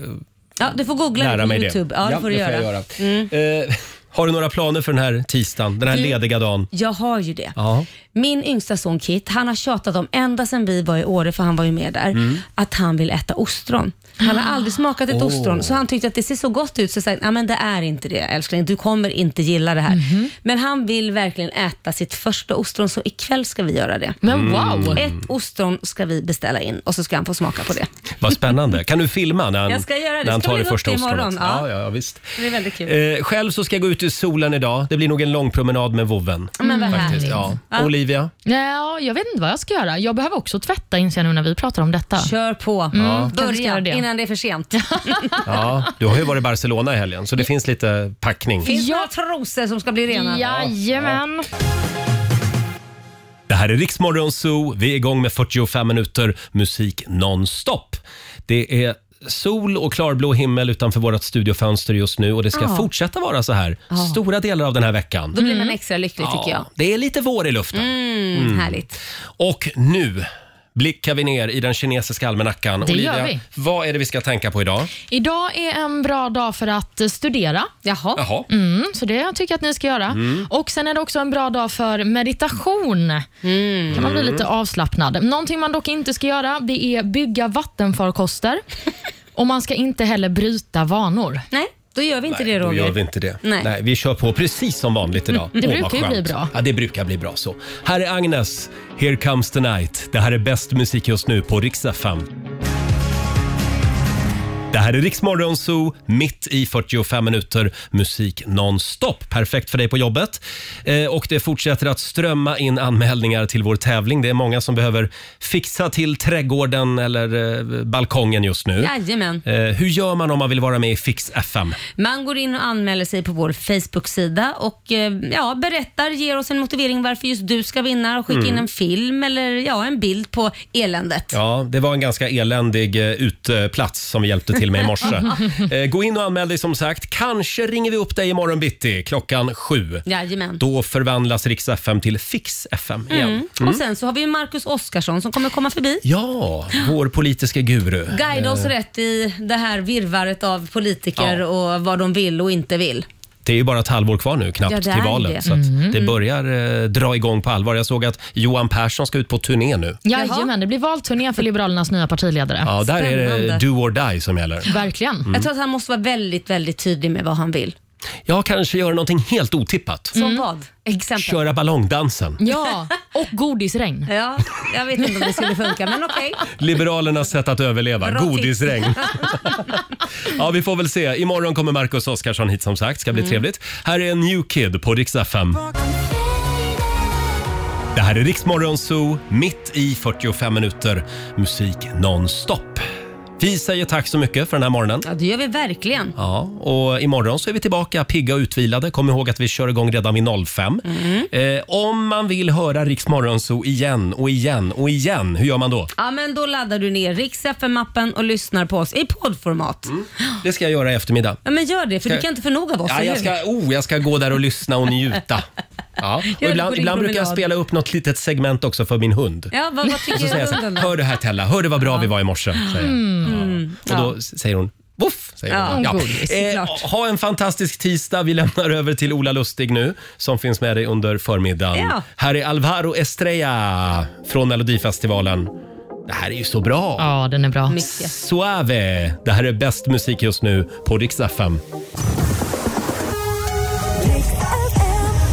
S3: du får googla
S1: lära
S3: det på
S1: mig
S3: YouTube.
S1: det.
S3: Ja, det får du
S1: får
S3: göra. Mm.
S1: jag Eh, har du några planer för den här tisdagen? Den här
S3: Du-
S1: lediga dagen?
S3: Jag har ju det.
S1: Ja.
S3: Min yngsta son Kit, han har tjatat om ända sedan vi var i Åre, för han var ju med där,
S1: Mm.
S3: att han vill äta ostron. Han har aldrig smakat ett
S1: Åh.
S3: ostron, så han tyckte att det ser så gott ut, så jag sa nej men det är inte det älskling, du kommer inte gilla det här.
S1: Mhm.
S3: Men han vill verkligen äta sitt första ostron, så ikväll ska vi göra det.
S1: Men wow. Mm.
S3: Ett ostron ska vi beställa in och så ska han få smaka på det.
S1: Vad spännande. Kan du filma när han,
S3: Jag ska göra det.
S1: När han
S3: Ska
S1: tar
S3: vi
S1: det
S3: lägga upp
S1: första
S3: det imorgon?
S1: ostronet? Ja,
S3: Ja.
S1: ja, ja, visst.
S3: Det är väldigt kul.
S1: Eh, själv så ska jag gå ut i solen idag. Det blir nog en lång promenad med vovven.
S4: Men vad
S1: faktiskt.
S4: härligt.
S1: Ja.
S4: Ja.
S1: Olivia?
S4: Ja, jag vet inte vad jag ska göra. Jag behöver också tvätta inser jag nu när vi pratar om detta. Mm,
S3: Kör på.
S1: Ja.
S3: Börja innan det är för sent.
S1: Ja, du har ju varit i Barcelona i helgen, så det finns lite packning.
S3: Finns det några trosor som ska bli rena?
S4: Jajamän.
S1: Det här är Riksmorgon Zoo. Vi är igång med 45 minuter musik nonstop. Det är sol och klarblå himmel utanför vårt studiofönster just nu och det ska
S3: Ja.
S1: fortsätta vara så här
S3: Ja.
S1: stora delar av den här veckan.
S3: Då blir man extra lycklig tycker jag.
S1: Ja, det är lite vår i luften.
S3: Mm,
S1: Mm.
S3: Härligt.
S1: Och nu blickar vi ner i den kinesiska almanackan.
S4: Det gör
S1: Olivia,
S4: vi.
S1: vad är det vi ska tänka på idag?
S4: Idag är en bra dag för att eh, studera.
S3: Jaha.
S1: Jaha.
S4: Mm, så det tycker jag att ni ska göra.
S1: Mm.
S4: Och Sen är det också en bra dag för meditation. kan man bli
S1: Mm.
S4: lite avslappnad. Någonting man dock inte ska göra det är bygga vattenfarkoster. och man ska inte heller bryta vanor.
S3: Nej, då gör vi inte
S1: Nej,
S3: det
S1: Då
S3: Roger.
S1: gör vi inte det.
S3: Nej.
S1: vi kör på precis som vanligt idag.
S4: Det
S1: Åh,
S4: brukar
S1: vad
S4: ju bli
S1: skönt.
S4: bra.
S1: Ja, det brukar bli bra så. Här är Agnes, Here comes the night. Det här är bäst musik just nu på Rix FM. Det här är Rix Morgon Zoo, mitt i 45 minuter musik nonstop. Perfekt för dig på jobbet. Eh, och det fortsätter att strömma in anmälningar till vår tävling. Det är många som behöver fixa till trädgården eller eh, balkongen just nu.
S3: Jajamän.
S1: Eh, hur gör man om man vill vara med i Fix FM?
S3: Man går in och anmäler sig på vår Facebook-sida och eh, ja, berättar, ger oss en motivering varför just du ska vinna och skicka
S1: Mm.
S3: in en film eller ja, en bild på eländet.
S1: Ja, det var en ganska eländig eh, uteplats som vi hjälpte till till mig i morse. Eh, Gå in och anmäl dig som sagt. Kanske ringer vi upp dig imorgon bitti klockan sju.
S3: Jajamän.
S1: Då förvandlas Rix FM till Fix FM igen.
S3: Mm. Och
S1: Mm.
S3: sen så har vi ju Marcus Oskarsson som kommer komma förbi.
S1: Ja, vår politiska guru.
S3: Guida oss
S1: Eh,
S3: rätt i det här virvaret av politiker och vad de vill och inte vill.
S1: Det är ju bara ett halvår kvar nu knappt
S3: Ja, det är
S1: till valet.
S3: det.
S1: Så att
S3: Mm.
S1: det börjar eh, dra igång på allvar. Jag såg att Johan Persson ska ut på turné nu.
S4: Jajamän, det blir valturné för Liberalernas nya partiledare.
S1: Ja, där är det do or die som gäller.
S4: Verkligen.
S1: Mm.
S3: Jag tror att han måste vara väldigt, väldigt tydlig med vad han vill.
S1: Jag kanske gör någonting helt otippat. Mm.
S3: Som vad? Exempel.
S1: Köra ballongdansen.
S4: Mm. Ja, och godisregn.
S3: Ja, jag vet inte om det skulle funka, men okej.
S1: Liberalernas sätt att överleva.
S3: Bra tips.
S1: Godisregn. ja, vi får väl se. Imorgon kommer Marcus Oskarsson hit som sagt. Ska bli
S8: Mm.
S1: trevligt. Här är en new kid på Rix FM. Det här är Rix Morgon Zoo, mitt i 45 minuter musik nonstop. Vi säger tack så mycket för den här morgonen.
S3: Ja, det gör vi verkligen.
S1: Ja, och imorgon så är vi tillbaka pigga och utvilade. Kom ihåg att vi kör igång redan vid 05.
S3: Mm.
S1: Eh, om man vill höra Rix Morgon Zoo igen och igen och igen, hur gör man då?
S3: Ja, men då laddar du ner Rix FM-appen och lyssnar på oss i poddformat.
S1: Det ska jag göra i eftermiddag.
S3: Ja, men gör det, för
S1: Ska-
S3: du kan inte få nog av oss,
S1: Mm. Ja, jag,
S3: eller hur?
S1: ska, oh, jag ska gå där och lyssna och njuta. Ja.
S3: det
S1: Och
S3: på
S1: ibland
S3: din
S1: ibland brukar jag
S3: promenad.
S1: spela upp något litet segment också för min hund.
S3: Ja, vad, vad
S1: Och så säger
S3: tycker
S1: jag så
S3: hunden
S1: här,
S3: då?
S1: hör du här Tella, hör du vad bra vi var i morse? Säger jag.
S3: Mm.
S1: Och
S3: Ja.
S1: då s- säger hon Voff, säger
S3: Ja,
S1: hon.
S3: godis,
S1: Eh, ha en fantastisk tisdag. Vi lämnar över till Ola Lustig nu som finns med dig under förmiddagen.
S8: Ja.
S1: Här är Alvaro Estrella från Melodifestivalen. Det här är ju så bra.
S4: Ja, den är bra.
S1: Suave. Det här är bäst musik just nu på Rix FM.